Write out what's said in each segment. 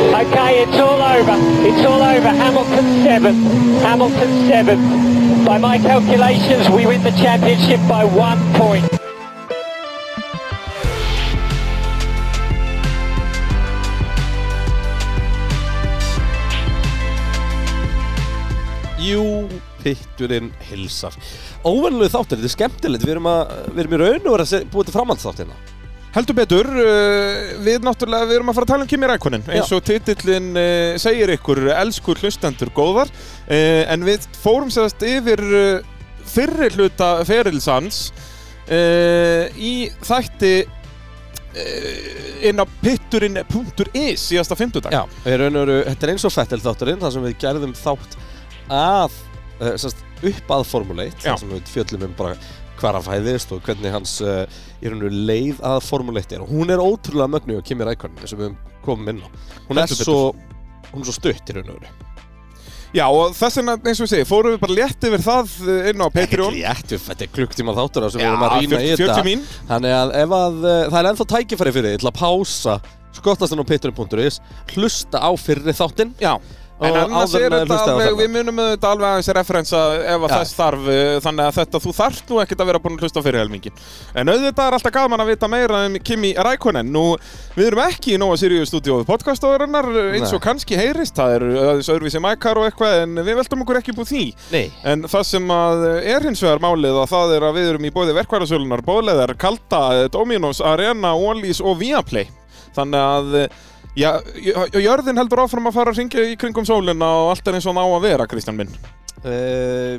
Okay, it's all over. It's all over. Hamilton 7. Hamilton 7. By my calculations, we win the championship by one point. Jú, pitturinn hilsar Óvennilegu þáttir, þetta er skemmtilegt Við erum, að, við erum í raun og vera að se- búa til framhaldsþáttina Heldur betur, uh, við náttúrulega við erum að fara að tala um Kimi Rækonin eins og titillin uh, segir ykkur elsku hlustendur góðar uh, en við fórum sérst yfir uh, fyrri hluta ferilsans uh, í þætti uh, inn á pitturinn.is síðasta fymtudag Í raun og veru, þetta er eins og fettil þátturinn þar sem við gerðum þátt að uh, sest, upp að Formule 1 Já. þar sem við fjöllum um bara hvar hann fæðist og hvernig hans uh, í raun og veru leið að Formule 1 er og hún er ótrúlega mögnu og kemur ækonin eins og við komum inn á Hún er Heldur betur. svo, hún er svo stutt í raun og veru Já, og þess vegna eins og ég segi, fórum við bara létt yfir það uh, inn á Ekkert Patreon létt, við- Þetta er klukktíma þáttur þar sem Já, við erum að rýna í 40 þetta mín. Þannig að ef að uh, það er ennþá tækifæri fyrir þið til að pása skottast hann á pitturinn.is hlusta á fyrri þáttinn Já, en Og annars áður en er maður þetta hlustaði á alveg, þarna. við munum þetta alveg aðeins referensa ef að Já. þess þarf, eh, þannig að þetta þú þarft nú ekkert að vera búin að hlusta á fyrir helmingin. En auðvitað er alltaf gaman að vita meira um Kimi Rækonen. Nú, við erum ekki í Nóa Sirius stúdíóið podcastóðurinnar, eins og kannski heyrist, það er aðeins öðruvísi mækar og eitthvað, en við veltum okkur ekki búið því. Nei En það sem að eh, er hins vegar málið að það er að við erum í bóði verkværasölunar, bóðleðar, Kalda, eh, Dominos, Arena, Wallis og Viaplay. Þannig að, eh, já, jö- jörðin heldur áfram að fara að ringja í kringum sólina og allt er eins og ná að vera, Kristján minn. Eh,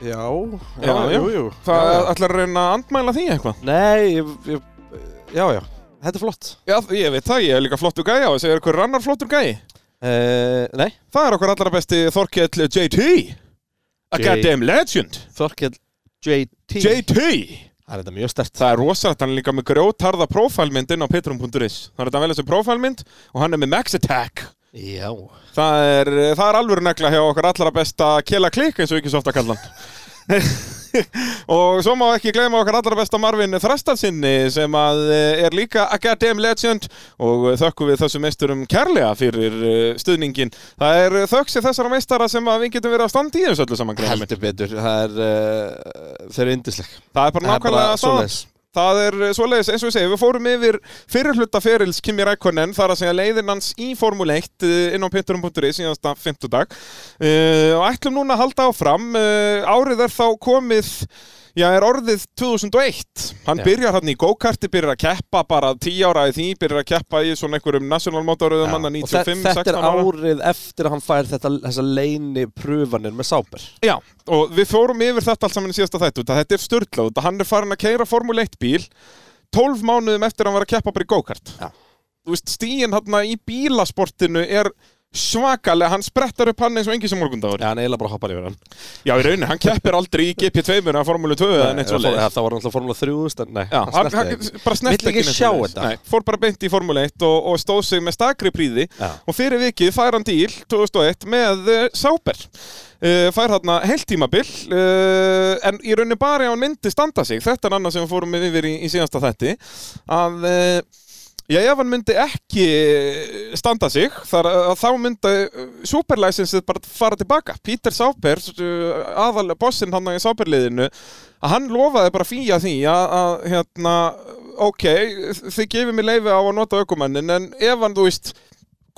Já, Já, já. jú, jú Það já, já. ætlar að reyna að andmæla því eitthvað. Nei, ég, ég, já, já Þetta er flott Já, ég veit það, ég er líka flottur gæi á þessu, er okkur annar flottur gæi? uh, Nei, Það er okkur allra besti Þorkell JT, a J- goddamn legend, Þorkell JT JT. Það er þetta mjög stert Það er rosalegt, hann er líka með grjótarða prófælmynd inn á petrum.is Það er þetta að velja sér prófælmynd og hann er með Max Attack Já Það er, það er alvöru negla hjá okkar allra besta Kela Klik eins og ekki svo ofta kallan Og svo má ekki gleyma okkar allra besta Marvin Þrastalsinni sem að eh, er líka Academ Legend og þökkum við þessum meisturum kærlega fyrir eh, stuðningin Það er þöksi þessara meistara sem að við getum verið að standa í þessu öllu saman Graham. Heldur betur, það er uh, Þeir eru yndisleg Það er bara Það er bara nákvæmlega staðan. svoleiðis. Það er eh, svoleiðis, eins og ég segi, við fórum yfir fyrir hluta ferils Kimi Rækonen þar að segja leiðin hans í Formule 1 eh, inn á pitturum.is síðansta fimmtudag uh, og ætlum núna að halda áfram uh, árið er þá komið Já, er orðið 2001. Hann Já. byrjar hann í go-karti, byrjar að keppa bara 10 ára í því, byrjar að keppa í svona einhverjum nationalmótaröðum hann að Og þe- 95, Þetta 16 er ára. árið eftir að hann fær þetta, þessa leini prufanir með sáber Já, og við fórum yfir þetta allt saman í síðasta þættu, þetta þetta er störtlað, þetta hann er farin að keira Formule 1 bíl 12 mánuðum eftir að hann var að keppa bara í go-kart. Já. Þú veist, stíin hann í bílasportinu er svakalega, hann sprettar upp hann eins og engi sem morgundagur. Já, hann eiginlega bara hoppar yfir hann Já, í rauninni, hann keppir aldrei í GP2 eða Formule 2 eða neitt svo leiðis. Eh, Það var náttúrulega Formula 3 stand, Nei, Já, hann, hann snerti- bara snert Vill ekki sjá þetta. Nei, fór bara beint í Formule 1 og, og stóð sig með stakri príði Já. og fyrir vikið fær hann díl 2001 með uh, Sauber uh, fær hann heilt tímabil uh, en í rauninni bara ef hann myndi standa sig þetta er annað sem við fórum með yfir í, í síðasta þætti að uh, Já, ef hann myndi ekki eh, standa sig, þar, að þá myndi superlicensið bara fara tilbaka. Peter Sauber, uh, aðal bossinn hann í Sauberliðinu, að hann lofaði bara fýja því að, að hérna, ok, þið gefið mér leifi á að nota aukumannin, en ef hann, þú veist,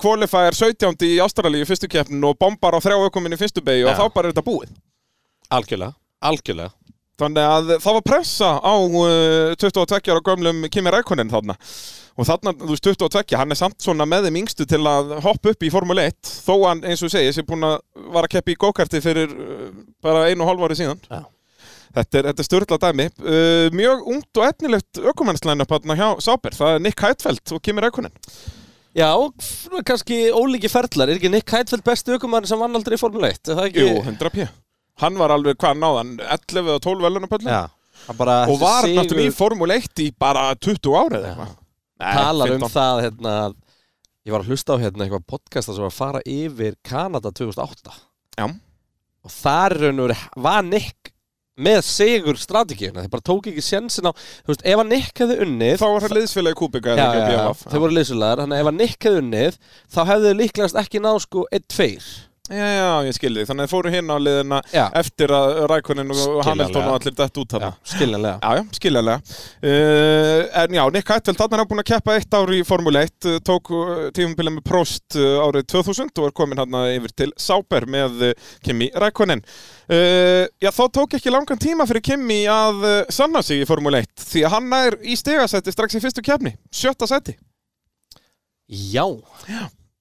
qualifier 17. í Ástralíu í fyrstu keppnin og bombar á þrjá aukuminn í fyrstu beigju og Já. þá bara er þetta búið. Algjörlega, algjörlega Þannig að það var pressa á uh, 22 ára gömlum Kimi Rækonen þarna og þarna, þú veist, 22, hann er samt svona með þeim yngstu til að hoppa upp í Formule 1 þó hann, eins og ég segi, sé búin að var að keppi í go-karti fyrir uh, bara einu og hálf ári síðan Já. Þetta er, þetta er störla dæmi uh, Mjög ungt og etnilegt ökumennslæn upp hérna hjá Sáber, það er Nick Heidfeld og Kimi Rækonen Já, og f- kannski ólíki ferlar Er ekki Nick Heidfeld bestu ökumann sem vann aldrei í Formule 1? Er það ekki? Jú, 100 p Hann var alveg, hvað náðan, 11 eða 12 velunapöllum Já Hann bara og var sigur- náttúrulega í Formule 1 í bara 20 ára Já. eða eitthvað Nei, Talar 15. um það hérna að Ég var að hlusta á hérna eitthvað podcasta sem var að fara yfir Kanada 2008 Já. Og þar raunur var Nick með segur strategíuna, þeir bara tók ekki sjensin á, þú veist, ef hann nikkaði unnið Þá var það liðsfélagi Kúbika já, já, já, þau já, voru leysulegar, þannig að ef hann nikkaði unnið þá hefðu þau líklegast ekki náð sko 1-2 já, já, ég skildi Þannig að þeir fóru hinn á liðina Já. eftir að Rækonin og Skiljanlega. Hamilton og allir dætt Já, út þarna skiljanlega Já, já, skiljaðlega. Uh, en já, Nick Heidfeld, þarna er hann búin að keppa eitt ár í Formule 1, uh, tók tífumbilið með Prost uh, árið 2000 og er komin hann yfir til Sauber með uh, Kimi Rækonen. Uh, já, þá tók ekki langan tíma fyrir Kimi að uh, sanna sig í Formule 1 því að hann er í stegasætti strax í fyrstu kefni, sjötta sætti Já,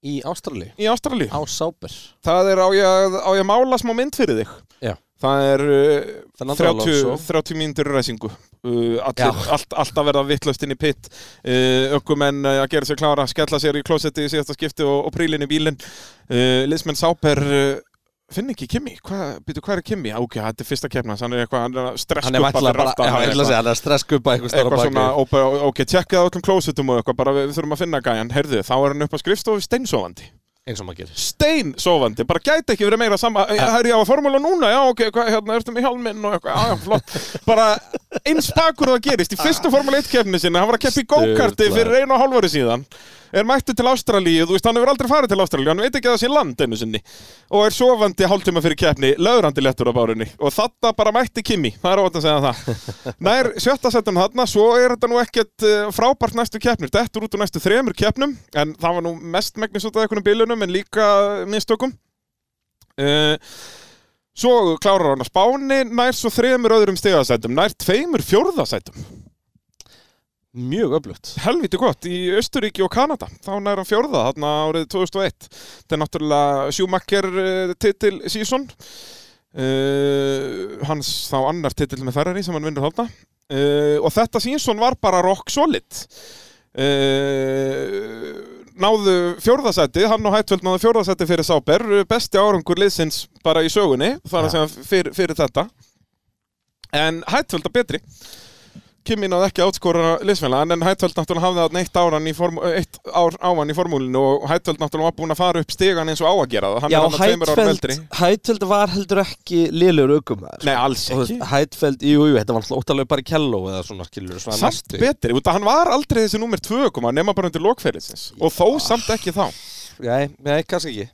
í Ástralíu, í Ástralíu. á Sáber Það er á ég, að- á ég að mála smá mynd fyrir þig. Já. Það er uh, Fernando 30, Alonso. 30 mínútur ræsingu. Uh, Já. allir, allt, allt að verða vittlust inn í pitt. Uh, ökkumenn uh, að gera sér klára, skella sér í klósetti í síðasta skipti og, og prílinn í bílinn. Uh, Liðsmenn Sáper uh, finn ekki Kimi. Hva, býtu, hvað er Kimi? Já, Ok, þetta er fyrsta kemna, hann er eitthvað, hann er að Hann er stresskuppa væntanlega bara, já, ég ætla að segja, hann er að stresskuppa eitthvað stóra eitthvað baki svona, ó, bara, ó, ok, tjekkið á öllum klósettum og eitthvað, bara við, við þurfum að finna gæjan, heyrðu, þá er hann upp á skrifstofu steinsofandi eins og maður gerir stein sofandi, bara gæti ekki verið meira sama, ja. herri ég á að formúla núna, já ok, hvað, hérna ertu með hjálminn og eitthvað, já já flott, bara eins bakur það gerist, í fyrstu formúla 1 keppni sinni, hann var að keppa í go-karti Sturlað. fyrir einu og hálfari síðan, er mættu til Ástralíu, þú veist, hann hefur aldrei farið til Ástralíu, hann veit ekki að það sé land einu sinni, og er sofandi hálftíma fyrir keppni, löðrandi lettur á bárunni, og þarna bara mætti Kimi, það er óvænt að segja það, nær sjötta setjum þarna, svo er þetta nú ekkert eh, frábært næstu keppnir, dettur út úr næstu þremur keppnum, en það var nú mest megnis út af einhvernum bilunum, en líka mistökum, Eh, Svo klárar hann að spáni nær svo þremur öðrum stegasætum, nær tveimur fjórðasætum. Mjög öflugt Helviti gott, í Östuríki og Kanada, þá nær hann fjórða þarna árið 2001. Þetta er náttúrulega eh, sjúmakker titil sísón, uh, hans þá annar titil með Ferrari sem hann vinnur þarna. Uh, og þetta sísón var bara rock solid. Uh, náðu fjórðasæti, hann og Hættvöld náðu fjórðasæti fyrir Sáber, besti árangur liðsins bara í sögunni, þar Ja. að segja fyrir, fyrir þetta en Hættvöld er betri Kimi náði ekki að átskora liðsfélagan en Hættvöld náttúrulega hafði þarna eitt, áran í formu, eitt ár ávan í formúlinu og Hættvöld náttúrulega var búin að fara upp stegan eins og á að gera það hann Já, er hann tveimur árum eldri Hætfeld, Hætfeld var heldur ekki liðlegur aukumæður Nei, alls Og þú ekki veist, Hætfeld, jú, jú, þetta var alltaf óttalega bara í kelló eða svona skilur svona Samt næstu. betri, út að hann var aldrei þessi númer 2 koma nema bara undir lokferðisins og þó samt ekki þá Nei, nei, kannski ekki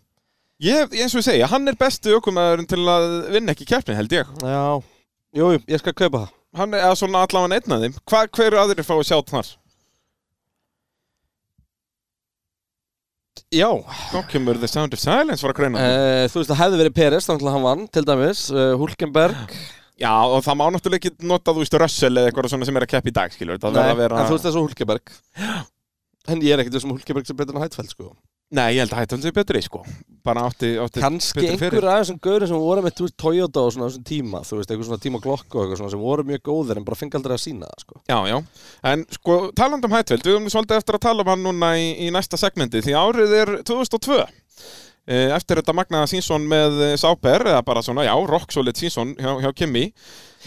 Ég, eins og ég segja, hann er besti aukumæðurinn til að vinna ekki keppni, held ég. Já, jú, jú, ég skal kaupa það Hann er eða svona allavega einn af þeim. Hva, hver eru aðrir fá að sjá þar? Já, Þá kemur The Sound of Silence var að greina. uh, þú veist, það hefði verið Peres, þannig að hann vann, til dæmis uh, Hulkenberg Já, og það má náttúrulega ekki nota, þú veist, Russell eða eitthvað svona sem er að keppa í dag, skilur. Það verða að vera... en þú veist þessu Hulkenberg En ég er ekkert þessum Hulkenberg sem betur en Hætfeld, sko Nei, ég held að hættan sé betri, sko. Bara átti... átti Kanski betri fyrir. einhver af þessum gaurin sem voru með þú veist, Toyota og svona á þessum tíma Þú veist, einhver svona tíma glokk og eitthvað svona sem voru mjög góðir en bara fengi aldrei að sína það, sko Já, já. En sko, taland um Hætveld, við höfum svolítið eftir að tala um hann núna í, í næsta segmenti, því árið er 2002. Eh, Eftir þetta magnaða sínsón með eh, Sauber, eða bara svona, já, rock solid sínsón hjá, hjá Kimi.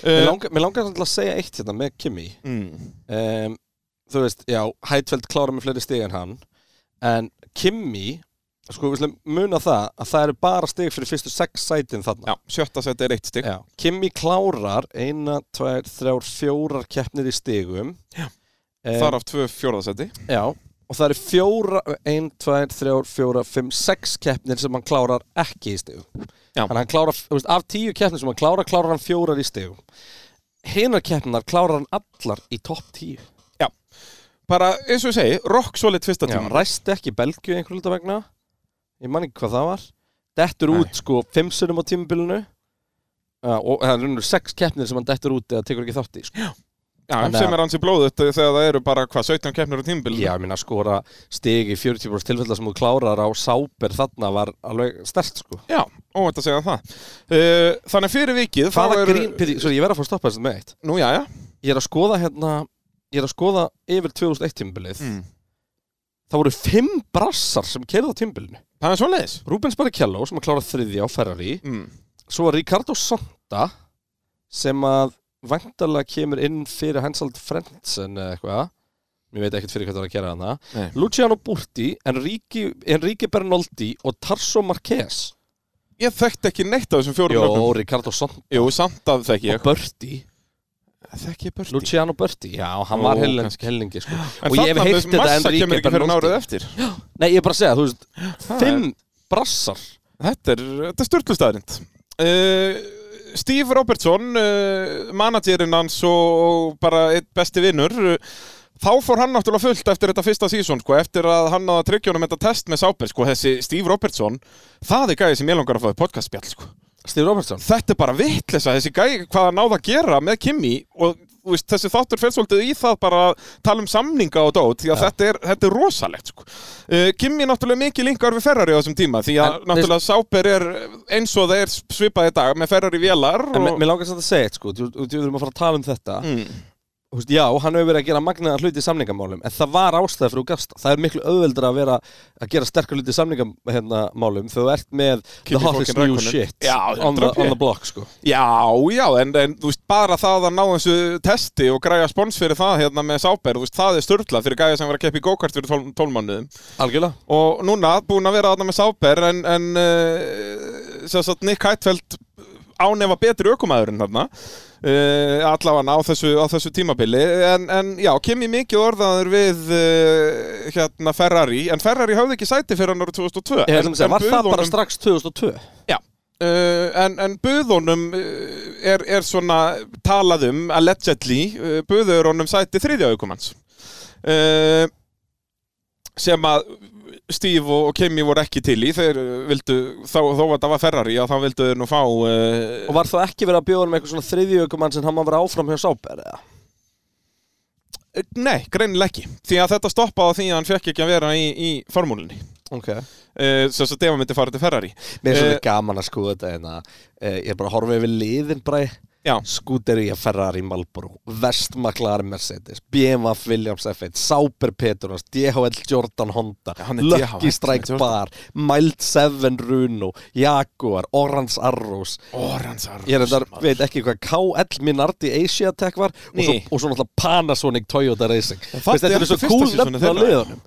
Mér Eh, langar, mér langar samt að segja eitt hérna með Kimi mm, um, Þú veist, já, Hætfeld klára með fleiri stig en hann En Kimi, sko, við slum muna það að það eru bara stig fyrir fyrstu sex sætin þarna já, sjötta seti er eitt stygg. Já. Kimi klárar eina, tvær, þrjár, fjórar keppnir í stigum Já. Em, Þar af tvö fjórðasetti. já Og það eru fjóra, ein, tvær, þrjár, fjóra, fimm, sex keppnir sem hann klárar ekki í stigum Já. Þannig að hann klárar, þú veist, af tíu keppnir sem hann klárar, klárar hann fjórar í stigum Hinar keppnar klárar hann allar í topp tíu Já. Bara, eins og ég segi, rock solid fyrsta Já, tíma. ræsti ekki Belgju einhver hluta vegna Ég man ekki hvað það var Dettur Nei. út sko fimm sunnum á tímubilinu Já, og það er runnur sex keppnir sem hann dettur út eða tekur ekki þátt í sko. Já, Þannig að- sem er hans í blóðut þegar það eru bara, hvað, 17 keppnir á tímbil. Já, ég minna að skora stig í 40% tilfella sem þú klárar á sáber þarna var alveg stert sko. Já, óvænt að segja það. Eh, Þannig að fyrir vikið... þá Hvaða eru- grín, pyrri, sorry, ég verð að fá að stoppa þess með eitt Nú, já, já. Ég er að skoða hérna Ég er að skoða yfir 2001 tímbilið Mm. Það voru fimm brassar sem kerði á tímbilinu Það er svoleiðis. Rubens Barrichello sem að klára þriðja á Ferrari Mm. Svo var Ricardo Sonda sem að væntarlega kemur inn fyrir Hansald Frentzen eða eitthvað Mér veit ekkert fyrir hvað það var að gera hana Nei. Luciano Burti, Enrique, Enrique Bernoldi og Tarso Marquez ég þekkt ekki neitt af þessum fjórum Jó, lögnum. Ricardo Sonti Jú, samt af þekki og ég. Berti Þekki ég börti. Luciano Berti, já, hann Jú, var helling, kannski. hellingi sko. En og ég hef þarna heyrt með þetta massa Enrique kemur ekki fyrir Bernardi. árið eftir. Nei, ég er bara að segja, þú veist, Það fimm brassar Þetta er, þetta er störtlustæðrind. Uh, Steve Robertson, uh, managerinn hans og bara eitt besti vinnur, uh, þá fór hann náttúrulega fullt eftir þetta fyrsta sísón, sko, eftir að hann náði að tryggja honum þetta test með Sáber, sko, þessi Steve Robertson, það er gæði sem ég langar að fá í podcastspjall, sko. Steve Robertson Þetta er bara vittlisa, þessi gæði, hvað hann náði að gera með Kimi og þú veist, þessi þáttur fyrir svolítið í það bara að tala um samninga og dót, því Já. að þetta er, þetta er rosalegt, sko. Uh, Kimi náttúrulega mikið lingar við Ferrari á þessum tíma, því að En, náttúrulega Sáber er eins og það er svipað í dag með Ferrari vélar En og... mér langar samt að segja eitt sko, þú þú- þú verðum að fara að tala um þetta Mm. Þú veist, Já, hann hefur verið að gera magnaðar hluti í samningamálum En það var ástæða fyrir þú gafst það. Það er miklu auðveldra að vera að gera sterkar hluti í samningamálum Þegar þú ert með Kimi the hottest fucking new Räikkönen. shit Já, on, the, 100%. on the block sko Já, já, en, en þú veist, bara það að ná þessu testi og græja spons fyrir það hérna með Sáber, þú veist, það er störtla fyrir gæja sem var að keppa í go-kart fyrir 12, 12 mánuðum Algjörlega og núna búin að vera þarna með Sáber en, en uh, sem sagt Nick Heitfeld ánefa betri ökumæðurinn þarna uh, allavega á þessu, á þessu tímabili en, en já, kem ég mikið orðaður við uh, hérna Ferrari en Ferrari hafði ekki sæti fyrir hann árið 2002 Ég En- ætlum að segja, en var það buð bara honum- strax 2002? Já, uh, en, en buðunum eh, er, er svona talað um, allegedly, uh, buður honum sæti þriðja aukumanns uh, sem að Steve og, og Kimi voru ekki til í, þeir uh, vildu, þá, þó að það var Ferrari, já þá vildu þeir nú fá Og uh, var það ekki verið að bjóða um eitthvað svona þriðjökumann sem hann var að vera áfram hjá Sáber eða? Nei, greinileg ekki, því að þetta stoppaði á því að hann fekk ekki að vera í, í formúlinni Ok uh, sem svo Deva myndi fara til Ferrari Mér er Eh, svolítið gaman að skoða þetta en að eh, ég er bara að horfa yfir liðin bara Já, Skúteri að Ferrari Malboro, Vestmaklar Mercedes, BMW Williams F1, Sauber Petronas, DHL Jordan Honda, Já, hann er Lucky DHL Strike Jordan. Bar, Mild 7 Runo, Jaguar, Orange Arrows, Eh, Oransar ég er þetta, veit ekki hvað, KL Minardi Asia Tech var og svo, Nei. og svo náttúrulega Panasonic Toyota Racing. Þú það Veist, þetta er er svo fyrsta cool seasonið nöfn á þeirra. liðunum.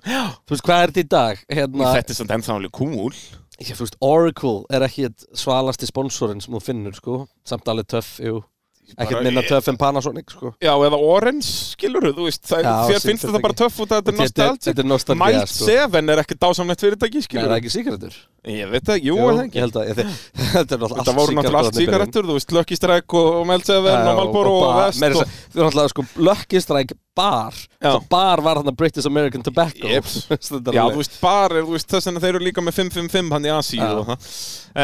Þú veist, hvað er þetta í dag? Hérna, Þetta er samt ennþá alveg kúl ég, þú veist, Oracle er ekki eitt svalasti sponsorinn sem þú finnur, sko, samt alveg töff, jú. bara- Ekkert minna töff en Panasonic, sko. Já, eða orange, skilur þú veist, það, Já, þér sí, finnst þetta þetta bara ekki. töff út að þetta er Þetta er- nostalgic. þetta er nostalgia, Mild sko. 7 er ekkert dásamlegt fyrirtæki, Nei, skilur það er ekki sigarettur? Ég veit það, jú, Jú, er það ég ekki. held að ég, þetta er náttúrulega Þetta voru náttúrulega allt síkarettur, þú veist, Lucky Strike og, og Mild 7 og Malboro og, Vest Þú og... er náttúrulega sko Lucky Strike bar Já. það bar var hann að British American Tobacco Jeps. Þetta er Já, alveg- þú veist, bara, þú veist, þess vegna þeir eru líka með 555 hann í Asi Já. og það.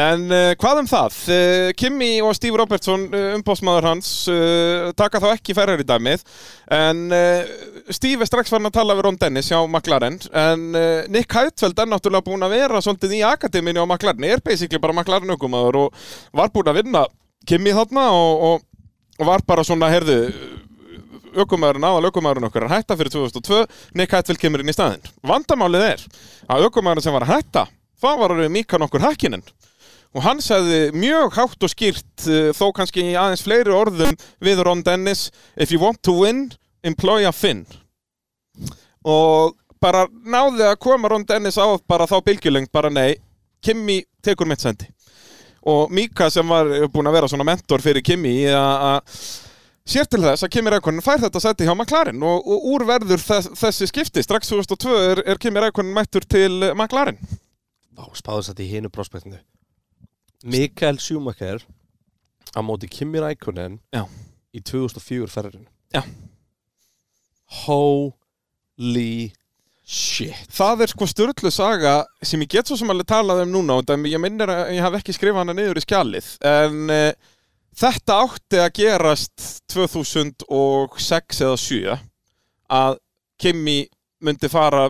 En uh, hvað um það? Uh, Kimi og Steve Robertson, uh, umbósmaður hans, uh, taka þá ekki ferrar í dæmið. En uh, Steve er strax farin að tala við Ron Dennis hjá McLaren. En uh, Nick Heitfeld er náttúrulega búin að vera svolítið í akademinu á McLaren. Er basically bara McLaren aukumaður og var búin að vinna Kimi þarna og, og, og var bara svona, heyrðu, aukumæðurinn aðal aukumæðurinn okkar er að hætta fyrir 2002 Nick Hatfield kemur inn í staðinn vandamálið er að aukumæðurinn sem var að hætta það var alveg Mika nokkur hækkinin og hann sagði mjög hátt og skýrt uh, þó kannski í aðeins fleiri orðum við Ron Dennis if you want to win, employ a Finn og bara náði að koma Ron Dennis á bara þá bylgjulengd, bara nei Kimi tekur mitt sendi og Mika sem var búin að vera svona mentor fyrir Kimi í að að sér til þess að Kimi Rækonin fær þetta seti hjá McLaren og, og úr verður þess, þessi skipti strax 2002 er, er Kimi Rækonin mættur til eh, McLaren Vá, spáðu þetta í hinu prospektinu Mikael Schumacher á móti Kimi Rækunen Já. í 2004 ferðin Já. Holy shit það er sko störlu saga sem ég get svo sem alveg talað um núna og það, ég minnir að ég haf ekki skrifað hana niður í skjalið en uh, þetta átti að gerast 2006 eða 7 að Kimi myndi fara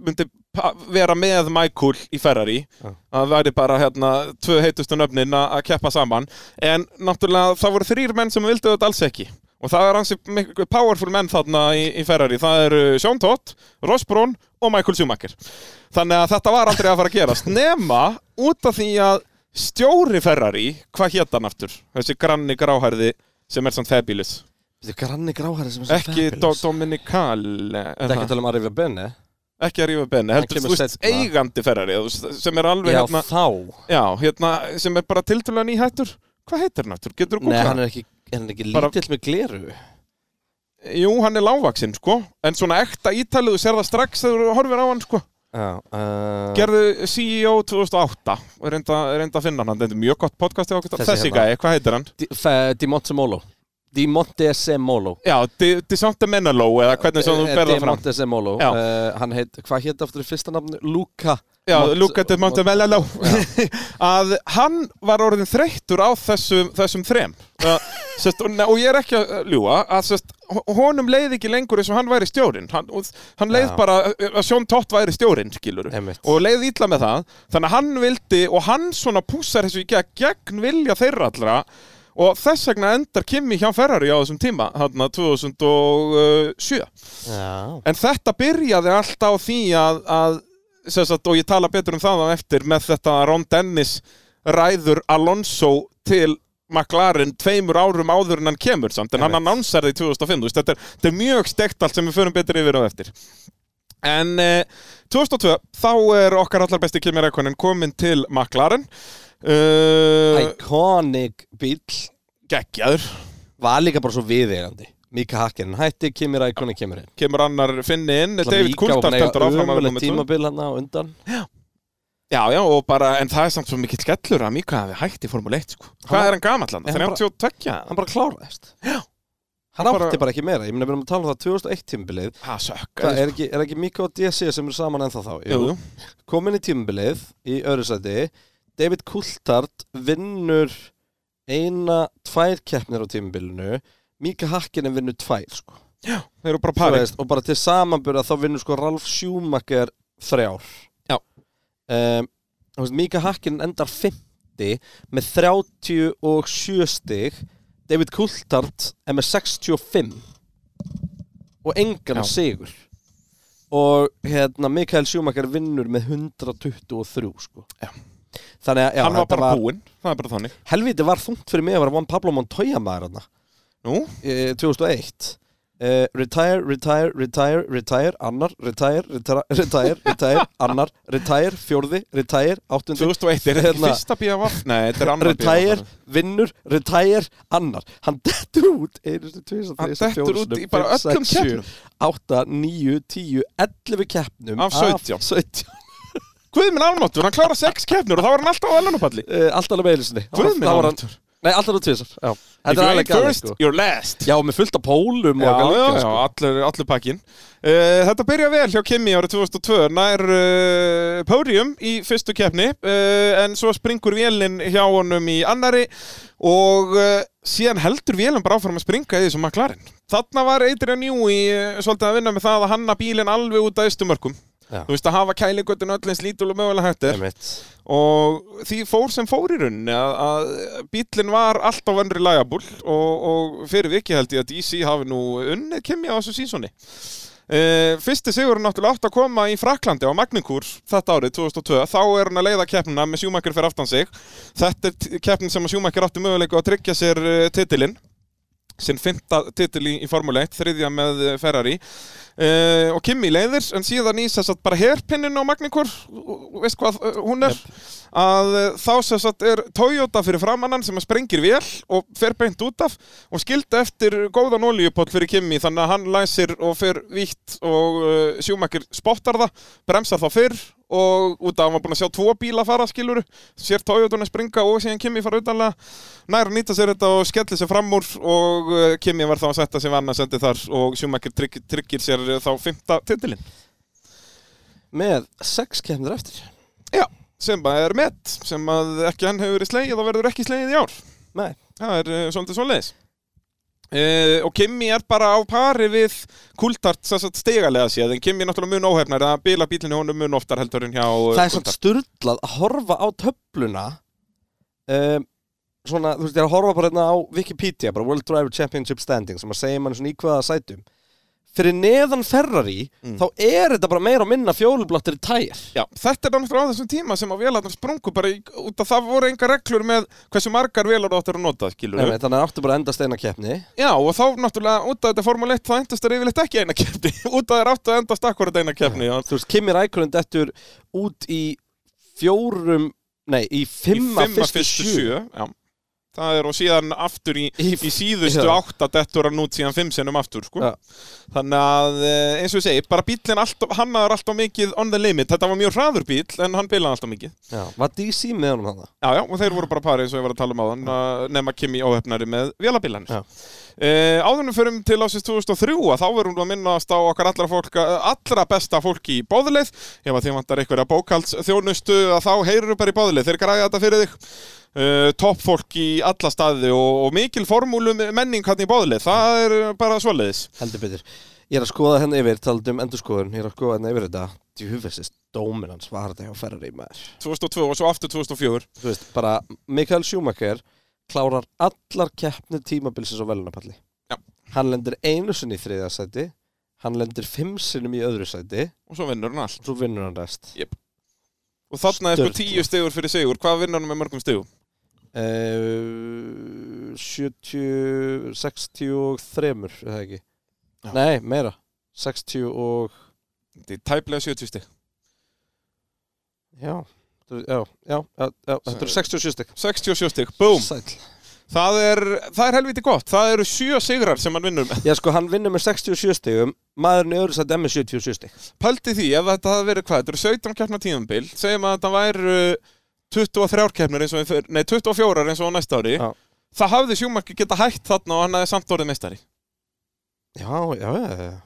myndi pa- vera með Michael í Ferrari Já. að það væri bara hérna tvö heitustu nöfnin að að keppa saman en náttúrulega það voru þrýr menn sem vildu þetta alls ekki og það er hansi powerful menn þarna í, í Ferrari það eru Sean Todd, Ross Brown og Michael Schumacher þannig að þetta var aldrei að fara að gerast nema út af því að stjóri Ferrari hvað hétt hann aftur þessi granni gráhærði sem er samt fabulous Þetta er granni gráhæri sem er svo ekki fabulous. Do Dominikal Þetta er ekki að tala um Arriva Bene ekki að rífa benni, heldur kemur þú veist seinna. eigandi ferrari þú veist, sem er alveg Já, hérna, þá já, hérna sem er bara tildulega nýhættur hvað heitir hann aftur, getur þú Nei, hann gúklað? er ekki, hann er ekki Bara- lítill með gleru Jú, hann er lágvaksinn, sko en svona ekta ítalið, þú sér það strax þegar þú horfir á hann, sko Já, uh, gerðu E CEO 2008 og reynda, reynda að finna hann, þetta er mjög gott podcast hjá okkur. Þessi þessi hérna. gæi, hvað heitir hann? Di, fe- Di Montemolo Di Montesemolo Já, Di- Disante Menalo eða hvernig sem þú Eh, berða Di fram Montesemolo Já. uh, Hann heit, hvað heit aftur í fyrsta nafnu? Luca Já, Mont- Luca Di Monte Menalo að hann var orðin þreyttur á þessum, þessum þrem uh, sest, og, og ég er ekki að ljúa að sest, honum leið ekki lengur eins og hann væri stjórinn hann, og hann leið Já. bara að Sjón Tott væri stjórinn skilur Einmitt. og leið ítla með það þannig að hann vildi og hann svona púsar þessu í gegn gegn vilja þeirra allra og þess vegna endar Kimi hjá Ferrari á þessum tíma þarna 2007 Já en þetta byrjaði alltaf á því að, að sem sagt, og ég tala betur um það á eftir með þetta að Ron Dennis ræður Alonso til McLaren tveimur árum áður en hann kemur samt en hann Einmitt. annánsar því 2005 þú veist, þetta, er, þetta er mjög steikt allt sem við förum betur yfir á eftir en eh, 2002 þá er okkar allar besti Kimi Rækonin komin til McLaren Eh, uh, Iconic bíl geggjaður Var líka bara svo viðeigandi Mika Hakkinen hætti, Kimi Rækonin kemur inn kemur annar finni inn David Coulthard heldur áfram að vera númer tvö. tímabil hann á undan Já, já, og bara, en það er samt svo mikill skellur að Mika hafi hægt í Formule 1, sko. Hvað Hann- er hann gamall hann? Er hann bara- 32? Hann bara kláraðist Já Hann Hann bara- átti bara ekki meira, ég meina við erum að tala um það 2001 tímabilið Það sökk. Það er ekki, er ekki Mika og DC sem eru saman ennþá þá Jú, jú. komin í tímabilið í öðru sæti David Coulthard vinnur eina, tvær keppnir á tímabilinu Mika Hakkinen vinnur tvær sko. Þeir eru bara Þú parið. veist, og bara til samanbyrða þá vinnur sko Ralf Schumacher þrjár Já. um, þú veist, Mika Hakkinen endar 50 með 37 stig David Coulthard er með 65 og engan Já. sigur og hérna Mikael Schumacher vinnur með 123 sko. Já. þannig að já, Hann var þetta bara búinn. Það er bara þannig. helviti var þungt fyrir mig að vera Juan Pablo Montoya maður hann Nú, eh, 2001 eh, Retire, retire, retire, retire Annar, retire, retire, retire, retire Annar, retire, fjórði, retire Áttundi, 2001, er þetta ekki Hérna. fyrsta bíða var? Nei, þetta er annar retire, vinnur, retire Annar, hann dettur út Einu, tvisar, Hann þrisar, dettur fjórum út sinnum, í bara fimm, öllum sex, sjö, keppnum. Átta, níu, tíu, ellefu keppnum Af 17. 17 Guð minn almáttur, hann klára sex keppnur og þá var hann alltaf á elunupalli. Eh, Alltaf alveg eilisinni Guð minn almáttur. Nei, alltaf alveg tvisar Já. Þetta If er you alveg ain't gæðið first, sko you're last. Já, með fullt af pólum og Já, eitthvað líka, já, já, sko. allur, allur pakkin uh, Þetta byrja vel hjá Kimi árið 2002 nær uh, pódium í fyrstu keppni uh, en svo springur vélinn hjá honum í annari og uh, síðan heldur vélinn bara áfram að springa í þessum maklarinn Þarna var Adrian Newey uh, svolítið að vinna með það að hanna bílinn alveg út að istumörkum Já. Þú veist að hafa kælingötun öll eins lítul og mögulega hættir Einmitt. og því fór sem fór í rauninni að, að bílinn var alltaf vennri lagabúl og, og fyrir viki held ég að DC hafi nú unnið kemja á þessu sísoni Uh, fyrsti sigurinn náttúrulega átt að koma í Fraklandi á Magnikúr þetta árið 2002 þá er hann að leiða keppnina með sjúmakir fyrir aftan sig þetta er t- keppnin sem að sjúmakir átti möguleika að tryggja sér uh, titilinn sinn fymta titil í, í Formule 1 þriðja með eh, Ferrari uh, og Kimi leiðir en síðan í þess að bara herpinninu á Magnikúr veist hvað eh, hún er að eh, þá sem sagt er Toyota fyrir framannan sem að sprengir vel og fer beint út af og skildi eftir góðan olíupoll fyrir Kimi þannig að hann læsir og fer vítt og uh, sjúmakir spottar það bremsar þá fyrr og út af að hann var búin að sjá tvo bíla fara skilur sér Toyotuna springa og síðan Kimi fara utanlega nær að nýta sér þetta og skellir sér fram úr og uh, Kimi var þá að setja sér vann að sendi þar og sjúmakir trygg, tryggir sér eh, þá fymta titilinn Með sex keppnir eftir Já, sem bara er met sem að ekki hann hefur verið slegið og verður ekki slegið í ár Nei Það er uh, svolítið svoleiðis. Uh, og Kimi er bara á pari við Kultart stegalega séð en Kimi er náttúrulega mun óhefnar að bila bílinni honum mun oftar heldur en hjá eh, það er svona Coulthard. sturdlað að horfa á töfluna um, svona, þú veist, ég er að horfa bara hérna á Wikipedia, bara World Driver Championship Standing sem að segja mann svona í hvaða sætum fyrir neðan Ferrari þá er þetta bara meira og minna fjólublattir í tæjar Já, þetta er náttúrulega á þessum tíma sem að vélarnar sprungu bara í, út að það voru enga reglur með hversu margar vélar þú áttir að nota, skilur Nei, nei, þannig að áttu bara að endast eina keppni Já, og þá náttúrulega út að þetta er Formule 1 þá endast þér yfirleitt ekki eina keppni út að þér áttu að endast akkurat eina keppni já. Þú veist, Kimi Rækurinn dettur út í fjórum, nei, í fimma, Í fyrstu, sjö Já. Það er og síðan aftur í, í, Í- síðustu já. átta dettur hann út síðan fimm sinnum aftur sko. Já. Þannig að eh, eins og ég segi, bara bíllinn alltaf, hannaður alltaf mikið on the limit Þetta var mjög hraður bíll en hann bilaði alltaf mikið Já, var DC með honum hann Já, já, og þeir voru bara parið eins og ég var að tala um áðan að nema Kimi óhefnari með vélabilanir Já. Eh, Áðunum förum til ásins 2003 að þá verum við að minnast á okkar allra, fólk, eh, allra besta fólki í bóðuleið ef að þið vantar einhverja bókalds þjónustu að þá heyrur bara í bóðuleið, þeir græða þetta fyrir þig Uh, topp fólk í alla staði og, og mikil formúlum menning hann í bóðlið, það er eh, bara svoleiðis Heldur betur Ég er að skoða henni yfir, talandi um endurskoðun Ég er að skoða henni yfir þetta Djúfessist, dómin hans var þetta hjá Ferrari maður 2002 og svo aftur 2004 Þú veist, bara Mikael Schumacher klárar allar keppnir tímabilsins á velunapalli Já. Hann lendir einu sinni í þriðja sæti Hann lendir fimm sinnum í öðru sæti og svo vinnur hann allt og svo vinnur hann rest og þarna er sko Sturla. 10 stegur fyrir sigur, hvað vinnur hann með mörgum stegum? Eh, uh, 70 63 er það ekki Já. Nei, meira 60 og Þetta er tæplega 70 steg Já, Þetta er- já, já, já, já Þetta eru 67 stykk 67 stygg, búm Sæll það er, það er helviti gott, það eru sjö sigrar sem hann vinnur með Já, sko, hann vinnur með 67 stigum Maðurinn í öðru sæti er með 77 stig Pældi því, ef þetta hafði verið hvað, þetta eru 17 keppna tíðanbíl segjum að þetta væri 23 keppnir eins og, við fyr- nei 24 eins og á næsta ári Já. það hafði sjúmakki geta hætt þarna og hann hafði samt orðið meistari Já, já, já, já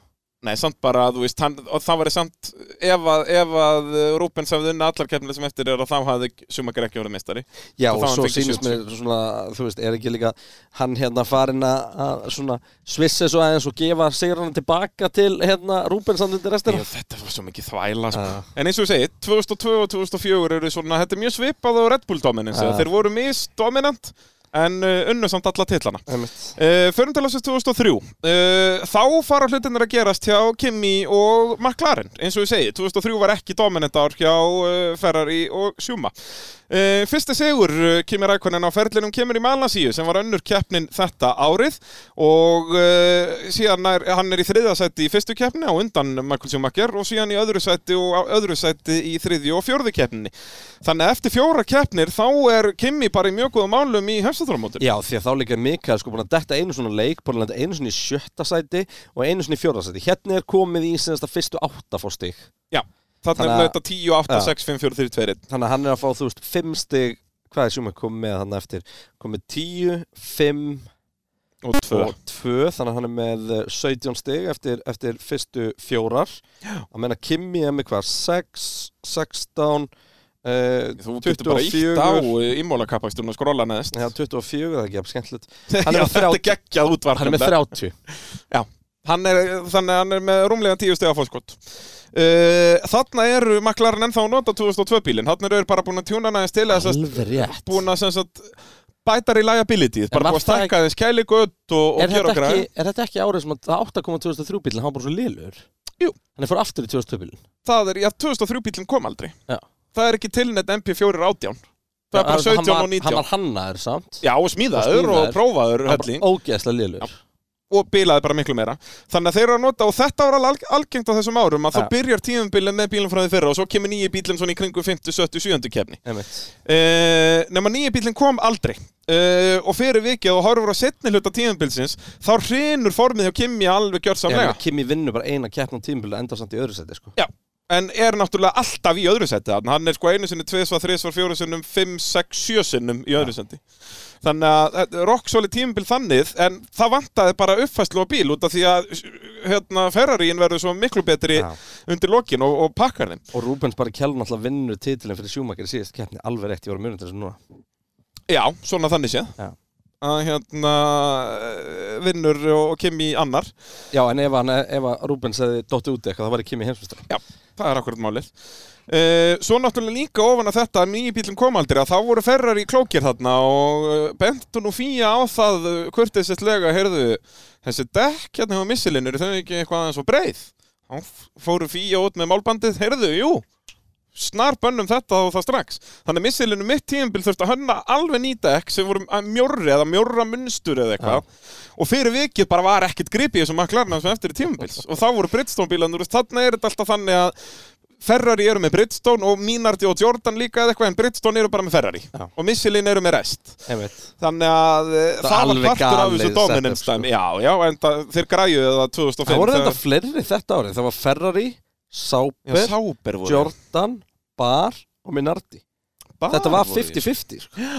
Nei, samt bara, þú veist, hann, og það væri samt ef að, ef að eh, Rubens hafði unna allar keppnir sem eftir er að þá hafði sjúmakki ekki orðið meistari Já, Og þá og hann svo fengi sýnist mér svona, þú veist, er ekki líka hann hérna farin að að svona svissa svo aðeins og gefa sigrana tilbaka til hérna Rúbensandi til restina. Já, þetta var svo mikið þvæla sko. Já. En eins og ég segi, 2002 og 2004 eru svona, þetta er mjög svipað á Red Bull dominance Já. uh. Þeir voru misdominant en uh, unnu samt alla titlana Einmitt. uh, Förum til ásins 2003 uh, Þá fara hlutinir að gerast hjá Kimi og McLaren Eins og ég segi, 2003 var ekki dominant ár hjá uh, Ferrari og Schuma uh, Fyrsti sigur uh, Kimi Rækonen á ferlinum kemur í Malasíu sem var önnur keppnin þetta árið og uh, síðan er, hann er í þriðja sæti í fyrstu keppni á undan Michael Schumacher og síðan í öðru sæti og á öðru sæti í þriðju og fjórðu keppninni Þannig að eftir fjóra keppnir þá er Kimi bara í mjög góðum álum í hefstatórumótur Já, því að þá líka Mikael sko búin að detta einu svona leik, búin að lenda einu svona í sjötta sæti og einu svona í fjórða sæti. Hérna er komið í senast að fyrstu átta fór stig. Já, þannig Þannig að- er þetta 10, 8, Já. 6, 5, 4, 3, 2, 1 Þannig að hann er að fá, þú veist, fimm stig, hvað er sjúma komið með hann eftir? Komið tíu, fimm og 2 og tvö, þannig að hann er með eh, 17 stig eftir, eftir fyrstu fjórar að menna Kimi er með hvað 6, 16 uh, Þú getur bara ítt á ímólakapakstunum og skróla neðist já, 24, það er ekki jafn skemmtilegt Hann er með Já, þetta er 30. geggjað útvarp hann er með nefnilega. 30 Hann er, þannig að hann er með rúmlega tíu stega fórskott. Uh, þarna eru maklarinn ennþá að nota 2002 bílinn. Þarna eru þeir bara búin að tjúna hann aðeins til eða sem sagt, alveg rétt búin að sem sagt, bæta reliability. Bara var búin það að stækka aðeins kæli gött er og, og gera þetta, okkar. ekki, er þetta ekki árið sem að 8.2003 bílinn, hann var bara svo lélur Jú. hann er fór aftur í 2002 bílinn Það er, já, 2003 bílinn kom aldrei. Já. Það er ekki tilnett MP4 átján. Það er bara Hann- hann 17 og var- 19. hann var hannaður samt já, og smíðaður og, Og smíðaður. prófaður hann helling. var ógeðslega lélur og bilaði bara miklu meira þannig að þeir eru að nota og þetta var alg algengt á þessum árum að Ja. þá byrjar tíðumbilin með bílum frá því fyrra og svo kemur nýji bílum svona í kringu 50, 70, 70 kefni Uh, nema nýja bílinn kom aldrei uh, og fyrir vikið og horfur á setni hluta tíðanbílsins þá hrinur formið hjá Kimi alveg gjörsamlega Kimi vinnur bara eina keppn á tímabili og endar samt í öðru seti sko. Já, en er náttúrulega alltaf í öðru seti þarna. hann er sko einu sinni, tvisvar, þrisvar, fjóru sinnum fimm, sex, sjö sinnum í öðru seti þannig að þetta- rock solid tímabil þannig en það vantaði bara uppfæslu á bíl út af því að hérna, Ferrarín verður svo miklu betri Já. undir lokin og, og pakkar þeim Og Rúbens bara kjálun alltaf vinnur titilin fyrir sjúmakir í síðast keppni alveg rétt, ég voru munið til þessu núna. já, svona þannig séð Já. að hérna eh, vinnur og og Kimi annar Já, en ef, hann, ef að Rubens hefði dottið út í eitthvað, það væri Kimi heimsmyndstari. Já, það er akkurat málið Uh, svo náttúrulega líka ofan að þetta að nýju bílum kom aldrei að þá voru ferrar í klókir þarna og uh, Benton og Fía á það uh, kurteisistlega, heyrðu þessi dekk hérna hjá missilinn eru þau ekki eitthvað aðeins og breið þá fóru Fía út með málbandið, heyrðu, jú snar bönnum þetta og það strax þannig að missilinn um mitt tíðanbíl þurfti að hönna alveg ný dekk sem voru að mjórri eða mjórra munstur eða eitthvað og fyrir vikið bara var ekkert gripið sem að klarna sem eftir tíðanbíls og þá voru Bridgestone-bílanur þannig er þetta alltaf þannig að Ferrari eru með Bridgestone og Minardi og Jordan líka eða eitthvað en Bridgestone eru bara með Ferrari Já. og Michelin eru með rest Einmitt. þannig að Það eh, er það var alveg partur af galið þessu setup, dominance sko. dæmi já, já, en það, þeir græjuðu það 2005 Það voru þetta fleiri þetta árið. Það var Ferrari, Já, Sauber, Sáber voru Jordan, Bar og Minardi. Bar Þetta var voru í. 50-50. sko.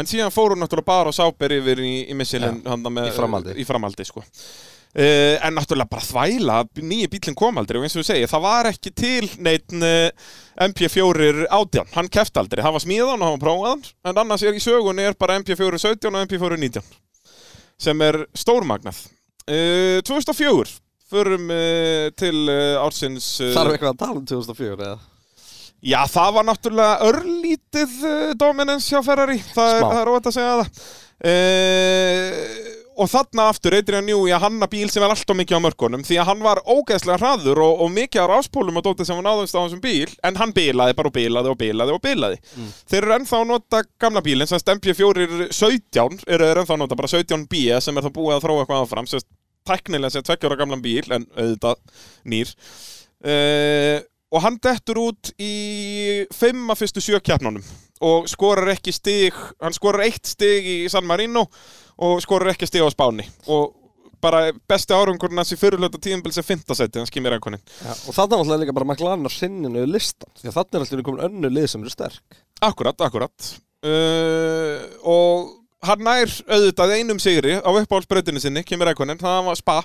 En síðan fóru náttúrulega bara og sáber yfir í, í missilin ja, með, í framhaldi. í framhaldi, sko. Uh, en náttúrulega bara þvæla, nýja bílinn kom aldrei og eins og við segja, það var ekki til neitt uh, MP4 átján, hann keft aldrei, það var smíðan og hann var prófaðan, en annars er í sögunni er bara MP4 17 og MP4 19 sem er stórmagnað. Uh, 2004, förum uh, til uh, ársins... Uh, Þarf eitthvað að tala um 2004 eða? Já, það var náttúrulega örlítið uh, dominance hjá Ferrari, það er, Smá. það er óvægt að segja það. Uh, og þarna aftur Adrian Newey að hanna bíl sem er alltaf mikið á mörkunum því að hann var ógeðslega hraður og, og mikið á ráspólum og dótið sem var náðumst á þessum bíl en hann bilaði bara og bilaði og bilaði og bilaði Þeir eru ennþá að nota gamla bílinn sem stempið fjórir 17 eru þeir ennþá að nota bara 17B sem er þá búið að þróa eitthvað áfram sem teknilega sé tvekkjóra gamlan bíl en auðvitað nýr uh, og hann dettur út í fimm af fyrstu sjö keppnunum og skorar ekki stig hann skorar eitt stig í San Marino og skorar ekki stig á Spáni og bara besti árangurinn hans í fyrirlöta tíðumbil sem fintasetti, hann skýmir einhvernig Já, og þarna náttúrulega líka bara McLaren að sinninu við listan því að þarna er alltaf komin önnu lið sem eru sterk Akkurat, akkurat uh, Og hann nær auðvitað einum sigri á uppáhaldsbrautinu sinni, kemur ekkonin, það var spa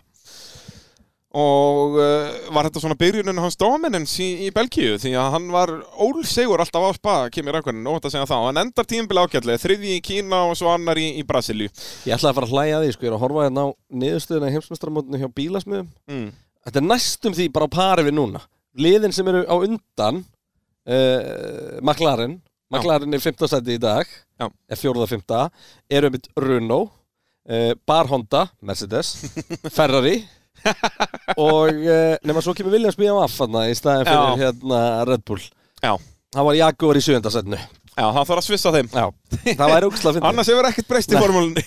Og uh, var þetta svona byrjunin hans dominance í, í Belgíu Því að hann var ólsegur alltaf á spa, kemur ekkonin, óvænt að segja það Og hann endar tímbil ágætlega, þriði í Kína og svo annar í, í Brasilíu ég ætlaði að fara að hlæja að því, sko, ég er að horfa hérna á niðurstöðuna í heimsmestramótinu hjá bílasmiðum mm. þetta er næstum því bara á pari við núna liðin sem eru á undan uh, McLaren McLaren er 15 seti í dag Já. er 4.5 eru einmitt Renault uh, Bar Honda, Mercedes Ferrari og uh, nema svo kemur Williams BMF þarna, í staðin fyrir Já. hérna Red Bull Já, það var Jaguar í 7. setinu já, hann þarf að svissa þeim Já, það væri ógslag fyndið Annars hefur ekkert breyst í formúlunni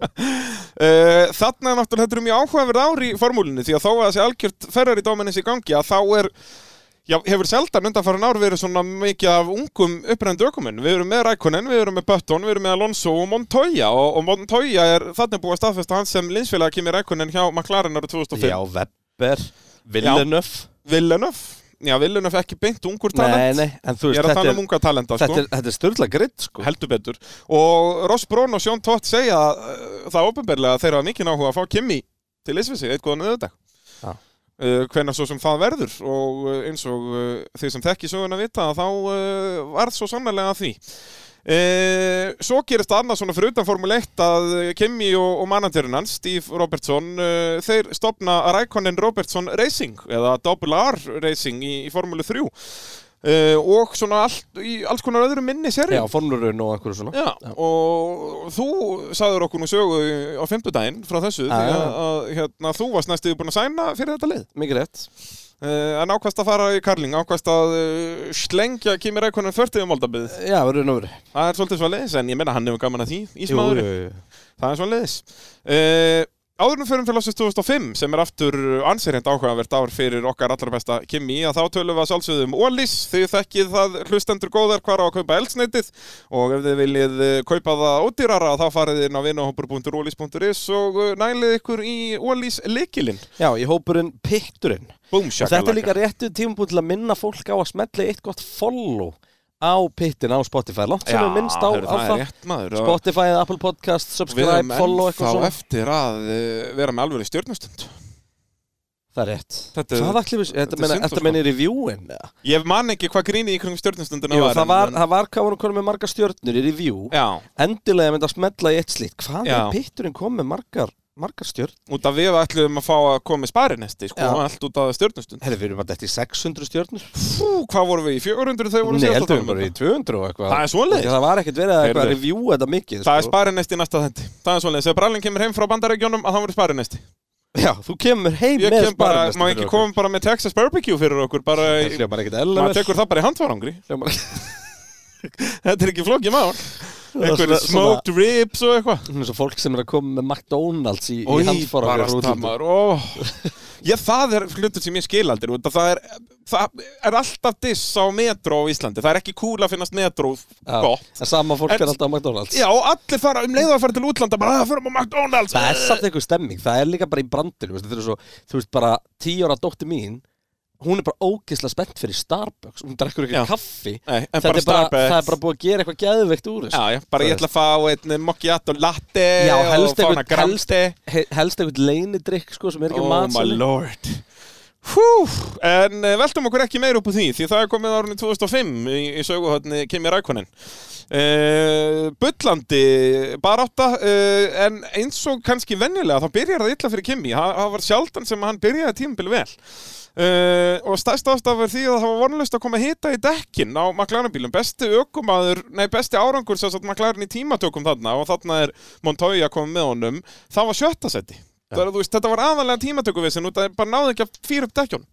Eh, Þarna er náttúrulega þetta er mjög áhugaverð ár í formúlunni því að þó að þessi algjört ferrar í dóminins í gangi að þá er Já, hefur seldan undanfarin ár verið svona mikið af ungum upprendu ökumenn. Við erum með Rækonen, við erum með Button, við erum með Alonso og Montoya og, og Montoya er þannig búið að staðfesta hans sem linsfélaga kemur Rækonen hjá McLaren árið 2005. Já, Webber, Villeneuve Villeneuve, já Villeneuve ekki beint ungur Nei, talent. nei, en þú um- Ég veist, er að þetta tala er, um unga talenta, sko. þetta er, þetta er styrla gritt sko heldur betur og Ross Brón og Sjón Tótt segja uh, það ofinberlega að þeir hafa mikið náhuga að fá Kimi til Ísfessi eitt góðan auðvitað Já. Uh, hvenær svo sem það verður og uh, eins og uh, þeir sem þekki söguna vita að þá uh, varð svo sannlega því uh, Svo gerist það annað svona fyrir utan Formule 1 að uh, Kimi og, og managerinn hans, Steve Robertson uh, þeir stopna Raikkonen Robertson Racing eða Double R Racing í, í Formule 3 uh, og svona all, í alls konar öðru minni serið Já, formlurinn og einhverju svona Já, og þú sagður okkur nú sögu á fimmtudaginn frá þessu Já, því já. að, að hérna, þú varst næstuði búin að sæna fyrir þetta lið Mikið rétt uh, en ákvæmst að fara í Karling, ákvæmst að uh, slengja Kimi Rækonen 40 um áldabið Já, verður nú verið það er svolítið svo leiðis, en ég menna hann hefur gaman að því í jú, smáður, jú. það er svo leiðis uh, Áðurum fyrir fyrir lásins 2005 sem er aftur ansýrend áhugavert ár fyrir okkar allra besta Kimi að þá tölum við að sjálfsögðum Ólís, þau þekkið það hlustendur góðar hvar á að kaupa eldsneitið og ef þið viljið eh, kaupa það ódýrara þá farið inn á vinahopur.ólís.is og eh, nælið ykkur í Ólís likilinn. Já, í hópurinn Pitturinn Búm, Og þetta er líka réttu tímabúl til að minna fólk á að smetla í eitt gott follow á Pittin á Spotify Látt sem við minnst á, hörðu, á það er rétt maður. og Spotify, Apple Podcast, Við subscribe, erum follow ennþá eitthvað svona eftir að eh, vera með alveg stjórnustund. Það er rétt. Þetta er- Hvað ætlum við, þetta þetta er meina, synd, þetta sko. meina í reviewin, eða? Ég man ekki hvað gríni í kringum stjórnustundina Jú, var, það en- var, en- það var hvað voru konum með margar stjörnur í review. Já, Endilega myndi að smetla í eitt slíkt. Hvað Já. er pitturinn kom með margar, margar stjörnur? út af við ætlum að fá að koma í sparinesti sko, Já. allt út af stjórnustund Herri, við erum bara þetta í 600 stjörnur. Fú, hvað vorum við í 400 þegar vorum Nei, heldur við um bara í þetta? 200 og eitthvað. Það er svoleiðis. Það var ekkert verið að eitthvað Heyrðu. að reviewa þetta mikið. sko. Það er sparinesti næsta þendi Það er svolítið, þegar Brallin kemur heim frá bandaregjónum að það verður sparinesti Já, þú kemur heim Ég með kem bara, spararmestur má fyrir ekki okkur. koma bara með Texas barbecue fyrir okkur bara, Það í- hljómar ekkert maður ellevel. tekur það bara í handvarangri Hljómar Þetta er ekki flókið mál Einhverju svona- smoked ribs og eitthvað eins og fólk sem er að koma með McDonalds í, í Í handfara barasta maður, ó. oh. Ég, það er hlutur sem ég skil aldrei út af það er, það er alltaf diss á metro á Íslandi það er ekki kúl að finnast metro gott En sama fólk En- er alltaf á McDonalds Já, og allir fara um leiða að fara til útlanda bara að fyrir á McDonalds Það er samt einhver stemming, það er líka bara í brandinu veist, þetta er svo, Þú veist bara, tíu ára dóttir mín Hún er bara ógeðslega spennt fyrir Starbucks Hún drekkur ekki Já. kaffi Nei, en Þetta bara er bara, Starbucks. það er bara búið að gera eitthvað geðveikt úr þessu. Já, já, bara ég ætla að fá einn mocchiato latte Já, helst og fá hana einhvern- helst- grandi He- Helst einhvern leinidrykk sko, sem er ekki Oh my matsali lord Hú, en eh, veltum okkur ekki meir upp úr því því það er komið árunni 2005 í, í söguhotni Kimi Rækonin uh, Bullandi barátta uh, en eins og kannski venjulega þá byrjar það illa fyrir Kimi það það var sjaldan sem hann byrjaði tímabil vel Uh, og stærst ástaf er því að það var vonlust að koma hita í dekkin á McLaren-bílum besti ökumaður, nei besti árangur sem sagt McLaren í tímatökum þarna og þarna er Montoya komið með honum það var sjötta seti það, er, þú veist, þetta var aðalega tímatöku vissin út að þeir bara náði ekki að fýra upp dekkjón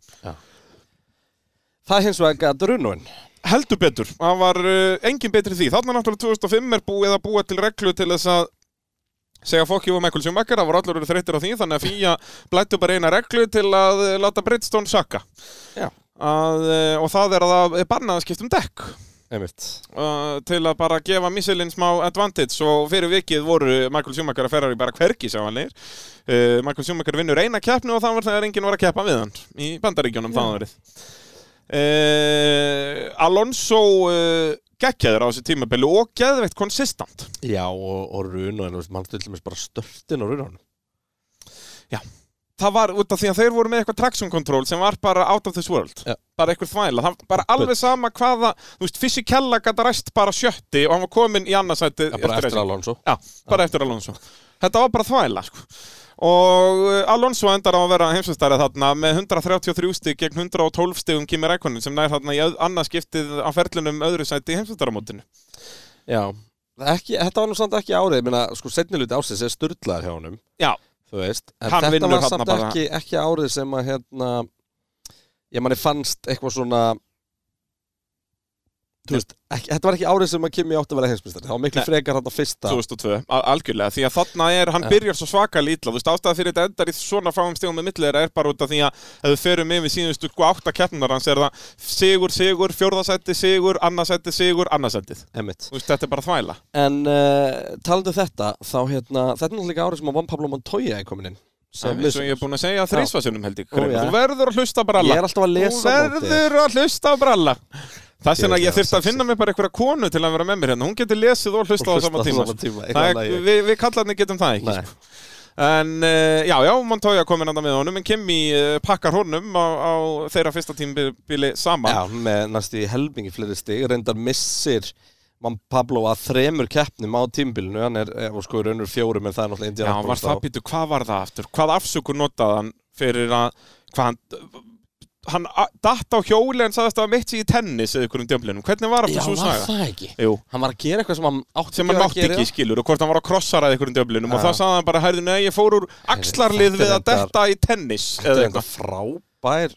Það er hins vegar gæta runnun heldur betur, það var uh, engin betri því þarna náttúrulega 2005 er búið að búa til reglu til þess að segja fokkjú og Michael Schumacher, það voru allir verið þreyttir á því þannig að FIA blættu bara eina reglu til að uh, láta Bridgestone sakka Já, að, uh, og það er að það er bannað að skipta um dekk einmitt uh, til að bara gefa Michelin smá advantage og fyrir vikið voru Michael Schumacher að Ferrari bara hvergi sjáanleir uh, Michael Schumacher vinnur eina keppnu og það var þegar enginn var að keppa við hann í bandaríkjónum það árið uh, Alonso uh, geggjaður á þessu tímabili og geðveitt konsistant Já, og, og runnun, mann til dæmis bara störtin á runnun það var út af því að þeir voru með eitthvað traction control sem var bara out of this world Já. bara eitthvað þvæla, það var bara alveg sama hvaða, þú veist, fysikella gæta ræst bara sjötti og hann var komin í annarsætti Já, bara eftir Alonso Já, bara eftir Alonso. Þetta var bara þvæla, sko. Og uh, Alonso endar á að vera heimsvistærið þarna með 133 stig gegn 112 stigum Kimi Rækonin sem nær þarna í öð- annað skiptið á ferlunum öðru sæti í heimsvistaramótinu. Já, ekki, þetta var nú samt ekki árið, ég meina, sko, setni hluti ásins er styrlaðar hjá honum, Já, þú veist, en Hann þetta vinnur var þarna samt bara. ekki, ekki árið sem að, hérna, ég manni fannst eitthvað svona, þú veist, ekki, þetta var ekki árið sem að Kimi átti að vera heimsmyndstari, það var miklu Nei. frekar hann að fyrsta, 2002, al- algjörlega, því að þarna er, hann Já. byrjar svo svaka lítla, þú veist, ástæða fyrir þetta endar í svona fáum stigum með millera er bara út af því að ef við förum yfir síðustu sko átta keppnar hans er það sigur, sigur, fjórðasætti, sigur, annarsætti, sigur, annarsættið. emitt. Þú veist, þetta er bara þvæla. En uh, talandi um þetta, þá, hérna, þetta er náttúrulega árið sem að Van Pablo Montoya er komin inn, sem eins og ég er búin að segja þrísvarsunum held ég Ó, já. Þú verður að hlusta á bralla Ég er alltaf að lesa á Þú móti. verður að hlusta á bralla Það sem Ég að ég veit þurfti það, að finna mér bara einhverja konu til að vera með mér hérna Hún getur lesið og hlusta á sama tíma Það er- tíma. Við við kallarnir getum það ekki sko. Nei, En uh, já, já, Montoya komin andan með honum En Kimi uh, pakkar honum á, á þeirra fyrsta tímbili saman Já, með næstu í helmingi fleiri stig reyndar missir Man Pablo að þremur keppnum á tímbilinu hann er, er sko raunur fjórum en það er náttúrulega Já, Indianapolis var það þá. býtu, hvað var það aftur? Hvað afsökun notaði hann fyrir að Hvað hann Hann a- datt á hjóli en sagðist að það mitt sér í tennis eða ykkur um djömblinum. Hvernig var Já, aftur svo var saga? það ekki? Jú, Hann var að gera eitthvað sem hann átti sem hann að mátti gera. ekki skilur og hvort hann var að krossara einhverjum döflinum og Já. þá sagði hann bara, herðu, nei, ég fór úr þetta er axlarlið við að reyndar- detta í tennis Þetta eða er eitthvað. eitthvað frábær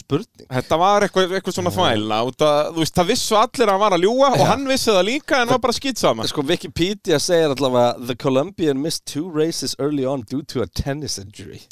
spurning Þetta var eitthvað, eitthvað svona þvæla út að, þú veist, það vissu allir að hann var að ljúa og Já. hann vissi það líka en var bara skýtsama Sko Wikipedia segir allavega The Colombian missed two races early on due to a tennis injury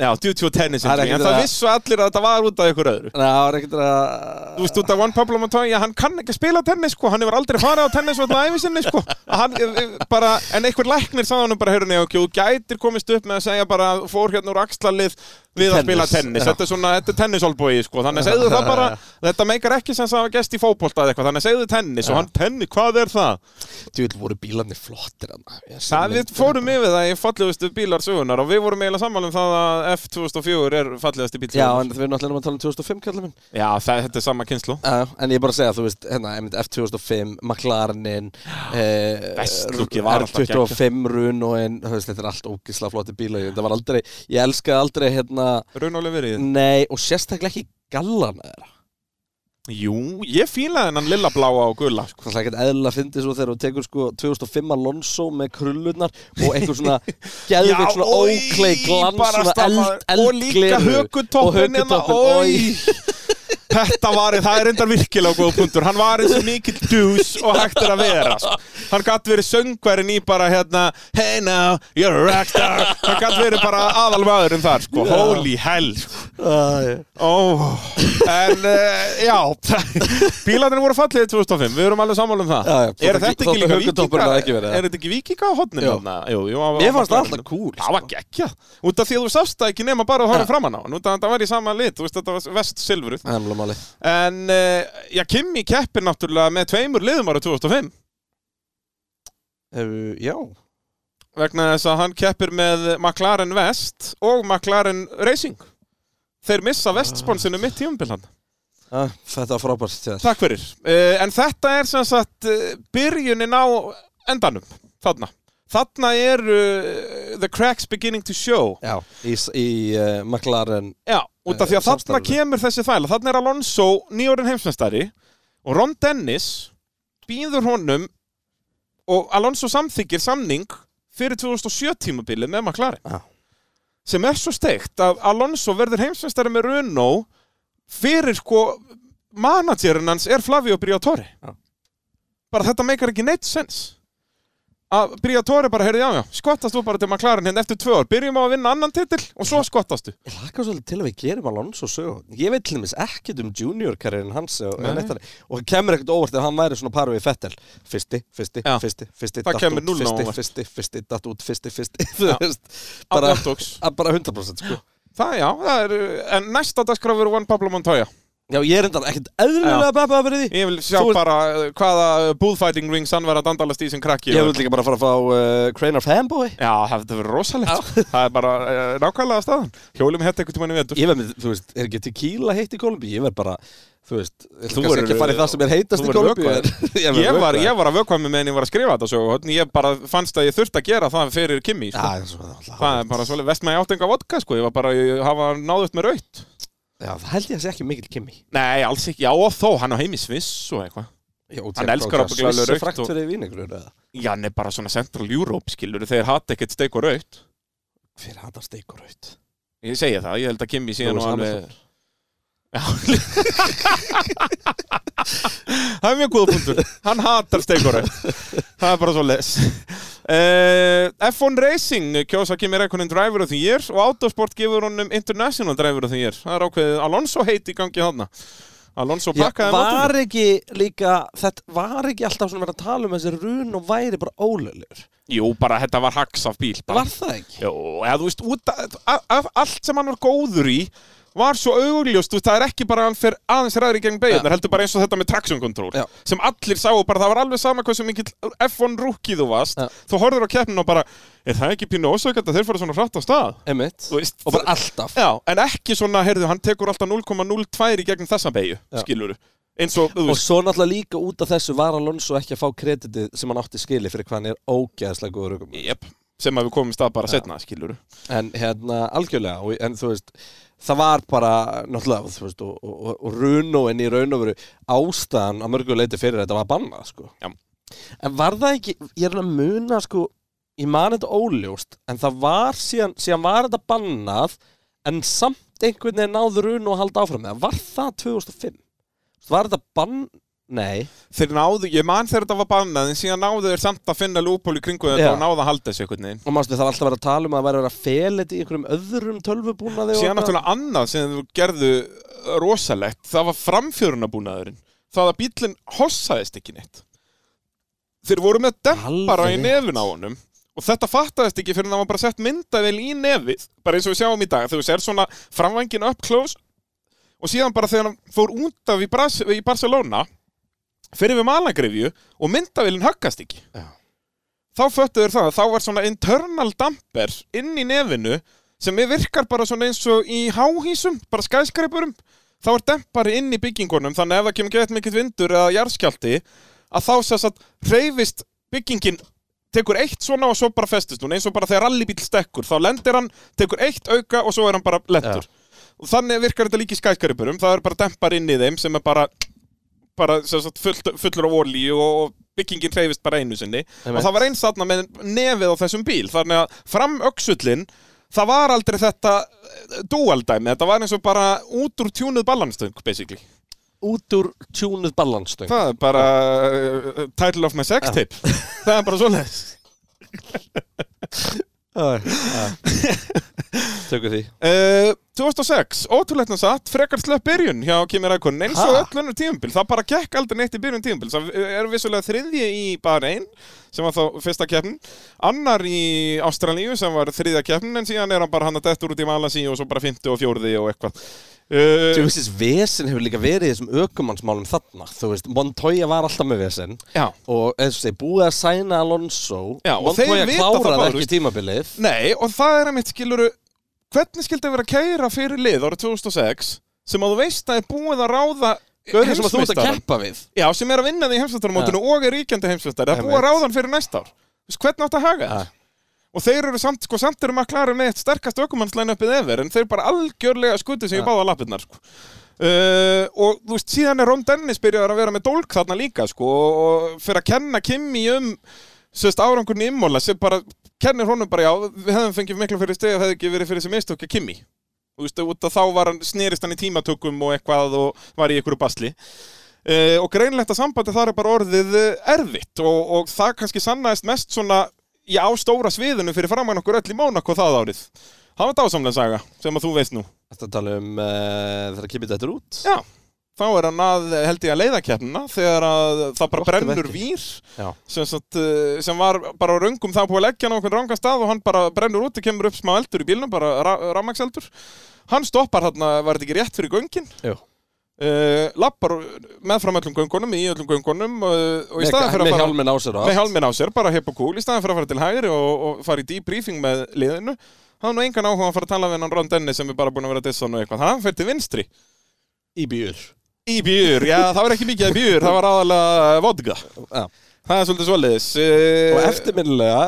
Já, due to a tennis Það er injury, en ekkert það að- vissu allir að þetta var út af ykkur öðru Nei, það var ekkert að Þú veist, út af Juan Pablo Montoya, hann kann ekki spila tennis, sko, hann hefur aldrei farið á tennis alltaf æfisinni, sko, Að hann, eh, eh, bara, en einhver læknir sagði hann bara, heyrðu, nei, ok, þú gætir komist upp með að segja bara, fór hérna úr axlalið, við að Tennis, spila tennis já. þetta er svona, þetta er tennisolbói sko þannig að segðu það bara, þetta meikar ekki sem það var gest í fótbolta eða eitthvað, þannig að segðu tennis og hann tenni, hvað er það? Þú vil voru bílarnir flottir hann það við fórum yfir það í fallegustu bílar sögunar og við vorum eiginlega sammála um það að F2004 er fallegusti bíl Já, sögunar. en við erum náttúrulega að tala um 2005 kallar minn já það, þetta er sama kynslu Já, en ég er bara að segja, þú veist, hérna, einmitt F2005, McLarenin eh, Vestlúkið var alltaf R25 Runoin, þú veist, þetta er allt ógisla flotti bíla, ég, þetta var aldrei, ég elskaði aldrei hérna, raunálega verið nei, og sérstaklega ekki eh, gallana þeirra, jú, ég fílaði hennan lilla bláa og gulla sko. það er ekkert eðlilega fyndið svo þegar þú tekur sko 2005 Alonso með krullunar og einhver svona geðveikt svona oj, óklei glans, bara svona staffa- eld, og líka eldgleru hökutoppin hérna, oj. Þetta var, það er endar virkilega góð punktur Hann var eins og mikill dús og hægt er að vera sko. Hann gatt verið söngverinn í bara hérna Hey now, you're a rockstar Hann gatt verið bara aðalmaðurinn þar sko. Holy hell sko. Æ. oh. En uh, já Bílarnir voru fallið 2005, við erum alveg sammála um það Já, já. Er þetta ekki Þótt- líka þótt- hökutoppurinn vikinga hafði ekki verið, eða? Er þetta ekki vikinga á hodninu? Jú. þarna? Jú, jú, á- Mér á- fannst á- það alltaf cool, sko. Það var gekkja Út af því að þú sást það ekki nema bara að horfa framan á hann Út af að það var í sama lit, þú veist þetta var vest silfruð Það er alveg máli. En, uh, já, Kimi keppir náttúrulega með tveimur liðum ára 2005 Ef- Já. vegna þess að hann keppir með McLaren Vest og McLaren Racing. Þeir missa Vest-sponsinu mitt tíumbilann. Ah, þetta var frábært til þér. Takk fyrir. Uh, en þetta er sem sagt uh, byrjunin á endanum, þarna. Þarna eru uh, the cracks beginning to show. Já, í, í uh, McLaren Já, út af því að Eh, þarna samstarfið. kemur þessi þvæla Þarna er Alonso nýjórin heimsmestari Og Ron Dennis býður honum Og Alonso samþykir samning Fyrir 2007 tímabilið með McLaren Já. Sem er svo steikt að Alonso verður heimsmestari með Renault Fyrir sko Managerinn hans er Flavio Briatore Já. Bara þetta meikar ekki neitt sens að Briatore bara, heyrðu, já, já, skottast þú bara til McLaren hérna eftir tvö ár, byrjum á að vinna annan titill og svo skottast þú. Ég hlakka svolítið til að við gerum Alonso sögu Ég veit til dæmis ekkert um juniorkarriðin hans og, Nei. neitt þannig. og það kemur ekkert óvart ef hann væri svona parið við Fettel Fyrsti, fyrsti, Já. fyrsti, fyrsti Það datt kemur út, núll á Fyrsti, óvart. fyrsti, fyrsti, datt út, fyrsti, fyrsti Þú Já. veist, bara, Bara, að bara 100% sko Það, já, það er, en næsta dagskrá verður Juan Pablo Montoya. Já, ég er enda ekkert eðlilega bæbað fyrir því Ég vil sjá Þú ert- bara uh, hvaða bullfighting rings hann verður að dandalast í sem krakki. Ég og- vil líka bara fara að fá uh, Crainer Fanboy Já, það hefði verið rosalegt. það er bara uh, nákvæmlega staðan. Hjólum hett eitthvað tímann í vetur. Ég verð með, þú veist, er ekki tequila heitt í Kolumbi Ég verð bara, þú veist Þú verður- verður ekki að fara í það sem er þú heitast í verður Kolumbi vökvaður. Ég, Ég var, vökvaður. ég var að vökva með meðan ég var að skrifa þetta svo og ég bara fannst að ég þurfti að gera það fyrir Kimi Já, sko. það er svo- það er alltaf það er hálfrið. bara svolítið vest með áttinga vodka sko. ég var bara að hafa náðust með raut Já, það held ég að sé ekki mikill Kimi Nei, alls ekki, já og þó, hann á heim í Sviss og eitthvað Jó, Hann elskar ábyggilega rautt frækt og- fyrir vínegrur eða Já, hann er bara svona Central Europe skilur þeir hatt ekkert steik og raut Fyrir hann að steik og raut Ég segja það, ég held að Kimi síðan Lewis og alveg Hamilton. Já. Það er mjög góð punktur Hann hatar steikora Það er bara svo les uh, F1 Racing kjósa Kimi Rækonin Driver of the Year og Autosport gefur honum International Driver of the Year Það er ákveðið Alonso heit í gangi þarna Alonso Já, pakkaði var mótinu. ekki líka Þetta var ekki alltaf svona verið að tala um þessi run og væri bara ólöðlur Jú, bara þetta var haks af bíl bara. Var það ekki? Jó, eða þú veist, út af, af, af allt sem hann var góður í var svo augljóst, þú veist, það er ekki bara að hann fer aðeins ræðri gegn beigjarnar, heldur bara eins og þetta með traction control, Já. sem allir sáu bara, það var alveg sama hversu mikill F1 rúkið þú varst, Já. þú horfður á keppnin og bara, er það ekki pínu ósökjönd að þeir fara svona hratt á stað? Emitt Þú veist, Og bara alltaf Já, en ekki svona, heyrðu, hann tekur alltaf 0,02 í gegn þessa beigju, Já. skilur eins og, þú Og veist, svo náttúrulega líka út af þessu var Alonso ekki að fá kreditið sem hann átti skili fyrir hvað hann er ógeðslega góður ökum. jep, sem að við komum í stað bara setna, skilur En hérna, algjörlega, og, en þú veist, það var bara, náttúrulega, þú veist, og, og, og, og runóin í raun og veru ástæðan að mörgu leiti fyrir þetta var bannað, sko. Já. En var það ekki, ég er að muna, sko, ég man þetta óljóst, en það var síðan, síðan var þetta bannað, en samt einhvern veginn náður run og halda áfram með það. Var það 2005? Var þetta bann... Nei, Þeir náðu, ég man þegar þetta var bannað, en síðan náðu þeir samt að finna lúpól í kringu þetta Já. og náða að halda þessu einhvern veginn. og mástu það var alltaf verið að tala um að vera að fela þetta í einhverjum öðrum tölvubúnaði og síðan eitthvað. náttúrulega annað sem þú gerðu rosalegt, það var framfjörunabúnaðurinn það að bílinn hossaðist ekki neitt þeir voru með dempara Alveg í rétt. nefin á honum Og þetta fattaðist ekki fyrir það var bara sett myndavel í nefið, bara eins og við sjáum í dag. Þegar þú sér svona framvængin up close og síðan bara þegar hann fór út af í, Bras í Barcelona, fyrir við malagrifju og myndavelin höggast ekki. Já. Þá föttu þeir það, að þá var svona internal damper inn í nefinu sem við virkar bara svona eins og í háhísum, bara skæskreipurum. Þá er dempari inn í byggingunum, þannig að ef það kemur gett mikill vindur eða jarðskjaldi, að þá sess að reyfist byggingin tekur eitt svona og svo bara festist hún eins og bara þegar rallybíl stekkur, þá lendir hann tekur eitt auka og svo er hann bara lettur og þannig virkar þetta líka í skæskaripurum það er bara dempar inn í þeim sem er bara bara sem sagt, fullt, fullur af olíu og, og byggingin hreyfist bara einu sinni og það var eins þarna með nefið á þessum bíl þannig að fram öxullin það var aldrei þetta dualdæmi, þetta var eins og bara út úr tjúnuð ballanstöng basically út úr tjúnuð ballanstöng Það er bara uh, title of my sex tape Það er bara svoleiðis Tökum því uh, 2006, ótrúleitna satt frekar slöpp byrjun hjá Kimi Rækonin eins og Ha? öll önnur tímabil, það bara gekk aldrei neitt í byrjun tímabil, það er vissulega þriðji í Bahrein, sem var þá fyrsta keppn, annar í Ástralíu sem var þriðja keppn, en síðan er hann bara hann að dettur út í Malasi og svo bara fymti og fjórði og eitthvað Þú uh, veist, þessi vesen hefur líka verið í þessum ökumannsmálum þarna Þú veist, Montoya var alltaf með vesen Já og eins og þeir búið að sæna Alonso Já, og Montoya þeir vita það kláraði báðir, ekki veist. tímabilið Nei, og það er að mitt skiluru Hvernig skildi að vera að kæra fyrir lið árið 2006 sem að þú veist að er búið að ráða Gaurið sem að þú ert að heimsmeistarann? keppa við Já, sem er að vinna því heimsveitarmótinu og er ríkjandi heimsveitar Það er búið að Einmitt. ráða hann fyrir næsta ár Þú veist, Hvernig átt að haga Ja. þetta? Og þeir eru samt, sko, samt eru maklari með eitt sterkast ökumannslæn uppið efer En þeir bara algjörlega skutu sig Ja. í báða lappirnar sko. uh, Og þú veist, síðan er Ron Dennis byrjaður að vera með dólk þarna líka sko, og- Og fyrir að kenna Kimi um sérst árangurinn í Imola sem bara kennir honum bara já, við hefðum fengið miklu fyrir stegi hefði ekki verið fyrir sem mistökja Kimi og veist, út að þá var hann, snerist hann í tímatökum og eitthvað og var í einhverju basli e, og greinlegt að sambandi þar er bara orðið eh, erfitt og, og það kannski sannaðist mest svona í ástóra sviðinu fyrir framann okkur öll í Mónako það árið það var dásamlega saga sem að þú veist nú Þetta tala um uh, þegar að kipið þetta út já, þá er hann að eh, held ég að leiða keppnina þegar að það bara Gott ef brennur ekki. vír Já. sem, sagt, eh, sem var bara á röngum það var búið að leggja hann á einhvern ranga stað og hann bara brennur út og kemur upp smá eldur í bílnum, bara ra rammagseldur hann stoppar hann, var þetta ekki rétt fyrir göngin Jú. uh, lappar meðfram öllum göngunum í öllum göngunum uh, og í Með, staðan fyrir með að fara hjálmin á sér og með allt. hjálmin á sér, bara hepp og kúl í staðan fyrir að fara til hægri og, og fara í debriefing með liðinu hann er nú engan áhuga að fara að tala við hann Ron Dennis sem er bara búin að vera að dissa hann og eitthvað hann fyrir til vinstri Í bjur í bjur, já það var ekki mikið af bjur það var aðalega eh, vodka Já. það er svolítið svoleiðis uh, Og eftirminnilega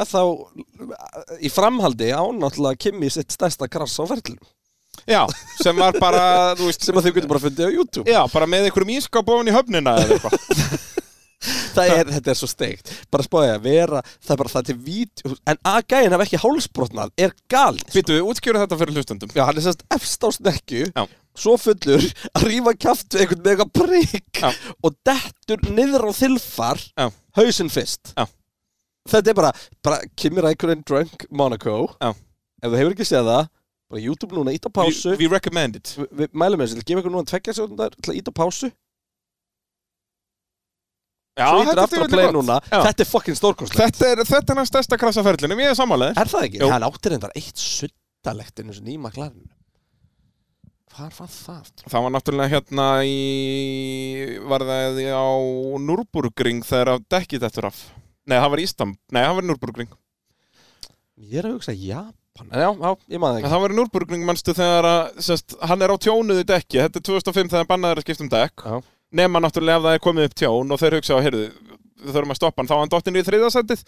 þá í framhaldi ánáttúrulega Kimi sitt stærsta krass á ferlum já, sem var bara, þú veist sem að þau getur bara fundið á YouTube já, bara með einhverjum ískáp ofan í höfnina eða eitthvað það er, þetta er svo steikt bara spáði að vera, það er bara það til vít en að gæin hef ekki hálsbrotnað er galið Býtu, útskjöru þetta fyrir hlustundum já, hann er sérst efst á snekju Já. svo fullur að rífa kjaft við einhvern með eitthvað prigg Já. og dettur niður á þilfar Já. hausinn fyrst Já. þetta er bara, bara Kimi Rækurinn drunk Monaco Já. ef þú hefur ekki séð það bara YouTube núna, ít á pásu we, we recommend it við, við mælum með þessu, gefa ykkur núna tveggja sekundar til að ít á pásu já, svo ítir þetta aftur djöfull að er play gott. núna Já. þetta er fucking stórkostlegt Þetta er, þetta er hans stærsta krassaferlinum, ég er sammálaðir. Er það ekki? Jú. Hann átti reyndar eitt suttalegt einu sinni í maklarinu. Hvar var það? Það var náttúrulega hérna í, var það á Núrburgring þegar að dekkið þetta af. Nei, það var Ístam, nei, það var Núrburgring. Ég er að hugsa Japan. En já, já, ég maður það ekki. Það var Núrburgring, mannstu, þegar að, sérst, hann er á tjónuðu dekki, þetta er 2005 þegar bannaður að skipta um dekk. Já. Nema náttúrulega ef það er komið upp tjón og þeir hugsa á, heyrðu, við þurfum að stoppa hann, þá var hann dottinn í þriðasendið,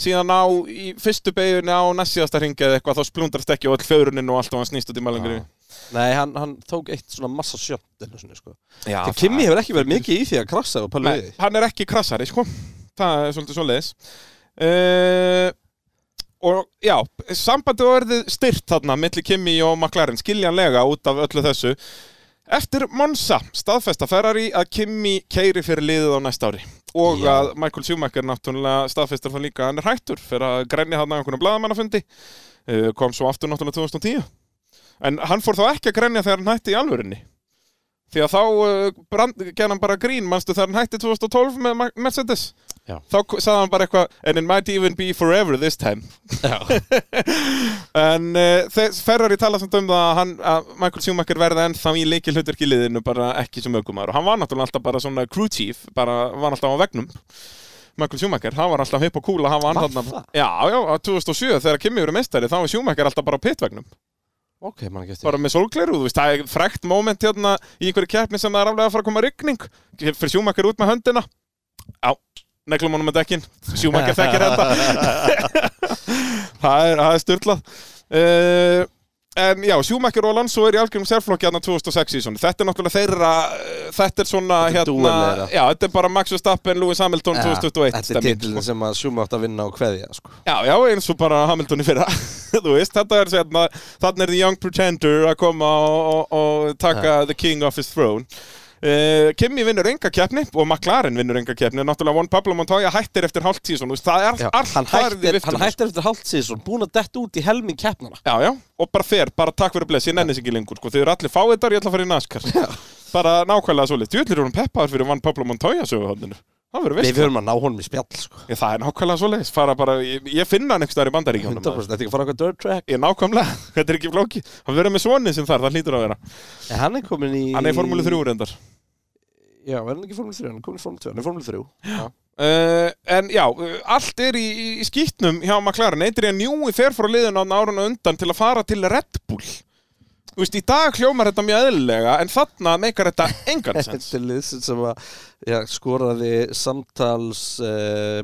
síðan á, í fyrstu beiginu á næssíðasta ringi eða eitthvað, þá splundrast ekki og öll fjöruninn og allt og hann snýst út í malangrið. Nei, hann, hann tók eitt svona massa sjönd einu sinni, sko. Já, Það Kimi hefur ekki verið mikið í því að krassa og pæla við Nei, því. hann er ekki krassari, sko. Það er svolítið svoleiðis. Uh, og já, sambandið var orðið styrt þarna milli Kimi og McLaren, skiljanlega út af öllu þessu. Eftir Monza, staðfesta Ferrari að Kimi keiri fyrir liðið á næsta ári og Já. að Michael Schumacher náttúrulega staðfestar það líka að hann er hættur fyrir að grænni hann að einhvern blaðamannafundi uh, kom svo aftur náttúrulega 2010 en hann fór þá ekki að grænja þegar hann hætti í alvörinni Því að þá uh, brand, gerði hann bara grín, manstu þegar hann hætti 2012 með Ma- Mercedes. Já. Þá k- sagði hann bara eitthvað, and it might even be forever this time. Já, En uh, þess Ferrari tala samt um það að, hann, að Michael Schumacher verði ennþá í leikil í liðinu, bara ekki sem aukumar. Og hann var náttúrulega alltaf bara svona crew chief, bara var alltaf á vegnum. Michael Schumacher, hann var alltaf hipp og kúla, hann var Var alltaf... það? Já, já, á 2007 þegar Kimi eru meistari, þá var Schumacher alltaf bara á pitvegnum. ok, mann ekki eftir bara með sólgleru, þú veist, það er frekt moment hérna í einhverju keppni sem það er aflega að fara að koma rigning, fyrir sjúmakar út með höndina á, neglum honum með dekkin sjúmakar þekkir þetta það er, það er styrlað uh, en já, sjúmakar og Alonso er í algjörum sérflokki hérna 2006 sísoni, þetta er náttúrulega þeirra eh, þetta er svona Þetta er hérna, dúel þeirra. já, þetta er bara Max Verstappen, Lewis Hamilton 2021 Þetta er stemning, titlinn sem að Sjúma átt að vinna og kveðja sko. Já, já, eins og bara Hamilton í fyrra Þú veist, þetta er sérna Þannig er The Young Pretender að koma og, og, og taka The King of his throne uh, Kimi vinnur enga keppni og McLaren vinnur enga keppni Náttúrulega Juan Pablo Montoya hættir eftir hálft sísón Það er Já, allt hann, farið í hættir, hann viftuna hættir eftir hálft síðan búin að detta út í helming keppnana Já, já, og bara fer, bara takk fyrir bless Ég nenni sig ekki lengur, sko, þið eru allir fáiðar Ég ætla að fara í NASCAR Bara nákvæmlega svolítið, djúllir eru hann peppaður fyrir Juan Pablo Montoya söguhóndinu Það verður Við veist höfum að ná honum í spjall sko. Ég, Það er nákvæmlega svolítið, fara bara Ég, ég finna hann einhvers staðar í bandaríkjónum 100% Þetta er ekki að fara okkur dirt track Ég nákvæmlega, þetta er ekki flóki Hann verður með svonið sem þar, það hlýtur að vera En Hann er komin í Hann er í formúlu 3 reyndar Já, er hann ekki í formúlu 3, hann er komin í formúlu 2 Hann er í formúlu 3 uh, En já, uh, allt er í, í- í skýtnum hjá McLaren Adrian Newey fer frá liðun á árun og undan til að fara til Red Bull Þú veist, í dag hljómar þetta mjög eðlilega En þarna meikar þetta engan sens Þetta er liðsinn sem að já, skoraði samtals uh,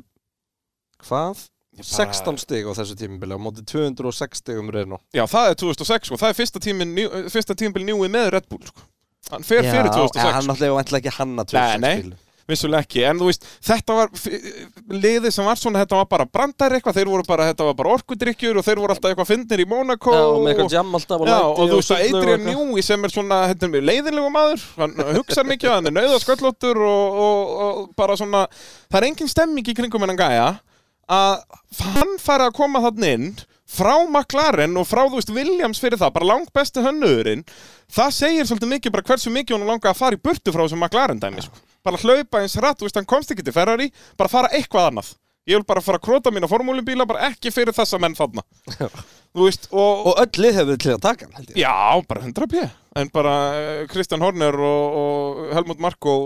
hvað? 16 stig á þessu tímabili á móti 206 stig um reynu Já, það er 2006 og sko. það er fyrsta tímin, New- fyrsta tímin Newey með Red Bull sko. Hann fer fyrir 2006 Hann náttúrulega ætla ekki hanna Nei, 2006 nei. bílum. vissulega ekki, en þú veist, þetta var liðið sem var svona, þetta var bara brandar eitthvað, þeir voru bara, þetta var bara orkudrykkjur og þeir voru alltaf eitthvað fyndnir í Monaco Já, og með eitthvað jam alltaf og Já, læti og þú veist að sundlaug og Adrian eitthvað. Newey sem er svona, hérna er mjög leiðinlegu maður hann hugsa mikið, hann er nauðasköllóttur og, og, og bara svona það er engin stemming í kringum hennan gæja að hann fari að koma þann inn frá McLaren og frá þú veist Williams fyrir það, bara langt besti hönnurinn það segir svolítið mikið bara hversu mikið hann langar að fara í burtu frá þessum McLaren dæmi sko. bara hlaupa eins rætt, þú veist hann komst ekki til Ferrari bara fara eitthvað annað ég vil bara fara að króta mína formúlubíla bara ekki fyrir þessa menn þarna þú veist, og, Og öll lið hefur til að taka hann held ég Já, bara 100 p En bara eh, Kristján Horner og, og Helmut Marko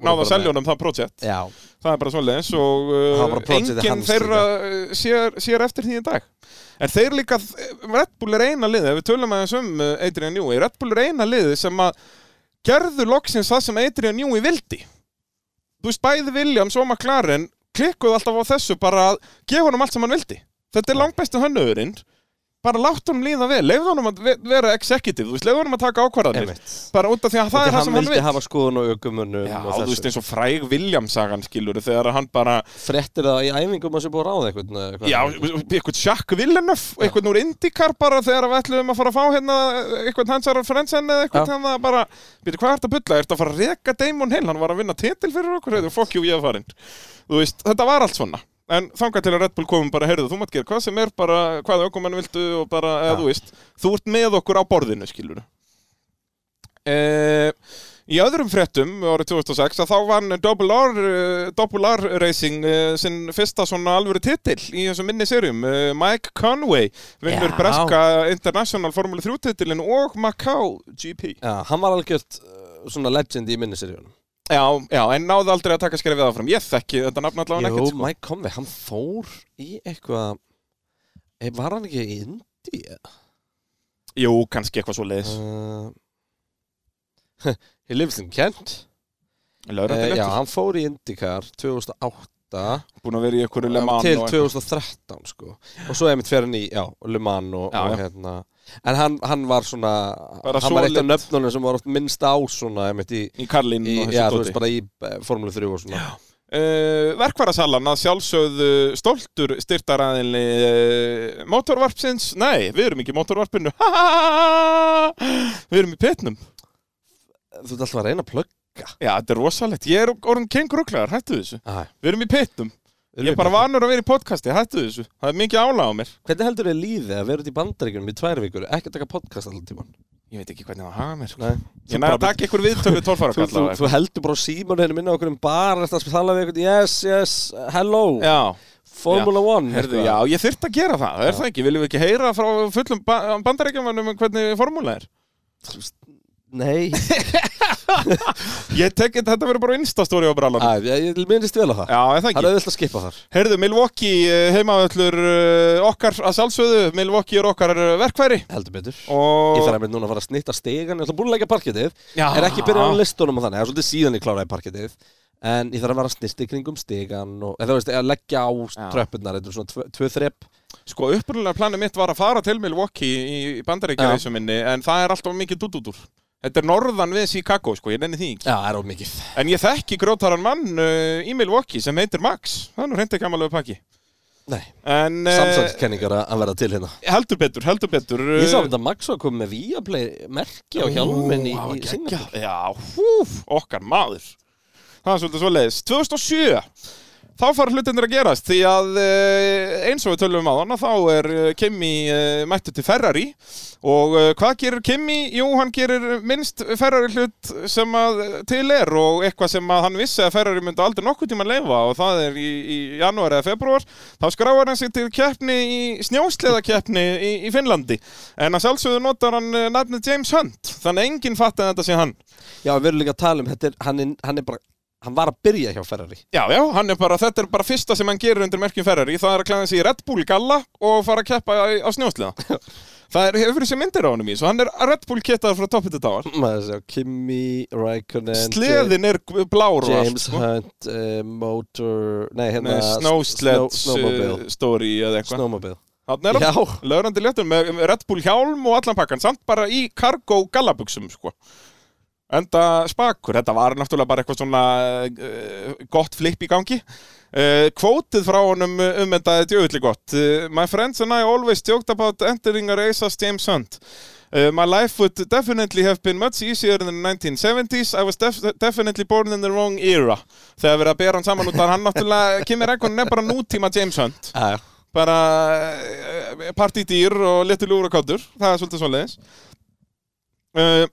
náða bara að selja honum það projekt Já, Það er bara svoleiðis og Það var uh, bara projectið enginn hans þeirra eh, sér, sér eftir því í dag En þeir líka, uh, Red Bull er eina liðið, ef við tölum aðeins um eh, Adrian Newey Red Bull er eina liðið sem að gerðu loksins það sem Adrian Newey vildi Þú veist, bæði Williams og McLaren klikkuðu alltaf á þessu bara að gefa honum allt sem hann vildi Þetta er langbæstu hönnöðurinn bara látt honum líða vel, leifðu honum að ve- vera executive, þú veist, leifðu honum að taka ákvarðanir einmitt bara út af því að það Því er það hann sem hann vildi vil hafa skoðun og aukumunum Já, og þú veist þessu eins og fræg William-sagan skilur þegar hann bara, Frettir það í æfingum að sé búið að ráða eitthvað eða hvað? já, eitthvað Jack Villeneuve, eitthvað úr Indycar bara þegar við ætluðum að fara að fá hérna eitthvað Hansar Frensen eða eitthvað Já. hérna bara, býtu hvað er þetta að bulla, er þetta að fara að reka Damon Hill, hann var að vinna titil fyrir okkur hefur fokk jú ég að farinn, þú veist þetta var allt svona, en þangað til að Red Bull komum bara, heyrðu, þú mátt gera hvað sem er bara hvaða aukumenn viltu og bara, Já. eða þú veist þú ert með okkur á borðinu skilur Eh, Í öðrum fréttum árið 2006 að þá vann Double R, eh, Double R Racing eh, sinn fyrsta svona alvöru titill í þessum minni serjum. Eh, Mike Conway vinnur Já. breska International Formula 3 titilin og Macau GP. Já, hann var algjört uh, svona legend í minniseríunum Já, já, en náði aldrei að taka skrefið áfram. Ég þekki þetta nafn allavega Jú, ekkert. Sko. Mike Convey, hann fór í eitthvað e, Var hann ekki í Indi? Jú, kannski eitthvað svo leiðis. Uh, he lives in Kent Eh, Já, Lögrættilegtur. hann fór í IndyCar 2008 Búin að vera í einhverju Le Mans. til og- 2013 sko. og svo einmitt fyrir hann í já, Le Mans og, Já, og já. hérna en hann, hann var svona Bara hann var eitt af solid. nöfnunum sem var oft minnst á svona einmitt í, Í Karlinn í og þessu já, þú dóti. veist bara í eh, Formule 3 og svona já, Uh, verkvarasalan að sjálfsögðu stoltur styrtaraðinni uh, motorvarpsins, nei, við erum ekki í motorvarpinu, Ha, ha, ha, ha. við erum í petnum, þú ert alltaf að reyna að plugga já þetta er rosalegt ég er orðin kengruglegar, hættu þessu ah, við erum í petnum, ég er bara vanur að vera í podcasti hættu þessu, það er mikið álag á mér hvernig heldur þið líðið að vera út í bandaríkjunum í tvær vikur ekki að taka podcast alltaf tíman Ég veit ekki hvernig það haga mér sko. Nei. Ég næði að taka ykkur viðtölu Þú, þú, tólfara þú heldur bara símaninu minna okkur um bar eftir að tala við einhvern Yes, yes, hello, Já, Formula One herðu, sko. já, ég þurft að gera það, það er það ekki, viljum við ekki heyra frá fullum ba bandarækjumannum hvernig formúla er? Nei, Ég tek þetta verður bara instastóri á brallan. Æ, ég, ég minnist vel á það Já, er það Það er ekki. auðvitað að skipa þar Herðu, Milwaukee eh, heimavöllur eh, okkar að sjálfsögðu, Milwaukee er okkar eh, verkfæri Heldur betur Ég og... þarf einmitt núna að fara að snitta stegan Ég ætla búin að leggja parketið Já. Er ekki byrjað á listunum og þannig Það er svolítið síðan ég kláraði parketið En ég þarf að vera að snista í kringum stegan og, eða, þú veist, að leggja á Já. tröppurnar Þetta er svona tvö, tvö þrepp Sko, upprunalega planið mitt var að fara til Milwaukee í, í bandarækjareisum minni, en það er alltaf mikið dúdúdúr. Þetta er norðan við Chicago, sko, ég nenni því ekki. Já, það er of mikið En ég þekki grótaran mann uh, í Milwaukee sem heitir Max, það er nú reyndið gamalögu pakki. Nei, En, eh, samsæðskenningar að að vera til hérna Heldur betur, heldur betur eh, Ég sá þetta að Max var komið með Viaplay merki á hjálminn í, í Singapur Já, húf, okkar maður Það er svolítið svo leiðis 2007 Þá fara hlutinir að gerast því að eh, eins og við tölum á hana þá er eh, Kimi eh, mættu til Ferrari og eh, hvað gerir Kimi? Jú, hann gerir minnst Ferrari hlut sem að eh, til er og eitthvað sem að hann vissi að Ferrari myndi aldrei nokkuð tíma leifa og það er í, í janúar eða februar þá skráar hann sig til keppni í snjósleðakeppni í, í Finnlandi en að sjálfsögðu notar hann eh, nafnið James Hunt þannig að enginn fatt að þetta sé hann Já, við erum líka að tala um þetta er, hann, er, hann er bara Hann var að byrja hjá Ferrari Já, já, hann er bara, þetta er bara fyrsta sem hann gerir undir merkjum Ferrari, það er að klæða sig í Red Bull galla og fara að keppa á, á snjósliða. það er, hefur þessi myndir á honum í, svo hann er Red Bull kettað frá toppið til dáar. Mm, Maður sjá, Kimi, Raikkonen Sleðin er gu- blár og allt, James sko. Hunt, uh, Motor Nei, eh, sko. hérna Nei, snowsled snow- Snowmobile uh, story eða eitthvað. Snowmobile Þannig er hann, Já. lögrandi léttur með með Red Bull hjálm og allan pakkan, samt bara í cargo gallabuxum, sko. Enda spakur, þetta var náttúrulega bara eitthvað svona uh, gott flip í gangi. Uh, kvótið frá honum uh, um þetta er djöfulli gott. Uh, my friends and I always joked about entering a race as James Hunt. Uh, my life would definitely have been much easier in the 1970s. I was def definitely born in the wrong era. Þegar verið að bera hann saman út að hann náttúrulega, Kimi Rækonin er bara nútíma James Hunt Já, já. bara eh, partítýr og letur ljúra káttur það er svolítið svoleiðis uh,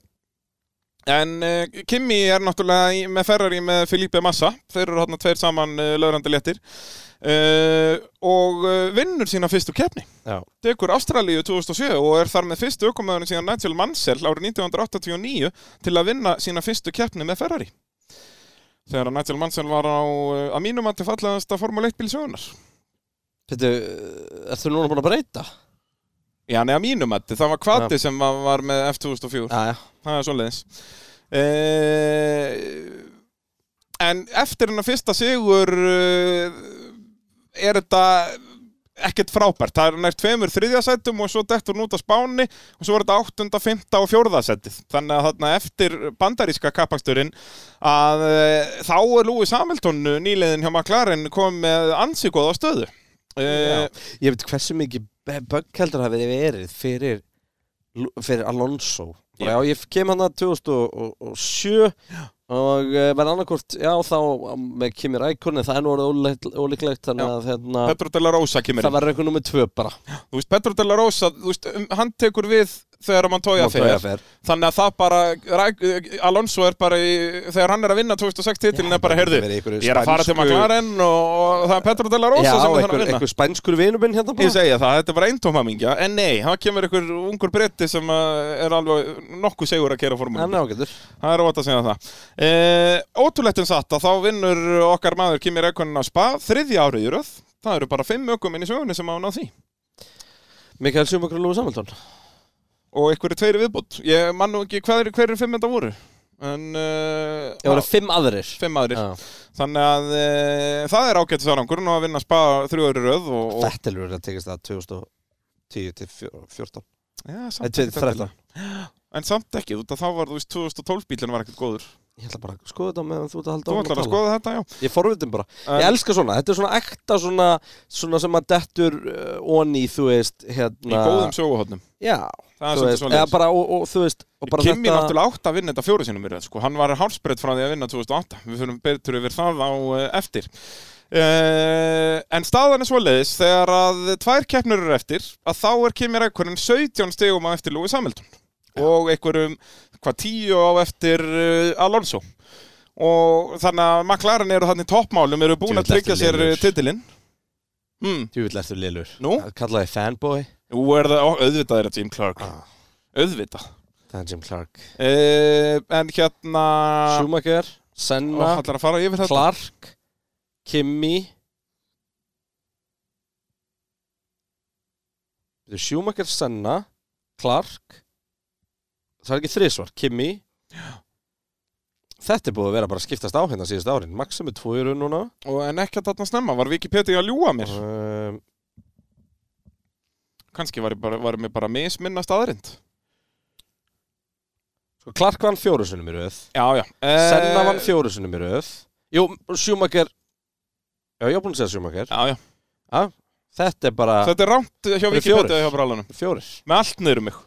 en uh, Kimi er náttúrulega í, með Ferrari með Filipe Massa þeir eru hérna tveir saman uh, lögrandi léttir uh, og uh, vinnur sína fyrstu keppni Já. tekur Ástralíu 2007 og er þar með fyrstu ökumæðurinn síðan Nigel Mansell árið 1989 til að vinna sína fyrstu keppni með Ferrari þegar að Nigel Mansell var á eh, að mínum að til fallaðasta Formule 1 bíl sögunar Þetta, uh, ertu núna búin að breyta? Já, nei, að mínum að það var kvati sem var, var með F2004, Já, já það er svoleiðis. Uh, en eftir hennar fyrsta sigur uh, er þetta ekkert frábært. Það er nær tveimur þriðjasættum og svo dettur hún út á spáni og svo er þetta áttunda, fymta og fjórðasættið. Þannig að þarna eftir bandaríska kappaksturinn að uh, þá er Lúi Samilton nýliðin hjá McLaren kom með ansíkóð á stöðu. Uh, Já. Eh, Ég veit hversu mikið be- bögg heldur hafi verið fyrir, Lu- fyrir Alonso já. já, ég kem hann að 2007 og uh, verð annarkort já, þá um, með Kimi Rækon það er nú orðið ólíklegt- ólíklegt þannig að hérna, Petro Della Rosa kemur inn. það verður eitthvað nummið tvö bara Þú veist, Petro Della Rosa, þú veist, um, hann tekur við þegar mann tója Montoya fyrir. fer. Þannig að það bara, Ræk, Alonso er bara, í, þegar hann er að vinna 2006 titilin er bara, það heyrðu, getur verið einhverju ég er að fara til spænsku- McLaren og, og það er Petro Della já, Rosa sem er þannig einhver, að vinna. einhver spænskur vinubinn hérna bara Ég segja það, þetta er bara eintómhamingja, en nei, það kemur einhver ungur bretti sem uh, er alveg nokkuð segur að kera formúlum. hann er ágætur Það er ótt að segja það. E, ótrúlegt en satt að þá vinnur okkar maður Kimi Rækonin á spa þriðja árið í röð. Það eru bara fimm ökuminn í sögunni sem á ná því. Mikael Sjömakur og Lúi Samhaldón og einhverju tveiri viðbútt ég man nú ekki hvað er, hver er fimm þetta voru en uh, ég var já, fimm aðrir fimm aðrir Já. þannig að uh, það er ágætt sárangur og að vinna spa þrjú öru röð og, og, Þetta er verið að tekast það 2010 til 14 já, Nei, samt til ekki 13. endilega. en samt ekki, út að þá var þú veist 2012 bílinn var ekkert góður Ég ætla bara að skoða þetta meðan þú ert að halda þú áfram sko. ætlar tala. að skoða þetta, já Ég forvitin bara. En- ég elska svona. Þetta er svona ekta svona, svona sem að dettur uh, onni, þú veist, í hérna. góðum sjóuhotnum Já, það þú er svolítið veist, eða svolítið bara, og, og þú veist, og bara Kimi náttúrulega átt að vinna þetta fjóru sinum í röð sko. hann var hálsbreytt frá því að vinna 2008 við fyrir betur yfir það á eh, eftir Uh, en staðan er svoleiðis þegar að tvær keppnur eru eftir að þá er Kimi Rækkonen 17 stegum á eftir Lúi Samhildun og einhverjum hvað tíu á eftir uh, Alonso og þannig að McLaren eru þannig toppmálum eru búin að Djöfull tryggja ertu sér eh, lélegur. titilinn mm. Djúvill ertu lilur Nú? Kallaði fanboy Ú, er það, ó, auðvitað er það Jim Clark Ah. auðvitað Það er Jim Clark uh, en hérna Schumacher Ó, Senna ætlar að fara yfir þetta Clark Kimi Þetta er Schumacher, Senna Clark Það er ekki þrísvar, Kimi Þetta er búið að vera bara að skiptast á hérna síðust árin Maxim er tvo í raun núna og en ekki að þarna snemma, var Wikipedia að ljúa mér um, kannski var, ég bara, var mér bara misminna staðarind sko, Clark vann fjóru sinni mér öð já, já Eh, Senna vann fjóru sinni mér öð Jú, Schumacher Já, ég er búin að segja Schumacher já, já. Þetta er bara þetta er rámt hjá Eru Wikipedia fjórir? hjá brálunum fjórir með allt niður um mig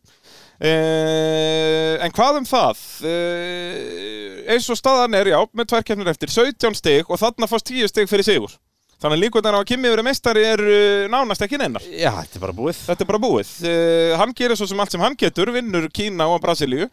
Uh, en hvað um það uh, eins og staðan er já með tværkeppnir eftir, 17 stig og þarna fást 10 stig fyrir sigur þannig að líkvöndan á að Kimi verið meistari er uh, nánast ekki neinar Já, þetta er bara búið þetta er bara búið uh, hann gerir svo sem allt sem hann getur, vinnur Kína og Brasilíu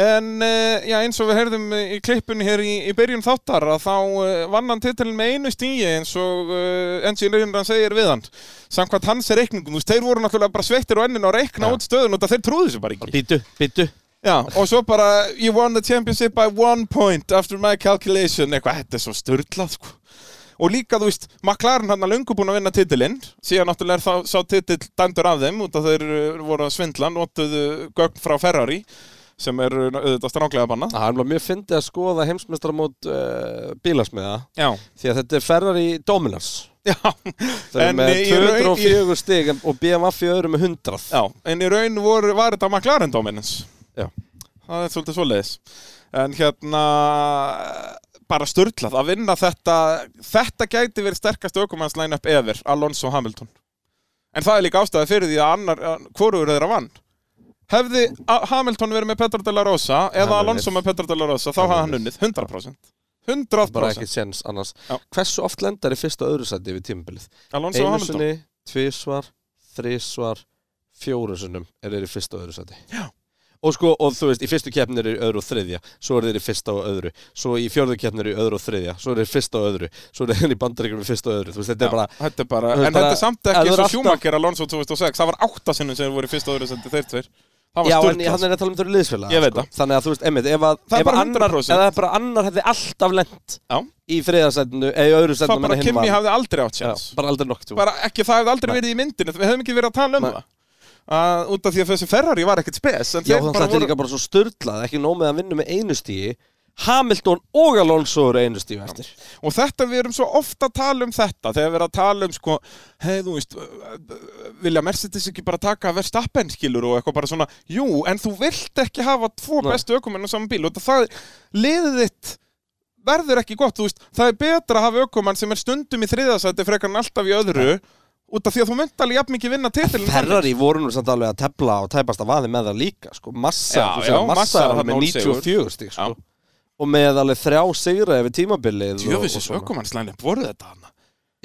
en uh, já, eins og við heyrðum í klippunni hér í, í byrjun þáttar að þá uh, vann hann titilin með einu stíi eins og uh, engineerinn hann segir við hann samkvæmt hans er reikningum, þú veist, þeir voru náttúrulega bara sveittir og ennin og reikna Já. út stöðun og þeir trúðu sér bara ekki Býtu, býtu Já, og svo bara You won the championship by one point After my calculation Eitthvað, þetta er svo störtlað sko. Og líka, þú veist, McLaren hann er löngu búin að vinna titilinn Síðan náttúrulega er þá, sá titill dæmdur af þeim Út að þeir uh, voru að svindla Nóttuðu gögn frá Ferrari Sem er uh, auðvitað stránglega banna Það er alveg mjög fyndið að skoða heimsmeistramót uh, bílasmiða Já, því að þetta er Ferrari Dominance já þau eru En eh, með í raun- 204 stig en- og BMF í öðru með 100 Já, en í raun voru, var þetta McLaren dominance Já. Það er svolítið svoleiðis En hérna bara störtlað að vinna þetta þetta gæti verið sterkast aukumanns line-up ever, Alonso Hamilton en það er líka ástæði fyrir því að annar hvorugur þeirra vann hefði A- Hamilton verið með Petra de la Rosa Hann eða hefði Alonso unnið. með Petra de la Rosa þá Hann hafði hefði hann unnið. unnið, 100% bara 100% ekki sens annars Já. Hversu oft lendar í fyrsta og öðru sæti við tímabilið? Alonso og Einu Hamilton sinni, tvísvar, þrísvar fjóru sinnum er þeir í fyrsta og öðru sæti Já. Og sko, og þú veist, í fyrstu keppnir er í öðru og þriðja, svo er þeir í fyrsta og öðru, svo í fjörðu keppnir er í öðru og þriðja, svo er þeir í fyrsta og öðru, svo er þeir í bandaríkjum í fyrsta og öðru, þú veist, þetta Já, er bara, þetta er bara, þú veist en þetta bara- er samt ef þú ekki er svo alltaf- Schumacher Alonso 2006, það var áttasinnum sem voru í fyrsta og öðru sendi þeir tveir það var Já, en störtlað hann er að tala um þeirra liðsfélaga Ég veit sko. það. Þannig að þú veist, emmið, ef að Það er ef að bara annar, 100%. Ef að bara annar hefði alltaf lent Já. í þriðasendinu eða í öðru það sendinu bara Kimi hafði aldrei átt Já, sjans bara aldrei sko. nokk bara ekki, það hefði aldrei Nei. verið í myndinu við hefðum ekki verið að tala um Nei. það uh, út af því að þessi Ferrari var ekkert spes en Já, þeir þannig að bara þetta er voru líka bara svo störlað ekki nóg með að vinna með einu stíi Hamilton og Alonso eru einu stíu eftir og þetta við erum svo ofta að tala um þetta þegar við erum að tala um sko hei þú veist, uh, uh, vilja Mercedes ekki bara taka verðstappen skilur og eitthvað bara svona jú, en þú vilt ekki hafa tvo Nei. bestu ökumenn á saman bíl og það liðið þitt verður ekki gott, þú veist, það er betra að hafa ökumann sem er stundum í þriðasæti frekar en alltaf í öðru út af því að þú myndi alveg jafn mikið vinna titilin Ferrari voru nú samt alveg að tefla og tæpast að vaði með það líka sko. Massa, Já, þú segir, já, massa, Massa er þarna alveg með núll sigur. 94 stík Já. sko. og með alveg þrjá sigra yfir tímabilið og- og Jöfisins svona. ökumannslæni, voru þetta hana?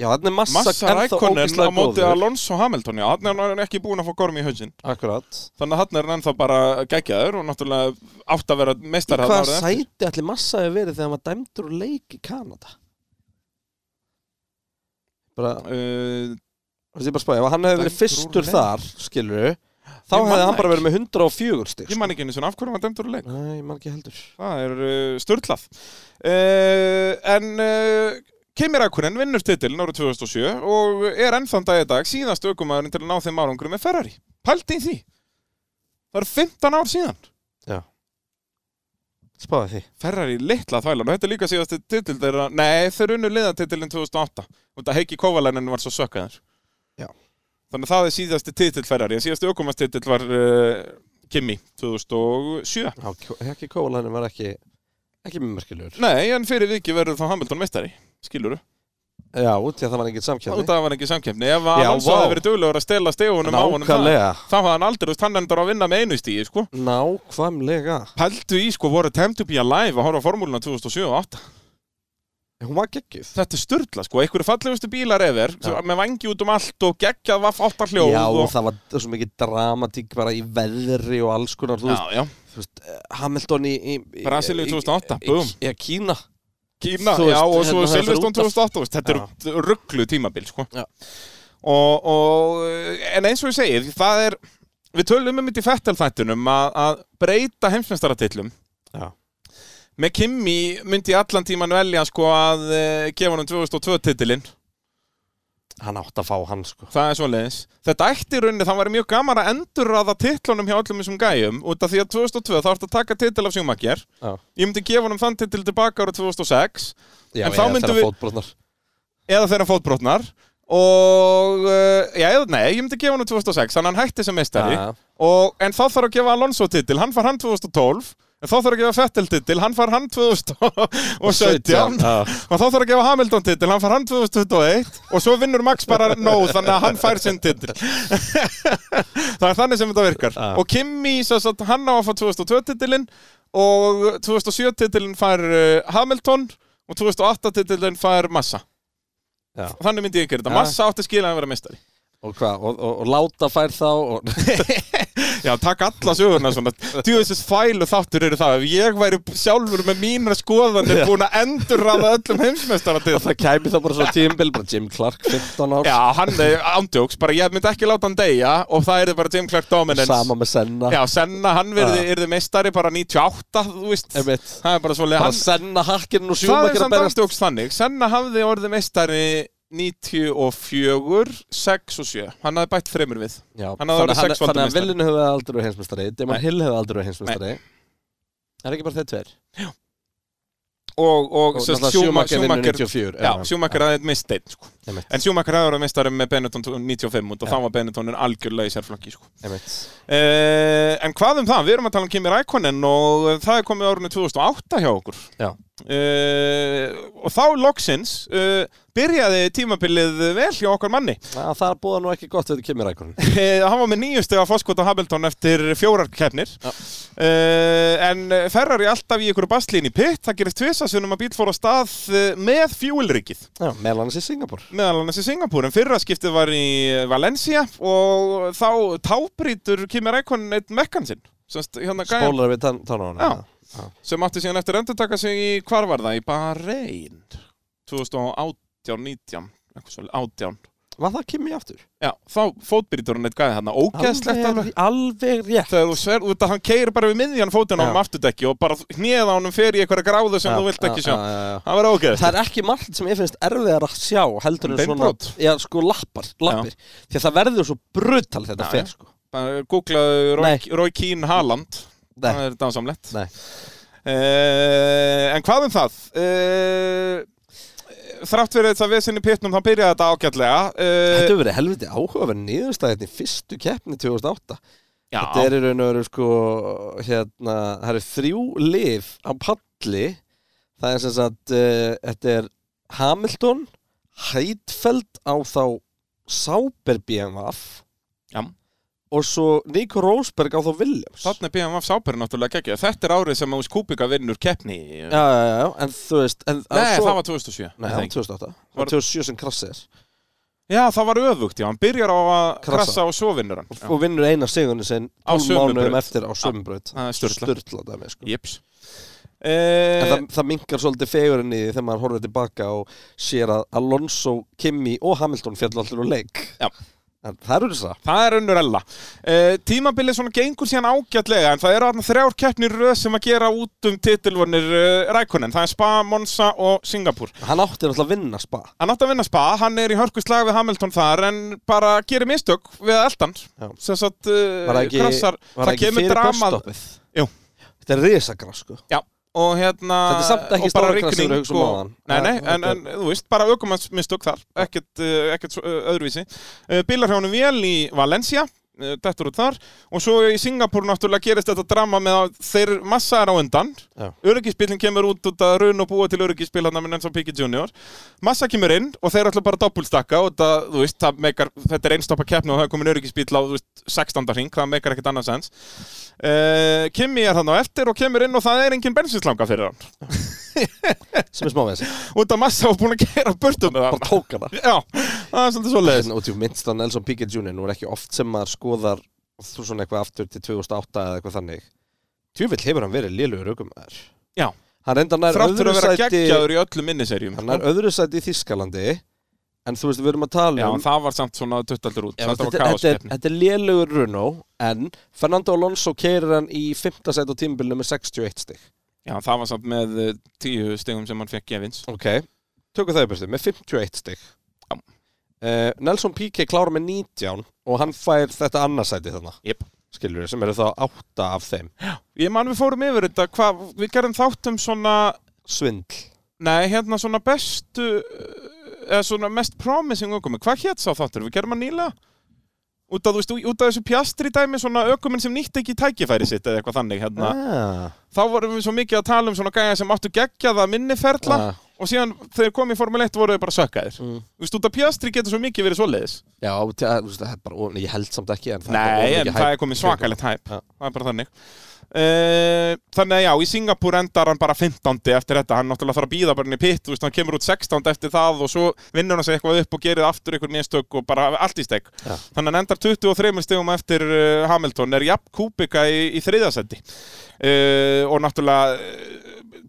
Já, þannig er massa, Massa ennþá rækonin á ógeðslega móti góður. Alonso Hamilton, já, hann er hann ekki búin að fá gorm í hausinn. Akkurat Þannig að hann er hann ennþá bara geggjaður og náttúrulega átt að vera meistar Í hvaða sæti allir massa hefur verið þegar hann var dæmdur og leik í Kanada? Bara, Uh, þú veist ég bara spáði, ef hann hefði verið Dæmdur úr fyrstur leik. þar, skilur þá Ég man hefði hann það bara verið með 104 styrk. ég man ekki einu svona af hverju hann var dæmdur úr leik. sko. Nei, ég man ekki heldur. Það er uh, störtlað. Uh, en uh, Kimi Rækonin vinnur titilin árið 2007 og er ennþann dag í dag síðast ökumæðurinn til að ná þeim árangru með Ferrari. Pældi í því. Það eru 15 ár síðan. Spáði því. Ferrari litla þvælan og þetta er líka síðast titil þeirra, nei þeir unnu liðatitilin 2008 og þetta Heikki Kovalainen var svo sökkaður Já. þannig að það er síðasti titil Ferrari en síðasti aukumastitill var uh, Kimi 2007 Já, Kjó- Hekki Kóvalænum var ekki, ekki mjög merkilegur. nei en fyrir viki verður þá Hamilton meistari skilur Já, út í að það var engin þú, samkjæfni. það var ekki samkefni ef Já, Alonso vá. hefði verið duglegur að stela stegunum á honum það, Nákvæmlega. þá hafði hann aldrei, þú veist, hann endur að vinna með einu stíi sko. Nákvæmlega. pældu í sko voru Time to be Alive að horfa á formúluna 2007 og 2008 Hún var geggjuð Þetta er störla sko, einhverju fallegustu bílar efer Já. með vangi út um allt og geggjað vaff áttar hljóð Já, og og... það var svo mikið dramatík bara í veðri og alls konar Þú já, veist, já, þú veist eh, Hamilton í, í, í Brasilíu í- 2008, í- búm. Já, Kína Kína, Þú veist, já, og svo hérna, þetta er Silveston út af- 2008 veist, Þetta er rugglu tímabil sko Já. og, og, en eins og ég segi það er, við tölum um þetta í Fettel-þættunum að, að breyta heimsmeistaratillum Já. með Kimi myndi ég allan tíman velja sko að eh, gefa hann 2002 titilinn Hann átti að fá hann sko Það er svoleiðis. Þetta ætti í rauninni, það væri mjög gaman að endurraða titlunum hjá öllum þessum gæjum út af því að 2002 þá ertu að taka titil af sjúmakjar. Já, Ég myndi gefa honum þann titil tilbaka ára 2006 já En þá myndum við- við eða þegar hann fótbrotnar og, uh, já, eða nei, ég myndi gefa honum 2006, þannig að hann hætti sem meistari. Já. Og, en þá þarf að gefa Alonso titil, hann far hann 2012. En þá þarf að gefa Fettel titil, hann far hann 2017 og þá þarf að gefa Hamilton titil, hann far hann 2021 og svo vinnur Max bara nóð þannig að hann fær sinn titil það er þannig sem þetta virkar Já. og Kimi, sem sagt, hann á að fá 2002 titilin og 2007 titilin fær uh, Hamilton og 2008 titilin fær Massa Já. þannig myndi ég gera þetta, Já. Massa átti skilja að vera mestari Og hvað, og, og, og láta fær þá og... Já, takk alla sögurna svona Djúðisins fælu þáttur eru það Ef ég væri sjálfur með mínar skoðanir búin að endurraða öllum heimsmeistara til Það kæmi þá bara svo tímbil bara Jim Clark 15 árs Já, hann er ándjóks, bara ég myndi ekki láta hann deyja og það er bara Jim Clark Dominance Sama með Senna Já, Senna, hann verði, Já. yrði meistari bara 98, þú veist Einmitt. Það er bara svolítið Bara hann, Senna hakkinn og Það sjúmakir er að samt berjast ándjóks þannig Senna hafði orðið meistari 94, 6 og 7 Hann hafði bætt þreymur við Já, Hann hafði orðið þannig, sex að- þannig að valdameistari. Villin hefði aldrei verið heimsmeistari Demon Nei. Hill hefði aldrei verið heimsmeistari Það er ekki bara þeir tveir Og, Og og, og náttúrulega Schumacher vinnur 94 Já, eða- Sjúmakar hafði eitt misteinn sko. Einmitt. En Sjúmakar hafði orðið meistari með Benetton 95 og Já. þá var Benettonin algjörlega í sérflokki sko. Einmitt. Uh, en hvað um það? Við erum að tala um Kimi Rækonen og það er komið árunni 2008 hjá okkur. Já. Uh, og þá loksins uh, byrjaði tímabilið vel hjá okkar manni. Já, Það er búið nú ekki gott við þetta kemur rækurinn Uh, hann var með nýjustu að foskvota Hamilton eftir fjórar keppnir. Uh, en Ferrari alltaf í ykkur bastlín í pitt. Það gerist tvisasunum að bíl fór á stað uh, með fjúilrikið. Já, meðal annars í Singapur meðal annars í Singapúr en fyrra skiptið var í Valencia og þá tábrítur Kimi Rækonen eitt mekkan sinn Semst, hérna, gæjan- Spólar við tann, tann á hana Já. sem átti síðan eftir endurtaka sig í, hvar var það, í Bahrein 2018, 19 eitthvað svo, 18, Var það Kimi aftur? já, þá fótbyrjitur hann eitt gæði þarna, ógeðslegt alveg alveg, alveg rétt þegar þú sver, þú veit að hann keir bara við miðjan fótinn á Já. hann afturdekki og bara hneða honum fyrir í eitthvað gráðu sem Já, þú vilt já, ekki sjá já, já, já. það var ógeðslegt Það er ekki margt sem ég finnst erfiðar að sjá heldur en svona Beinbrot. Já, sko, lappar, lappir Því að það verður svo brutal þetta Já, fer já. sko. Bara Googlaðu Roy, Nei. Roy Keane Haaland Nei. það er dásamlegt Nei. Eh, en hvað um það? Uh, þrátt fyrir þetta vesinni pittnum þá byrjaði þetta ágætlega uh, Þetta hefur verið helviti áhugaverð niðurstæðið í fyrstu keppni 2008 já, Þetta er í raun og veru sko hérna, það eru þrjú lif á palli það er sem sagt uh, þetta er Hamilton Heidfeld á þá Sauber BMF Já. og svo Nico Rosberg á þá Williams Þannig BMF Sáper er náttúrulega geggja Þetta er árið sem Ús Kúbika vinnur keppni já, já, já, já, en þú veist en, en Nei, svo, það var 2007 Nei, það það var ekki. 2008 Það Var- var 2007 sem krassir Já, það var öfugt, já, hann byrjar á að Krassa. krassa og svo vinnur hann já. og vinnur eina sigurinn sinn Á 12 sömu mánuðum braut. eftir á sömumbraut Það er störtla Sturla dæmi sko Jips En uh, það, það minkar svolítið fegurinn í því þegar maður horfir tilbaka og sér að Alonso, Kimi og Hamilton fjall allir úr leik. Já. En það eru þess að. Það er önnur ella uh, Tímabilið svona gengur síðan ágætlega En það eru þarna þrjár keppnir í röð sem að gera út um titilvonir uh, Rækonen Það er Spa, Monza og Singapur Hann átti náttúrulega að vinna spa. Hann átti að vinna spa, hann er í hörkuslag við Hamilton þar en bara gerir mistök við eldan Já. sem sagt uh, Var það ekki, krassar, var það ekki fyrir busstoppið? Jú. Þetta er risagras sko. og hérna Þetta er samt ekki og bara stóra krassið rigning við hugsum og- áðan. Nei, nei, Ja, en, en þú veist, bara aukumannsmistök þar ekkert, uh, ekkert svo, uh, öðruvísi uh, Bílarhjónum vél í Valencia uh, dettur út þar og svo í Singapur náttúrulega gerist þetta drama með að þeir massa er á undan Já. öryggisbílinn kemur út út að raun og búa til öryggisbíl hann með Nelson Piquet Jr. Massa kemur inn og þeir ætla bara að doppulstakka og það, þú veist, það meikar, þetta er einstoppa keppni og það er komin öryggisbíl á, þú veist, 16. hring, það meikar ekkert annað Eh, sens uh, Kimi er þannig á eftir og kemur inn og það er engin bensinslanga fyrir hann sem er smá með þessi og þetta massa var búin að gera burtum með bara það tók hana já, það er svolítið svo leiðis En og þú minnst á Nelson Piquet Jr. nú er ekki oft sem maður skoðar þú svona eitthvað aftur til 2008 eða eitthvað þannig tjúvill hefur hann verið lélugur aukumæður Já. hann reyndar nær þrátt fyrir öðru að vera sæti geggjaður í öllum minniserjum sko. hann nær öðru sæti í Þískalandi en þú veist við erum að já, tala en um það var samt hérna. svona duttaldur út Já, þetta var þetta, þetta, er, kaoskeppni þetta er lélugur Runo en Fernando Alonso keirir hann í 5. sæti á tímbilinu með 61 stig já, það var samt með eh, tíu stegum sem hann fekk gefins ok, tökum það upp eftir með 51 stig Já. Eh, Nelson Piquet klára með 19 og hann fær þetta annarsæti þannig Jep. skilur við, sem eru þá átta af þeim ég man við fórum yfir þetta hvað, við gerðum þáttum svona svindl nei, hérna svona bestu eh, eða svona mest promising ökuminn hvað hétt sá þáttur, við gerum að nýla út af, þú veist, út af þessu pjastri dæmi svona ökuminn sem nýtti ekki tækifæri sitt eða eitthvað þannig hérna ah, þá vorum við svo mikið að tala um svona gæja sem áttu geggjaða minniferla Ah. og síðan þegar þeir komu í Formule 1 voru þau bara sökkaðir Mm. Þú veist, út af Piastri getur svo mikið verið svoleiðis Já, til að- þú veist, það er bara, of- ég held samt ekki en það Nei, er bara of en mikið það hæp. er komið svakalegt hæp Já. Það er bara þannig uh, Þannig að já, í Singapur endar hann bara 15. eftir þetta Hann náttúrulega þarf að býða bara inn í pitt Þú veist, hann kemur út 16. eftir það Og svo vinnur hann sig eitthvað upp og gerir aftur einhver mistök Og bara allt í stek Já. Þannig að hann endar 23 stegum eftir uh, Hamilton Er jafn kúbika í, í þriðasendi uh, Og náttúrulega eh,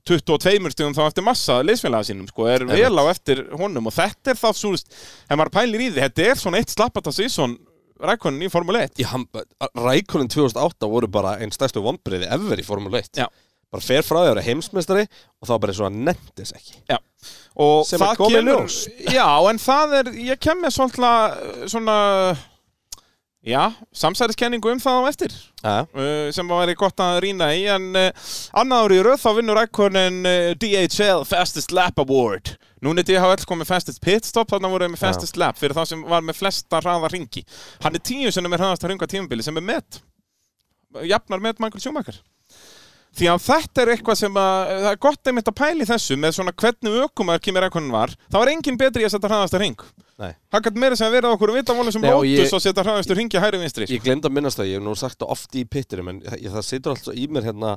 22 stegum þá eftir massa liðsfélaga sínum sko, er Einmitt. vel á eftir honum og þetta er þá súrst, ef maður pælir í því þetta er svona eitt slappata sísón rækonin í Formule 1 Já, hann- Rækonin 2008 voru bara einn stærstu vombriði ever í Formule 1 Já. Bara fer frá því að vera heimsmeistari og þá bara eins og hann nefndis ekki Já. Og Sem það er komið kemur- ljós. Já, en það er, ég kem með svona, svona já, samsæriskenningu um það á eftir Já, uh, sem væri gott að rýna í en uh, annað ári í röð þá vinnur ekkonin uh, DHL Fastest Lap Award Núna er DHL komið Fastest Pitstop þannig voru þeir með Fastest Lap fyrir þá sem var með flesta hraða ringi Hann er tíu sem er með hraðast að ringa tímabili sem er met jafnar met Michael Schumacher Því að þetta er eitthvað sem að, eh, það er gott einmitt að pæli þessu með svona hvernig ökumar Kimi Rækonin var, þá var enginn betri í að setja hraðasta ring. nei Það gætt meira sem að vera okkur vitavólu sem Nei, og ég- Lotus að setja hraðastu ringi hæri vinstri. sko. Ég glemd að minnast það, ég hef nú sagt það oft í pittinum en ég, það situr alltaf í mér hérna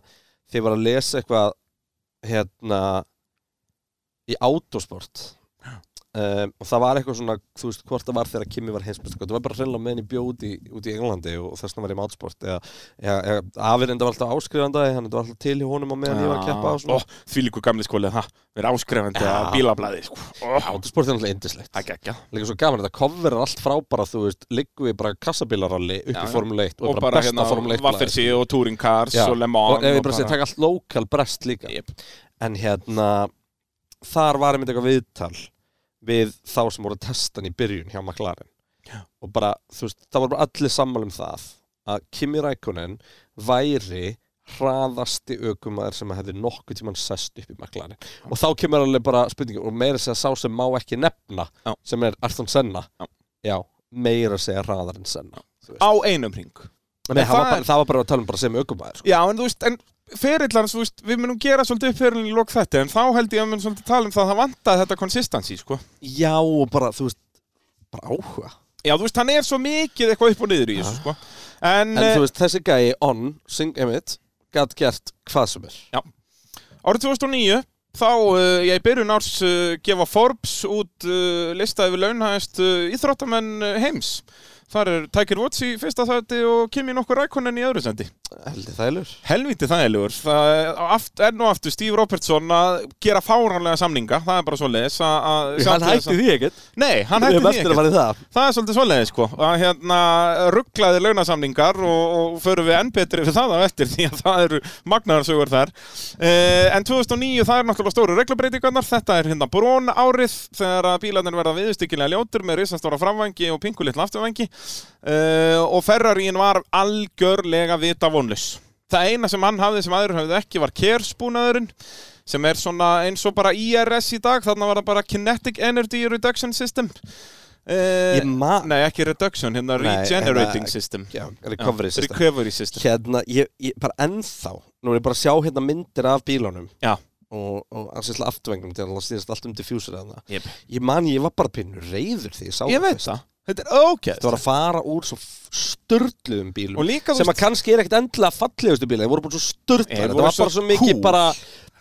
þegar ég var að lesa eitthvað hérna í autosport um, og það var eitthvað svona, þú veist, hvort það var þegar Kimi var heimsmest, það var bara hreinlega með henni bjóti út í Englandi og þess vegna var ég með autosport eða, eða, eða afinn enda var alltaf áskrifandaði hann enda var alltaf til í honum á meðan ég var að keppa og svona Því líku gamli skólið það Verið áskrefandi Já. að bílablaði sko. Ó, Oh, Autosport er alltaf indislegt Það gekk Líka svo gaman, þetta coverar allt frá bara, þú veist, liggum við bara kassabílaralli upp Já, í já. Formule 1 og, Og bara, bara besta hérna Formule 1 blaðið. Vaffersi og Touring Cars Já, og Le Mans og ef ég bara segi taka allt lokal brest líka Jep. en hérna þar var einmitt eitthvað viðtal við þá sem voru að testa hann í byrjun hjá McLaren Já. og bara, þú veist, það voru bara allir sammála um það að Kimi Rækonen væri hraðasti ökumæður sem hefði nokkuð tíman sest upp í McLaren og þá kemur alveg bara spurningum og meira að segja sá sem má ekki nefna Já. sem er Arton Senna Já. Já, meira að segja hraðar en Senna þú veist. Á einum ring Nei, en það, var það bara, er- það var bara að tala um bara sem ökumæður sko. Já, en þú veist, en ferillans, þú veist, við munum gera svolítið uppferðin í lok þetta, en þá held ég að við munum svolítið tala um það að það vantaði þetta konsistansi, sko. Já, og bara, þú veist, bara áhuga. Já, þú veist, hann er svo mikið eitthvað upp og niður í þessu, sko. En, En en þú veist, þessi gæi on, sing emitt, gætt gert hvað sem er. Árið 2009 þá uh, ég í byrjun árs uh, gefa Forbes út uh, lista yfir launhæðist uh, íþróttamenn uh, heims. Þar er Tiger Woods í fyrsta þætti og Kimi nokkur rækonin í öðru sendi. Heldur þælur. Helviti þægilegur. Það er aft, enn og aftur Steve Robertson að gera fáránlega samninga. Það er bara svo leiðis að... að- því ekkert. Nei, Við hann hætti hefum því eftir að ekki. fara í það. Það er svolítið svoleiðis sko að hérna rugglaði launasamningar og, og förum við enn betri fyrir það á eftir því að það eru magnaðarsögur þar uh, en 2009 það er náttúrulega stóru reglabreitingarnar þetta er hérna brón árið þegar að bílarnir verða viðstykkilega ljótur með risastóra framvangi og pinkulitla afturvangi uh, og Ferrarín var algjörlega vita vonlaus það eina sem hann hafði sem aður hafði ekki var kerspúnaðurinn sem er svona eins og bara IRS í dag þarna var það bara Kinetic Energy Reduction System Uh, Ég maður... Nei, ekki reduction, hérna Nei, regenerating hérna- system Já, recovery Já, system. Recovery system Hérna, ég, ég bara ennþá, nú er ég bara að sjá hérna myndir af bílunum Já, og, og að sérstlega afturvengnum til að það stýðast allt um diffuser eða það. yep. Ég man, ég var bara pinnur reyður því ég sá ég veit fyrst. það Þetta er ógeðst Þetta var að fara úr svo störluðum bílum Og líka, þú sem að kannski er ekkert endilega fallegustu bíla þeir voru bara svo störtlar Þeir þetta voru var svo bara svo mikið cool. bara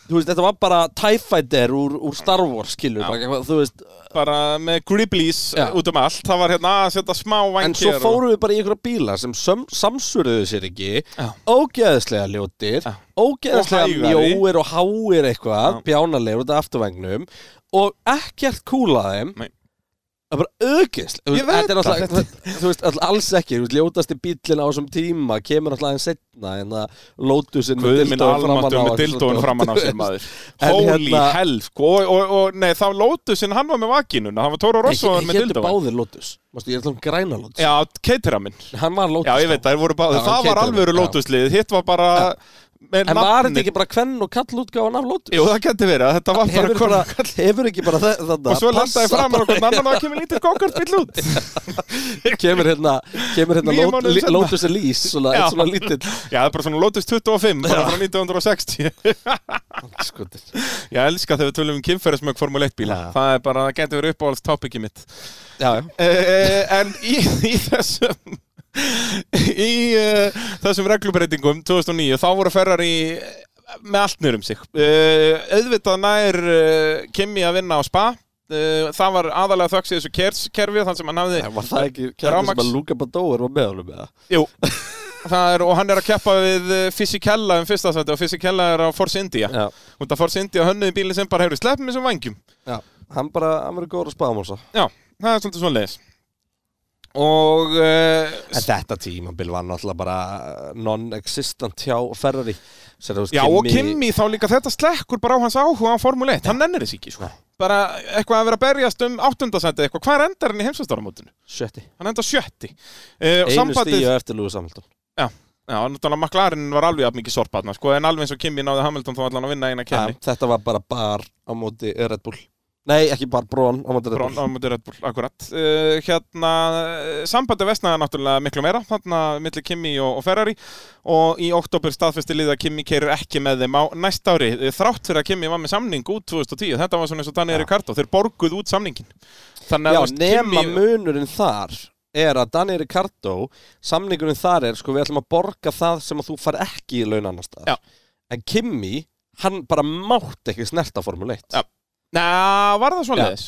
þú veist, þetta var bara TIE Fighter úr, úr Star Wars skilur, bara, eitthvað, þú veist bara með gribblís Já. út um allt það var hérna að setja smá en svo vangir fórum við bara í einhverja bíla sem sam, samsvöruðu sér ekki Já. ógeðslega ljótir Já. ógeðslega Og hægari. mjóir og háir eitthvað, Já. bjánalegir út af afturvengnum og ekkert kúlaði þeim Nei. Það er bara auðgist Ég veit Þetta er það, náttúrulega, þú veist, all- alls ekki Þú veist, ljótasti bíllinn á þessum tíma Kemur náttúrulega aðeins setna En það lótusinn Guð minn almáttur með dildóin framann á sér maður Holy hérna- hell sko og, og, og nei þá lótusinn hann var með vakinuna hann var Tóra Rossóðan með Héttu dildóin báðir lótus Mástu, ég ætla um græna lótus Já, keitira minn Hann var lótus Já, ég veit, þær voru báðir Já, Það var Keitaramin, alvöru já. lótuslið Hitt var bara með En var þetta nafnið. ekki bara kvenn og kall útgáðan af lótus? Jú, það geti verið að Þetta var bara hefur, konur bara, hefur ekki bara þe- þarna Og svo passa landaði fram á bara- okkur annan og það kemur lítið gongart bíl út Kemur hérna, kemur hérna Níu lót- mánuðum lí- seinna. Lótus Elís Svona, Já. eitt svona lítill Já, það er bara svona Lotus 25 bara frá 1960 Skotir. Ég elska þegar við tölum um kynferðismög Formule 1 bíla Já. Það er bara, það getur verið uppáhalds tópiki mitt Já, já Eh, en í, í þessum í uh, þessum reglubreitingum 2009 þá voru Ferrari með allt nýrum sig uh, auðvitað nær uh, Kimi að vinna á spa uh, það var aðalega þöks í þessu kerskerfi þann sem hann hafði Eh, Var það ekki kæmur sem Rafmagns- að Luka Badóer var með honum eða? Jú, það er, og hann er að keppa við eh, Fisichella um fyrsta sæti og Fisichella er á Force India Já, og það Force India hönnuði bílinn sem bara hefur sleppum þessum vangjum já Hann bara, hann verið góður að spáum hans já, það er svolítið svona leis og uh, En þetta tímabil var náttúrulega bara uh, non-existent hjá Ferrari Sér, þú veist, Já og Kimi þá líka þetta slekkur bara á hans áhuga á Formule 1, hann nennir þess ekki sko. Nei. bara eitthvað að vera að berjast um áttundasæti eitthvað, hvað endar hann í heimsastáramótinu? Sjötti hann endar sjötti uh, Einu stíu eftir Lúi Samhaldun Já, náttúrulega McLaren var alveg jafn mikið sorpaðna sko, en alveg eins og Kimi náði Hamilton þá allan að vinna eina kenni Þetta var bara bar á móti Red Bull Nei, ekki bar, brón á móti Red Brón Bull á mútið Red Bull, akkurat uh, hérna, eh, sambandi vestnaði náttúrulega miklu meira, þarna milli Kimi og, og Ferrari og í oktober staðfesti liða að Kimi keirir ekki með þeim á næsta ári, eh, þrátt fyrir að Kimi var með samning út 2010, þetta var svona eins og Daniel Já. Ricardo, þeir borguð út samningin Já, þannig að þú veist, nema Kimi munurinn þar er að Dani Ricardo samningurinn þar er, sko, við ætlum að borga það sem að þú far ekki í laun annar Já. staðar En Kimi, hann bara mátt ekki snerta Formule 1 Já. Næ, var það svona þess?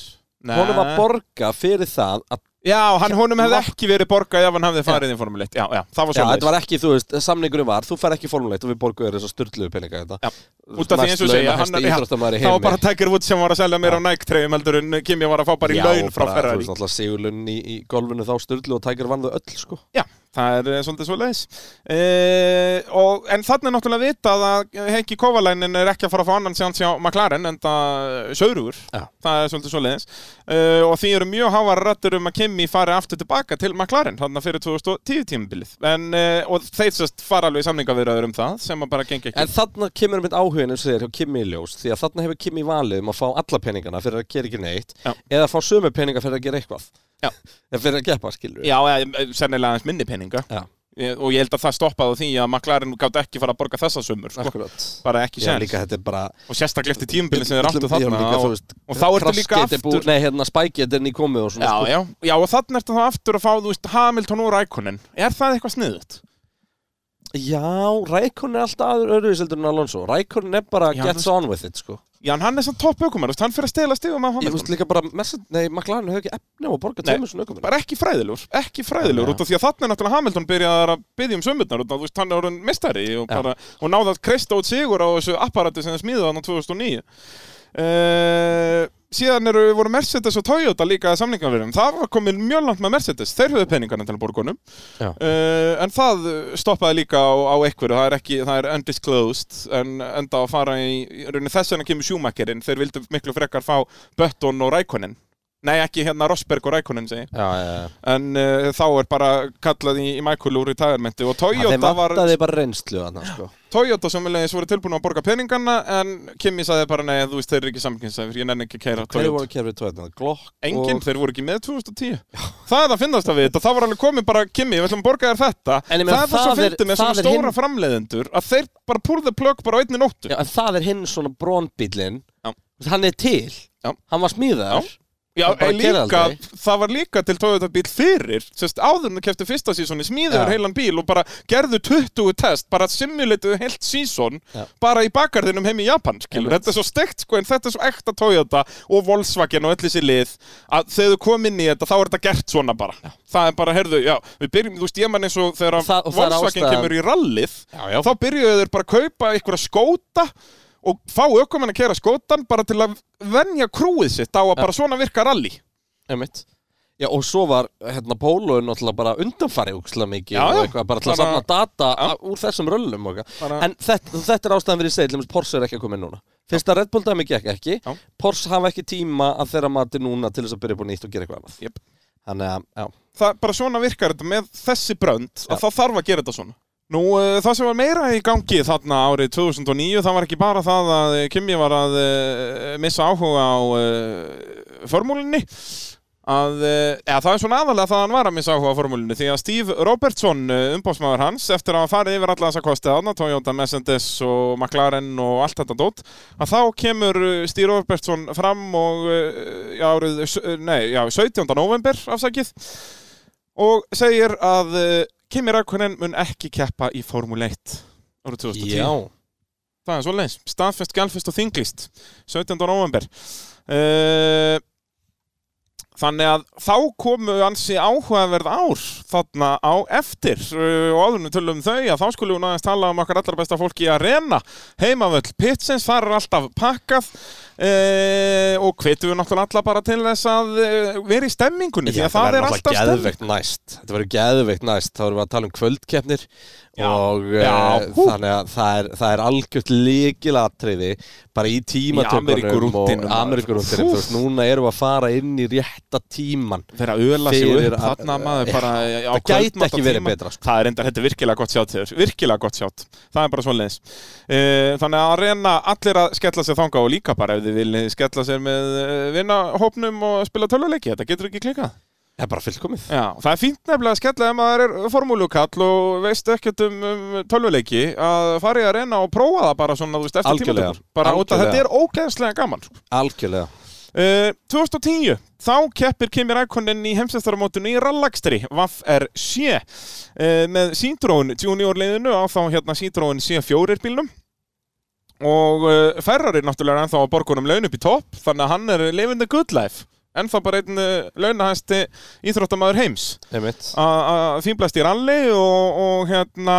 Honum var borga fyrir það að, Já, hann honum hefði Látt- ekki verið borgað ef hann hefði farið í Formule 1 Já, já, það var já, þetta svona var ekki, þú veist, samningurinn var þú far ekki í Formule 1 og við borgum þér þess að styrluðu peninga hérna. þetta Já. Út af því eins og segja, hann- hann, já, íþróttamæður í Það var heimi bara Tiger Woods sem var að selja Já. mér á nægtreyjum heldur en Kimi var að fá bara í laun frá þú Ferrari veist, alltaf sigurlun í, í golfinu þá styrlu og tækir vann þau öll, sko Já, það er eh, svolítið svo leiðis. og, en þannig er náttúrulega vitað að Henki Kovalænin er ekki að fara að fá annan séans hjá McLaren en það sörugur. Já. Það er svolítið svo leiðis. og því eru mjög hávar rættur um að Kimi fari aftur tilbaka til McLaren þannig að fyrir 2010 tímabilið. En, uh, og þeir sérst fara alveg samningavirðaður um það sem að bara gengi ekki. En þarna kemur mitt áhugin eins og þeir hjá Kimi í ljós því að þarna hefur Kimi valið um að fá alla peningana fyrir að gera ekki neitt Já. eða að fá sömu peninga fyrir að gera eitthvað Já. eða fyrir að gefa, skilur Já, eh, sennilega aðeins minni peninga. Já. Eh, Og ég held að það stoppaði á því að McLaren gátt ekki fara að borga þessa sumur. Sko. akkurat Bara ekki Já, séns. líka þetta er bara Og sérstaklega eftir tímabilið sem þeir Öllum- áttu já, þarna. líka, og- þú veist, og þá ertu kraskið líka er búið- aftur- Nei, hérna, spækið er ný komið og svona sko. Já, já, sko. já, og þannig ertu þá aftur að fá, þú veist, Hamilton úr ækonin. Er það eitthvað sniðut? Já, Rækon er alltaf aður öðruvíseldur en Alonso Rækon er bara Já, gets on with it sko. Já, en hann er samt topp ökumar, þú veist, hann fyrir að stela stigum af Ég veist Hamilton. líka bara messa, Nei, McLaren hefur ekki efni á að borga Nei. tveimur svona ökumir Bara ekki fræðilegur, ekki fræðilegur, Já. út af því að þannig er náttúrulega Hamilton byrjaðar að byggja um sömurnar, út af þú veist, hann er orðin mistari og, Já. bara, og náða að kreista út sigur á þessu apparati sem það smíðið hann á 2009. Uh, síðan eru, voru Mercedes og Toyota líka samningaverðum, það var komin mjög langt með Mercedes, þeir höfðu peningana til að borgunum. Já. Uh, en það stoppaði líka á, á einhverju, það er ekki, það er undisclosed en enda að fara í, í rauninni þess vegna kemur Schumacherinn, þeir vildu miklu frekar fá Button og Rækonin Nei, ekki hérna Rosberg og Rækonin segi ég. Já, já, já en uh, þá er bara kallað í, í Michael úr í tagarmenti og Þeim Toyota var, vantaði bara reynslu þarna sko. Toyota sem viljaðis voru tilbúin að borga peningana en Kimi sagði bara, nei, þú veist, þeir eru ekki samkynsæður, ég nenni ekki að keira Hverju Toyota voru kerfið tóðan? Glock Enginn, og... þeir voru ekki með 2010 Það er það finnast að við þetta, það var alveg komið bara Kimi, við ætlum að borga þér þetta En ég meina, Það er það það svo er- fyndið með það svona er stóra hinn- framleiðendur að þeir bara púrðu plögg bara á einni nóttu Já, en það er hinn svona brónbílinn Já. Hann er til Já. Hann var smíðar Já. Já, Það bara en gerir líka, aldrei. það var líka til Toyota bíl fyrir sérst, áður en kefti fyrsta sísoni smíðuður Já. heilan bíl og bara gerðu 20 test bara simuleituðu heilt síson Já. bara í bakarðinum heim í Japan skilur. Einmitt. þetta er svo stekt sko en þetta er svo ekta Toyota og Volkswagen og öll þessi lið að þegar þú kom inn í þetta þá er þetta gert svona bara það er bara, heyrðu, já, við byrjum, þú veist ég mann eins og þegar Og það- og það er Volkswagen ástæðan. kemur í rallið Já, já. þá byrjuðu þeir bara að kaupa einhverja skóta og fá aukumenn að kera skótan bara til að venja krúið sitt á að bara svona virka rally Einmitt. Já, og svo var hérna Póloin náttúrulega bara undanfari úkslega mikið Já, og já. eitthvað, bara til að Bara- safna data Já. a- úr þessum röllum og eitthvað. Bara- En þetta, þetta er ástæðan fyrir segil, Porsche er ekki að koma inn núna. Fyrst að Red Bull dæmi gekk ekki, Já. Porsche hafa ekki tíma að þeirra mati núna til þess að byrja upp á nýtt og gera eitthvað annað. Jep. Þannig að, já, það bara svona virkar þetta með þessi brönd Já. að það þarf að gera þetta svona Nú, eh, það sem var meira í gangi þarna árið 2009, það var ekki bara það að eh, Kimi var að eh, missa áhuga á eh, formúlinni að, eh, eða það er svona aðalega það að hann var að missa áhuga á formúlinni því að Steve Robertson, umbóðsmaður hans eftir að hafa farið yfir alla þessa kostið aðna Toyota, Mercedes og McLaren og allt þetta dót, að þá kemur eh, Steve Robertson fram og eh, í árið, eh, nei, já, 17. november afsakið og segir að eh, Kimi Rækkonen mun ekki keppa í Formule 1 árið 2010. já, Það er svoleiðis. Staðfest, gælfest og þinglist. 17. november. Uh, þannig að þá komu ansi áhugaverð ár þarna á eftir uh, og áðurnum tölum þau að þá skulum við aðeins tala um okkar allra besta fólki í Arena heimavöll Pitsins, þar er alltaf pakkað uh, og hvetum við náttúrulega alla bara til þess að uh, vera í stemmingunni því Já, að það, verður er náttúrulega alltaf stemming geðveikt næst Þetta verður geðveikt næst, þá erum við að tala um kvöldkeppnir Já. og eh, Já, hú. þannig að það er, það er algjört líkilatriði bara í tímatökunum Ameríkurúntinum, og maður. Ameríkurúndinum, Hú. þú veist, núna erum við að fara inn í rétta tíman Þeirra öla sig Fyrir upp að- þarna maður Já, bara á það gæti kvöldmatartíma. ekki verið betra, sko. Það er enda, þetta er virkilega gott sjátt þér Virkilega gott sjátt, það er bara svo leins Þannig að reyna allir að skella sér þanga og líka bara ef þið vilji skella sér með vinnahópnum og spila töluleiki, þetta getur ekki klikað Það er bara fullkomið Já, það er fínt nefnilega að skella ef maður er formúlukall og veist ekkert um, um tölvuleiki að fara í að reyna og prófa það bara svona, þú veist, eftir Algjörlega. tímatökur bara út að Algjörlega. þetta er ógeðslega gaman sko. Algjörlega Uh, 2010, þá keppir Kimi Rækonin í heimsæstaramótinu í rallakstri, VFR7 uh, með Citroen junior leiðinu á þá hérna Citroen C4 bílnum og uh, Ferrari náttúrulega er ennþá að borgunum laun upp í topp, þannig að hann er lifindi good life, ennþá bara einn uh, launahæsti íþróttamaður heims Einmitt. að að fínblast í ralli og, og hérna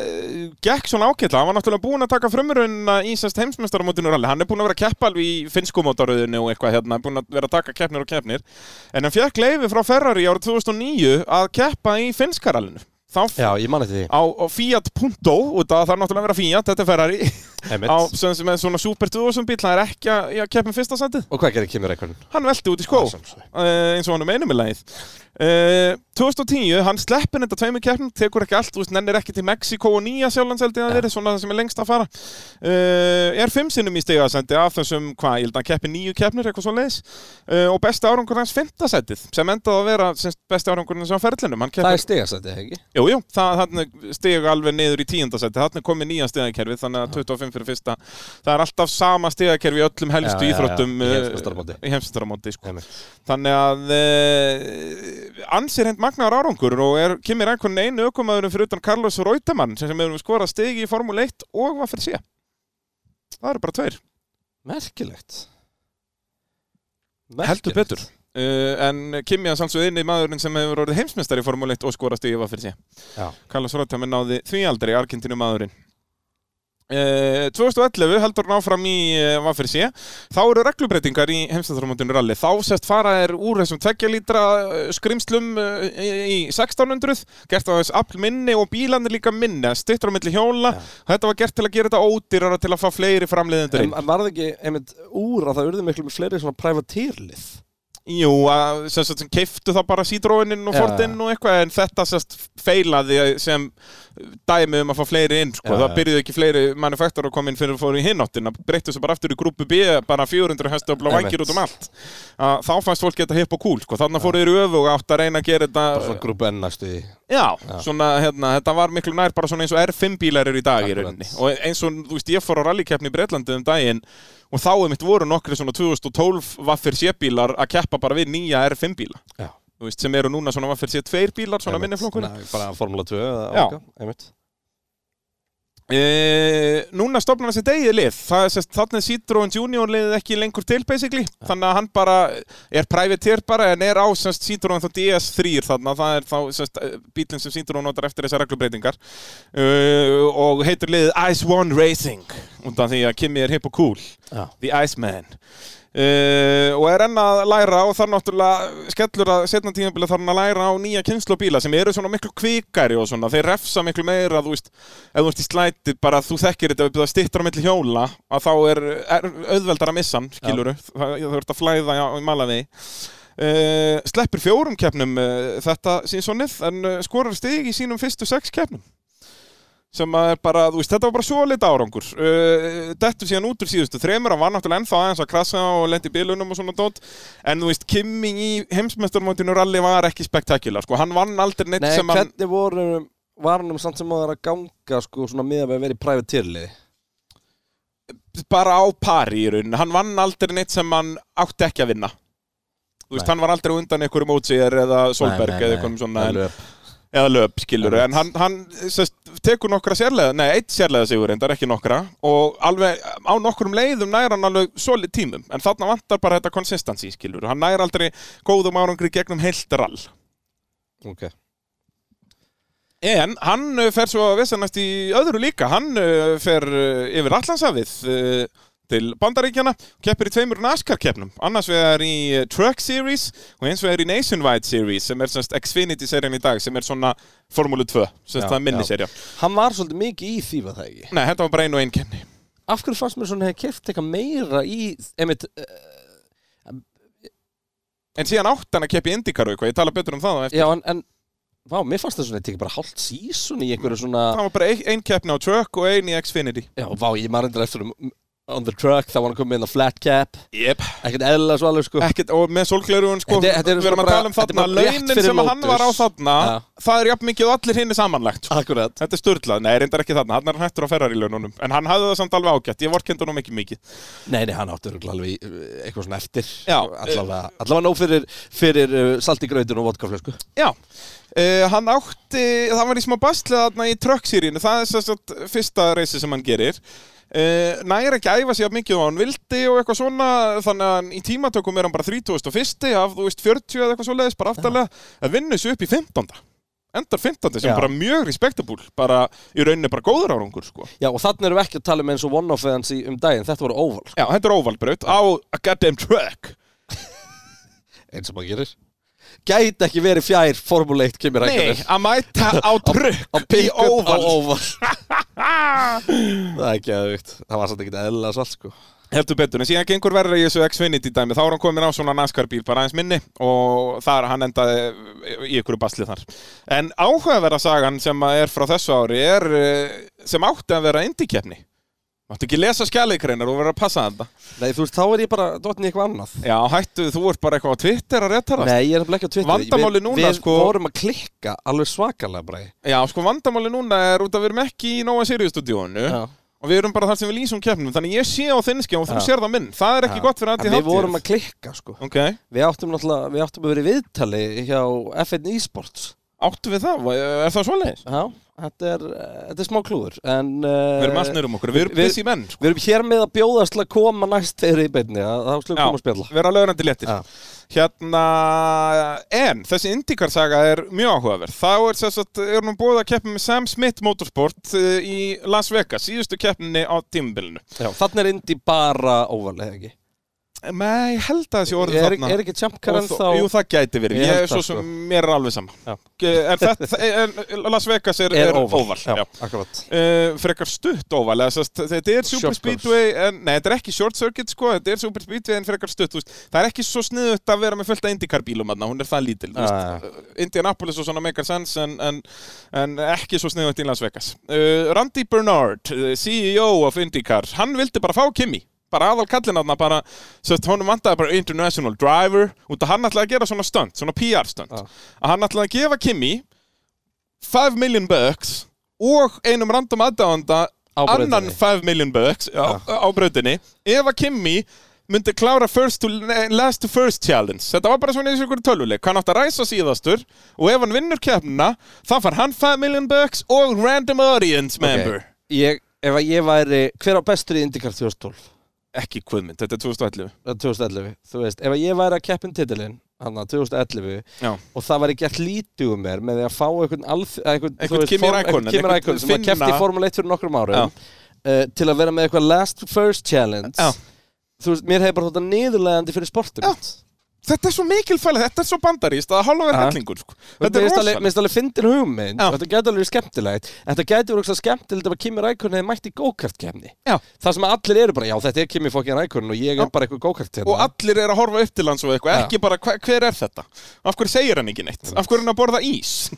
eh, gekk svona ákveðla, hann var náttúrulega búinn að taka frumurunna í sérst heimsmyndstaramótinu ralli hann er búinn að vera að keppa alveg í finnskumótaröðinu og eitthvað hérna, búinn að vera að taka keppnir og keppnir en hann fekk leifi frá Ferrari árið 2009 að keppa í finnskarallinu þá Já, ég man eftir því á, á Fiat Punto út af að það er náttúrulega að vera Fiat, þetta er Ferrari Einmitt. á, sem, sem er svona Super 2000 bíl, það er ekki að, í að keppa um fyrsta sendið Og hvað gerir Kimi Rækkonen? hann velti út í skó sem sé. eh, eins og hann um einum í lagið uh, 2010, hann sleppir þetta tveimur keppnum, tekur ekki allt, þú veist, nennir ekki til Mexiko og Nýja sjálflandseldi að verið, svona það sem er lengst að fara uh, er fimm sinnum í stegasendi af þessum, hvað, ég held að hann keppi nýju keppnir eitthvað svo leiðis, uh, og besti árangur hans fimmtasendið, sem endaði að vera sem sagt, besti árangur hans á ferlinum, hann Það keppir er stigasætti, ekki? Jú, jú, það þarna steg alveg niður í tíundasætti, þarna er komið nýja stegakerfið, þannig að 25 fyrir fyrsta, það er alltaf sama stegakerfi í öllum Já, já, helstu já, íþróttum í heimsmeistaramóti. eh, í heimsmeistaramóti, sko. Einmitt. Þannig að uh, ansir hend magnar árangur og er kemur einhvern einu ökumæðurum fyrir utan Carlos Reutemann sem sem hefur skorað stegi í Formule 1 og hvað fyrir sé. Það eru bara tveir. Merkilegt Heldur Merkilegt. betur. Uh, en Kimi hans alveg inni maðurinn sem hefur orðið heimsmyndstari í Formule 1 og skorað stegi hvað fyrir sé. Já. Carlos Reutemann náði því aldrei Argentínu maðurinn. Uh, 2011 heldur hann áfram í uh, hvað fyrir sé. Þá eru reglubreitingar í heimstæðarmótinu ralli. Þá sest fara er úr þessum tveggjalítra skrimslum uh, í í 1600, gert á þess afl minni og bílanir líka minni, stuttur á milli hjóla. Þetta var gert til að gera þetta ódýrara til að fá fleiri framleiðendur En inn. var það ekki einmitt úr að það urðu miklu fleiri svona privatýrlið? Jú, að, sem sagt, sem keiftu það bara sídróinin og Já. fordinn og eitthvað, en þetta sest feilaði sem dæmi um að fá fleiri inn, sko. Já, það já. byrjuðu ekki fleiri manufaktur að koma inn fyrir að fóru í hináttina, breyttu svo bara aftur í grúpu B, bara 400 höstöfla og Einmitt. vangir út um allt. Að, þá fannst fólk þetta hipp og cool, sko. Þannig fóru þeir í öfu og átt að reyna að gera Bara þetta svona grúpu ennastu því Já, Já. svona, hérna, þetta var miklu nær bara svona eins og R5 bílar eru í dag í Akkurat. rauninni og eins og, þú veist, ég fór á rallikeppni í Breitlandi um daginn og þá einmitt voru nokkri svona 2012 Vaffir C-bílar að keppa bara við nýja R5 bíla Já. Þú veist, sem eru núna svona Vaffir C2 bílar svona minni flokkunni Nei, bara Formula 2 eða Já. okkar, einmitt e, Núna stopnar þessi degið lið það, er sest, þannig að Citroen Junior liðið ekki lengur til basically þannig að hann bara er privateer bara en er á sest, Citroen þá DS3 þannig að það er þá sest, bílinn sem Citroen notar eftir þessar reglubreitingar e, og heitur liðið Ice One Racing undan því að Kimi er hip og cool Já, The Iceman uh, og er enn að læra og þar náttúrulega skellur að setna tímabili þar hann að læra á nýja kynnslóbíla sem eru svona miklu kvikari og svona þeir refsa miklu meira þú veist, ef þú ert í slæti bara þú þekkir þetta við byrða stittur á milli hjóla að þá er, er auðveldar að missa hann skiluru, það þú ert að flæða í malaði Uh, sleppir fjórum keppnum uh, þetta sínsonnið en uh, skorar stig í sínum fyrstu sex keppnum sem að er bara, þú veist, þetta var bara svo lit árangur uh, dettur síðan út úr síðustu þremur hann var náttúrulega ennþá aðeins að krasa og lendi í bilunum og svona dót en þú veist, Kimi í heimsmeistarmótinu rally var ekki spektakular, sko, hann vann aldrei neitt Nei, sem hann, hvernig voru var hann um samt sem áður að ganga sko svona miða við að vera í privateerliði bara á pari í rauninni, hann vann aldrei neitt sem hann átti ekki að vinna þú veist, Nei. hann var aldrei á undan einhverjum ótsýjar eða Nei, Solberg nei, eða nei, einhverjum svona, það en, löp. eða löp skilur en hann, hann sest, tekur nokkra sérlega nei, eitt sérlega sigur reyndar, ekki nokkra og alveg á nokkrum leiðum næra hann alveg solid tímum, en þarna vantar bara þetta konsistansi skilur, hann næra aldrei góðum árangri gegnum heilt rall Ok. en hann uh, fer svo að vesennast í öðru líka, hann uh, fer uh, yfir allansafið til Bandaríkjana, keppir í tveimur NASCAR-keppnum, annars vegar í uh, Truck Series og eins vegar í Nationwide Series sem er semst Xfinity-serien í dag sem er svona Formúlu 2, semst Já, það er minniserja Hann var svolítið mikið í því var það ekki Nei, þetta var bara einu og einn kemni Af hverju fannst mér svona hefði keft eitthvað meira í einmitt, eh, En síðan átt hann að keppi Indikaru eitthvað, ég tala betur um það á eftir já en, en Vá, mér fannst það svona tekið bara hálft sísun í einhverju svona Það var bara ein, ein keppni á Truck og ein í Xfinity Já, vá, ég maður endur eftir um On the truck, þá var hann komið inn á flat cap Jep Ekkert eðla svo alveg sko Ekkert, og með solglerun sko, Þetta- þetta eru við erum svona að bara- tala um þetta er þarna bara rétt launin fyrir sem hann Lotus. var á þarna Já. það er jafn mikið og allir hinn er samanlegt sko. Akkurat Þetta er sturlað, nei, reyndar ekki þarna, hann er hættur á ferrarílaununum en hann hafði það samt alveg ágætt, ég vorkendi honum ekki mikið Nei, nei, hann átti örugglega alveg í, eh, eitthvað svona eftir Já. Allavega, allavega nóg fyrir, fyrir eh, salt í grautin og vodkaflösku Já, uh, hann átti það var í smá bastlið þarna í truck-sýrínu það er þess að fyrsta reysi sem hann gerir uh, næri ekki að æfa sig jafn mikið og hann vildi og eitthvað svona þannig að hann í tímatökum er hann bara 31. af þú veist 40 eða eitthvað svoleiðis bara aftalega að vinna þessu upp í 15. endar 15. sem Já. bara mjög respektabúl bara í rauninni bara góður árangur sko Já, og þannig erum við ekki að tala um eins og one-off eðan sí um daginn, þetta voru óval Já, þetta er óvalbraut á a goddamn truck Eins og maður gerir Gæti ekki verið fjær Formule 1 kemur Nei, að mæta Á á trukk í pick-up á óval óval Það er ekki aðeins Það var satt ekkert eðla svart sko Heldur betur, en síðan gengur verður í þessu Xfinity dæmi þá er hann komin á svona NASCAR-bíl bara aðeins minni og þar hann endaði í ykkur basli þar En áhugaverða sagan sem að er frá þessu ári er eh, sem átti að vera indikeppni Máttu ekki lesa skjæleikreinar og vera að passa þetta Nei, þú veist, þá er ég bara dottin í eitthvað annað Já, hættu, þú ert bara eitthvað á Twitter að réttarast Nei, ég er nefnilega ekki á Twitter Vandamálið Við- núna, Við sko- vorum að klikka alveg svakalega bara í- Já, sko vandamáli núna er út að við erum ekki í Nóa Sirius-stúdíónu Já. og við erum bara þar sem við lýsum keppnum þannig ég sé á þinn skjá og þú Já. sér það minn það er ekki Já. gott fyrir En aðtíð Við vorum að klikka sko Ok, Við áttum náttúrulega, við áttum að vera í viðtali hjá F1 eSports áttu við það? Er það svoleiðis? Já, þetta er, þetta er smá klúður En Við erum uh, alls neyrum okkur, við erum við- busy menn sko. Við erum hér með að bjóðast til að koma næst fyrir í beinni, að þá slum Já. koma að spjalla. Við erum lögrandi léttir Já. Hérna, en þessi IndyCar saga er mjög áhugaverð Þá er sess að, er nú búið að keppa með Sam Smith Motorsport eh, í Las Vegas síðustu keppninni á tímabilinu Já. Þannig er Indi bara óvalið, ekki? Nei, Eh, ég held að þessi orðið Er, þarna er ekki Og Tjampkar þó- ennþá? Jú, það gæti verið, Ég ég, held er svo það, sem sko. mér er alveg sama Já. En þetta, en Las Vegas er, er óval. óval. Já. akkurat. Uh, frekar stutt óval eða sest, þetta er super Short course. speedway en, nei, þetta er ekki short circuit sko, þetta er super speedway en frekar stutt, þú veist, það er ekki svo sniðut að vera með fullt af IndyCar bílum aðna, hún er það lítil þú veist. Ah, Uh, Indianapolis og svona meikar sens en, en, en ekki svo sniðut í Las Vegas uh, Randy Bernard, uh, CEO of IndyCar, hann vildi bara fá Kimi bara aðal kallin aðna, bara sest, honum vantaði bara international driver út að hann ætlaði að gera svona stunt, svona PR stunt Ah. að hann ætlaði að gefa Kimi 5 million bucks og einum random aðdáðanda Á brautinni. annan 5 million bucks á, á bröðinni ef að Kimi myndi klára first to, nei, last to first challenge þetta var bara svona eins og ykkur töluleik hann átti að ræsa síðastur og ef hann vinnur keppnina þá far hann 5 million bucks og random audience member ég, Ef að ég væri, hver á bestur í IndyCar 2012? ekki kvöðmynd, þetta er 2011 Eða 2011, þú veist, ef að ég væri að keppin titilinn hann 2011 Já. og það væri gert lítið um mér með því að fá einhvern, alþ, einhvern, þú Einhvern Kimi form- Räikkönen, einhvern Kimi einhvern Rækon sem að Finna. keppti í Formule 1 fyrir nokkrum árum uh, til að vera með eitthvað last first challenge Já. þú veist, mér hefur bara þetta niðurlegandi fyrir sportum Já. þetta er svo mikilfæli, þetta er svo bandaríst að hálfa verið Já. hellingur sko. Þetta þetta er Mér rosalega finnst alveg fyndin hugmynd Já. og þetta gæti alveg verið skemmtilegt en þetta gæti verið ógeðslega skemmtilegt ef að Kimi Rækon hefði mætt í go-kart kemni Já. Það sem að allir eru bara, já þetta er Kimi fokkin Rækon og ég Já. er bara eitthvað go-kart og allir er að horfa upp til hans og eitthvað, Já. ekki bara hver, hver er þetta af hverju segir hann ekki neitt, af hverju er hann að borða ís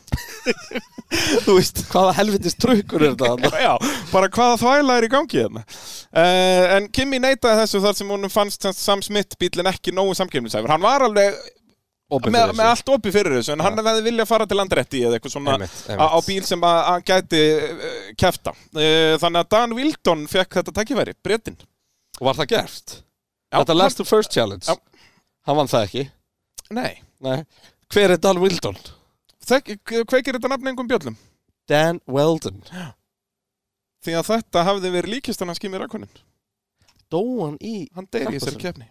þú veist Hvaða helvitis trukkur er þetta? Já, bara hvaða þvæla er í gangi hérna uh, En Kimi neitaði þessu þar sem hún fannst sem Sam Smith bílinn ekki nógu samkefnisæfur Hann var alveg Opið með, fyrir með þessu. allt opið fyrir þessu En hann hefði viljað fara til Andretti eða eitthvað svona Einmitt, á einmitt. á bíl sem að að gæti uh, kefta uh, Þannig að Dan Wilton fekk þetta takkifæri, brettin Og var það gert? Já, Þetta last to first challenge Já. Hann vann það ekki Nei, Nei. Hver er Dan Wildon? Þek, kveikir þetta nafn engum bjöllum Dan Weldon Því að þetta hafði verið líkist hann að skimi rakunin Dóan í Hann deyri í þessari Kappakstri. kefni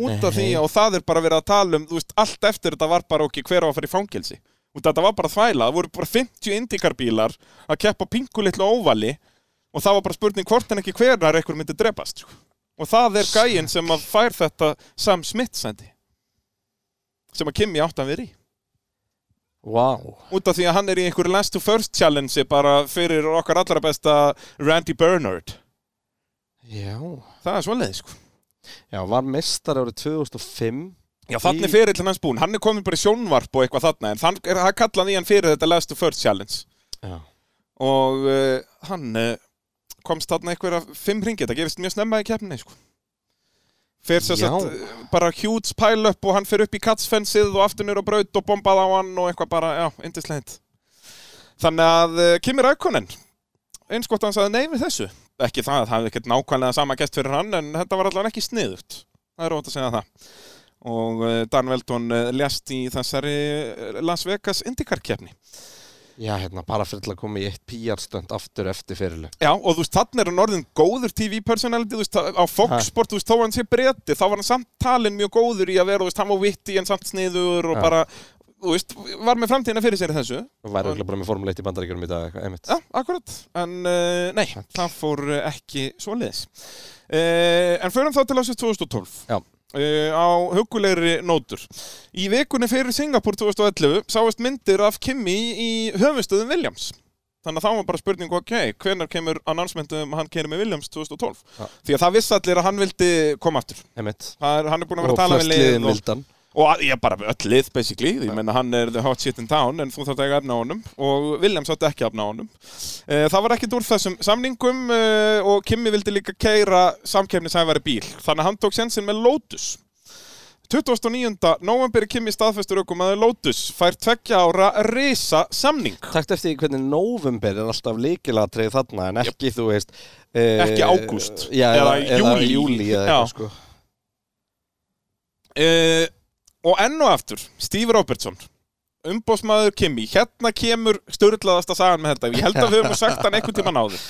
Út af því Nei. og það er bara verið að tala um þú veist, Allt eftir þetta var bara okkur hver á að fara í fangelsi Út af þetta var bara þvæla Það voru bara 50 indikarbílar Að keppa á pinku litlu óvali Og það var bara spurning hvort en ekki hvernar einhver myndi drepast sko. Og það er gæinn sem að fær þetta Sam Smith sendi Sem að Kimi átt að vera í Wow Út af því að hann er í einhverju last to first challenge Bara fyrir okkar allra besta Randy Bernard Já Það er svoleiði sko Já, var mestar árið 2005 Já, þannig fyrir til hans búinn. Hann er komin bara í sjónvarp og eitthvað þarna, en þann, er, hann kallaði í hann fyrir þetta Last to First Challenge. Já Og uh, hann uh, komst þarna einhverja fimm ringi, þetta gerist mjög snemma í keppninni, sko. Fyrir sem Já. sagt uh, bara huge pile-up og hann fyrir upp í katsfensið og aftur nýr á braut og bombað á hann og eitthvað bara, já, indislegt. Þannig að uh, Kimi Rækonen, eins gott að hann sagði nei við þessu. Ekki það, það hefði ekkert nákvæmlega sama gest fyrir hann, en þetta var allavega ekki sniðut. Það er rót að segja það og eh, Dan Veldon ljast í þessari eh, Las Vegas IndyCar keppni. Já, hérna, bara fyrir til að koma í eitt PR-stönd aftur eftir fyrirlu Já, og þú veist, þannig er hann orðin góður TV personality, þú veist, á Ha. Fox Sport, þú veist, þó hann sé breyti, þá var hann samt talin mjög góður í að vera, þú veist, hann var vitti en samt sniður og Ha. bara, þú veist, var með framtíðina fyrir sér í þessu. Og væri örugglega bara með formuleitt í bandaríkjörum í dag, eitthvað, einmitt Já, akkurat, en uh, nei, það fór eh, ekki svoleiðis. Uh, en förum þá til ásins 2012. Já. Eh, á hugulegri nótur. Í vikunni fyrir Singapur 2011 sáist myndir af Kimi í höfumstöðum Williams. Þannig að þá var bara spurning, ok, hvenær kemur annarsmyndum að hann kemur með Williams 2012? Ja. Því að það vissi allir að hann vildi koma aftur. Einmitt Það Er, hann er búin að Og vera að tala við flest liðin liðið og, vildan og að- ég bara öll lið, basically. Ég meina hann er the hot shit in town, en þú þarft ekki að efna á honum og Williams þátt ekki að efna á honum. Eh, Það var ekkert úr þessum samningum eh, og Kimi vildi líka keira samkefnisæfari bíl. Þannig að hann tók sensin með Lotus. 29. november er Kimi staðfestur aukumæður Lotus fær tveggja ára risa samning. Takt eftir því hvernig november er alltaf líkilatrið þarna en ekki, þú veist e... Ekki ágúst. Já, eða, Eða eða júlí. júli eða Já. eitthvað, sko Uh, og enn og aftur, Steve Robertson umbósmaður Kimi, hérna kemur störðlaðasta sagan með þetta, ég held að við höfum sagt hann einhvern tímann áður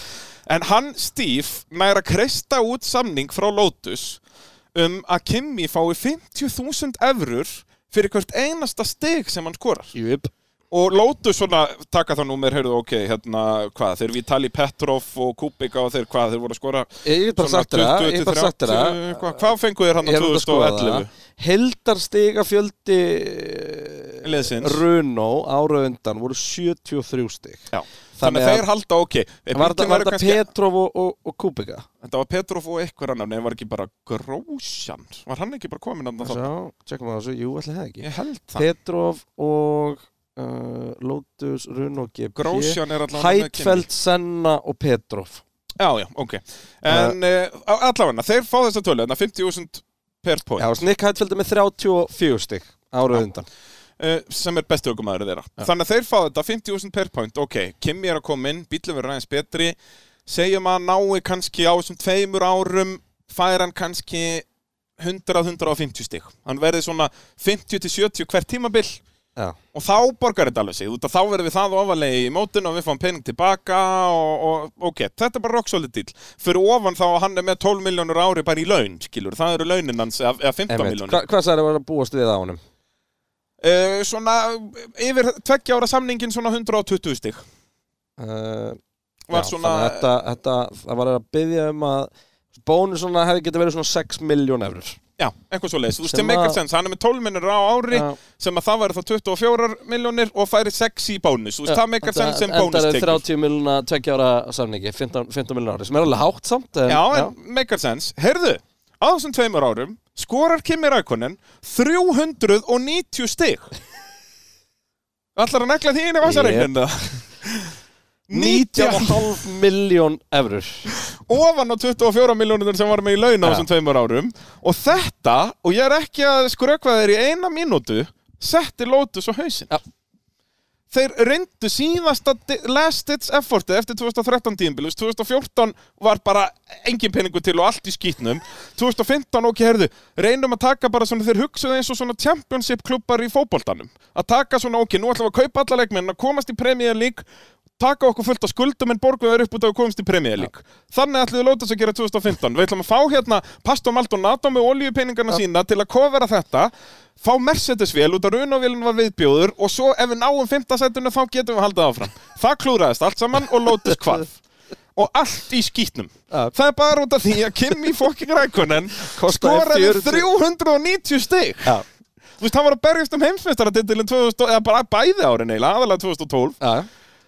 en hann, Steve, nær að kreista út samning frá Lotus um að Kimi fái 50.000 eurur fyrir hvert einasta steg sem hann skorar Júp og Lotus svona taka það númer, heyrðu, ok, hérna, hvað þeir Vitali Petrov og Kubica og þeir hvað, þeir voru að skora Ég get bara sagt þér það, ég get bara sagt þér það hvað, hvað fengu þeir hann Ég er að skoða 2011? það Heldarstiga fjöldi Liðsins. Runo eh, ára undan voru 73 stig Já. Þannig að þeir halda ok Var þetta- var þetta Petrov og, og, og Kubica? Þetta var Petrov og eitthvað annar Nei, var ekki bara Grósjan Var hann ekki bara komin að það? Sjá, tjekkum við þessu, jú, ætli það ekki Ég held það Petrov og uh, Lotus, Runo, GP Grósjan er allavega með Hætfeld, Senna og Petrov Kimi. Já, já, ok En uh, allavega, þeir fá þessa tölu Þannig að 50.000 per point Já, Nick Hætfeld er með 34 stig ára undan uh, sem er besti ökumæður þeirra. Þannig að þeir fá þetta 50.000 per point, ok, Kimi er að koma inn, bílum verður aðeins betri, segjum að hann nái kannski á þessum tveimur árum, fær hann kannski 100-150 stig. Hann verði svona 50-70 hvert tímabil Já. og þá borgar þetta alveg sig, út af þá verðum við það ofalegi í mótin og við fáum pening tilbaka og, og ok, þetta er bara rock solid deal fyrir ofan þá að hann er með 12 miljónur ári bara í laun, skilur, það eru launin hans eða eða 15 Einmitt. miljónur Hva, hvað særi var að búast við á honum? uh, svona, yfir tveggja ára samningin svona 120 stig Uh, var já, svona, þannig að þetta, þetta, það var að byggja um að bónus svona hefði getið verið svona 6 miljón eurur já, eitthvað svo leiðis, þú veist, Sem sem make að- sense hann er með 12 miljónur á ári, sem að það væri þá 24 miljónir og færi 6 í bónus, þú veist, það make sense sem bónus Endar 30 miljón að 2 ára samningi 15, 15 miljón ári sem er alveg hátt samt en, Já, en make sense. Herðu, á þessum tveimur árum skorar Kimi Rækonen 390 stig. Ætlar að negla því inn í vasaregninu? Yep. 19,5 miljón eurur ofan á 24 miljónir sem var með í laun á Já. þessum tveimur árum og þetta, og ég er ekki að skrökva þeir í eina mínútu setti Lotus á hausinn Já. þeir reyndu síðasta di- last ditch effortið eftir 2013 tíðinbíl 2014 var bara engin peningur til og allt í skýtnum 2015 ok, herðu, reynum að taka bara svona þeir hugsuðu eins og svona championship klubbar í fótboltanum að taka svona ok, nú ætlum við að kaupa alla leikmenn að komast í Premier League taka okkur fullt af skuldum en borgum þeir upp út af að komast í Premier League þannig ætlum við Lotus að gera 2015 við ætlum að fá hérna Pastor Maldonado með olíupeningarna sína til að kofera þetta fá Mercedes-vél út af runavélun var viðbjóður og svo ef við náum 5. setinu þá getum við haldið áfram það klúraðist allt saman og Lotus hvarf og allt í skýtnum Já. það er bara út af því að Kimi fucking Rækonen Kostaði skoraði 40. 390 stig Já. þú veist, hann var að berjast um heimsmeistaratitilin 2000 eða bara bæði árin eiginlega, aðalega 2012 Já,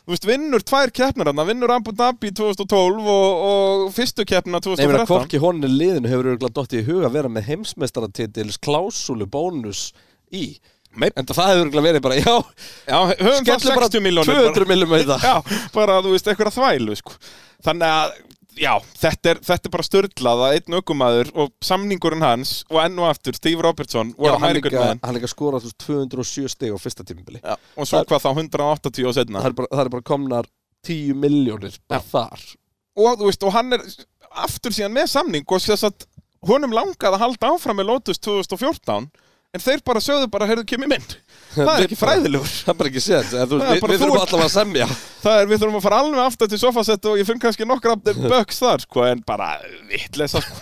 þú veist, vinnur tvær keppnir hann, vinnur Abu Dhabi 2012 og, og fyrstu keppna nefnir að 2013 hvorki honni liðinu hefur örgulega dottið í huga að vera með heimsmeistaratitils klásúlu bónus í Nei. en það hefur örgulega verið bara, já, Já, höfum það skellum bara 60 miljónir 200 miljónum í það Já, bara, þú veist, eitthvað þvælu, sko Þannig að, já, þetta er, þetta er bara störlað að einn ökumæður og samningurinn hans og enn og aftur Steve Robertson og Já, hann American líka, Man hann líka skorað þú veist, 207 stig á fyrsta tímabili já, og svo það- hvað þá 180 og setna það er bara, það er bara komnar 10 miljónir bara þar og þú veist, og hann er aftur síðan með samning og sér að honum langaði að halda áfram með Lotus 2014 en þeir bara sögðu bara, heyrðu, kemur mynd það er Við ekki bara- fræðilegur það er bara ekki séð en þú Það veist, er við, bara við þú þurfum ert- allavega að semja Það er, við þurfum að fara alveg aftur til sofasettu og ég finn kannski nokkra böks þar, sko, en bara vitleisa, sko.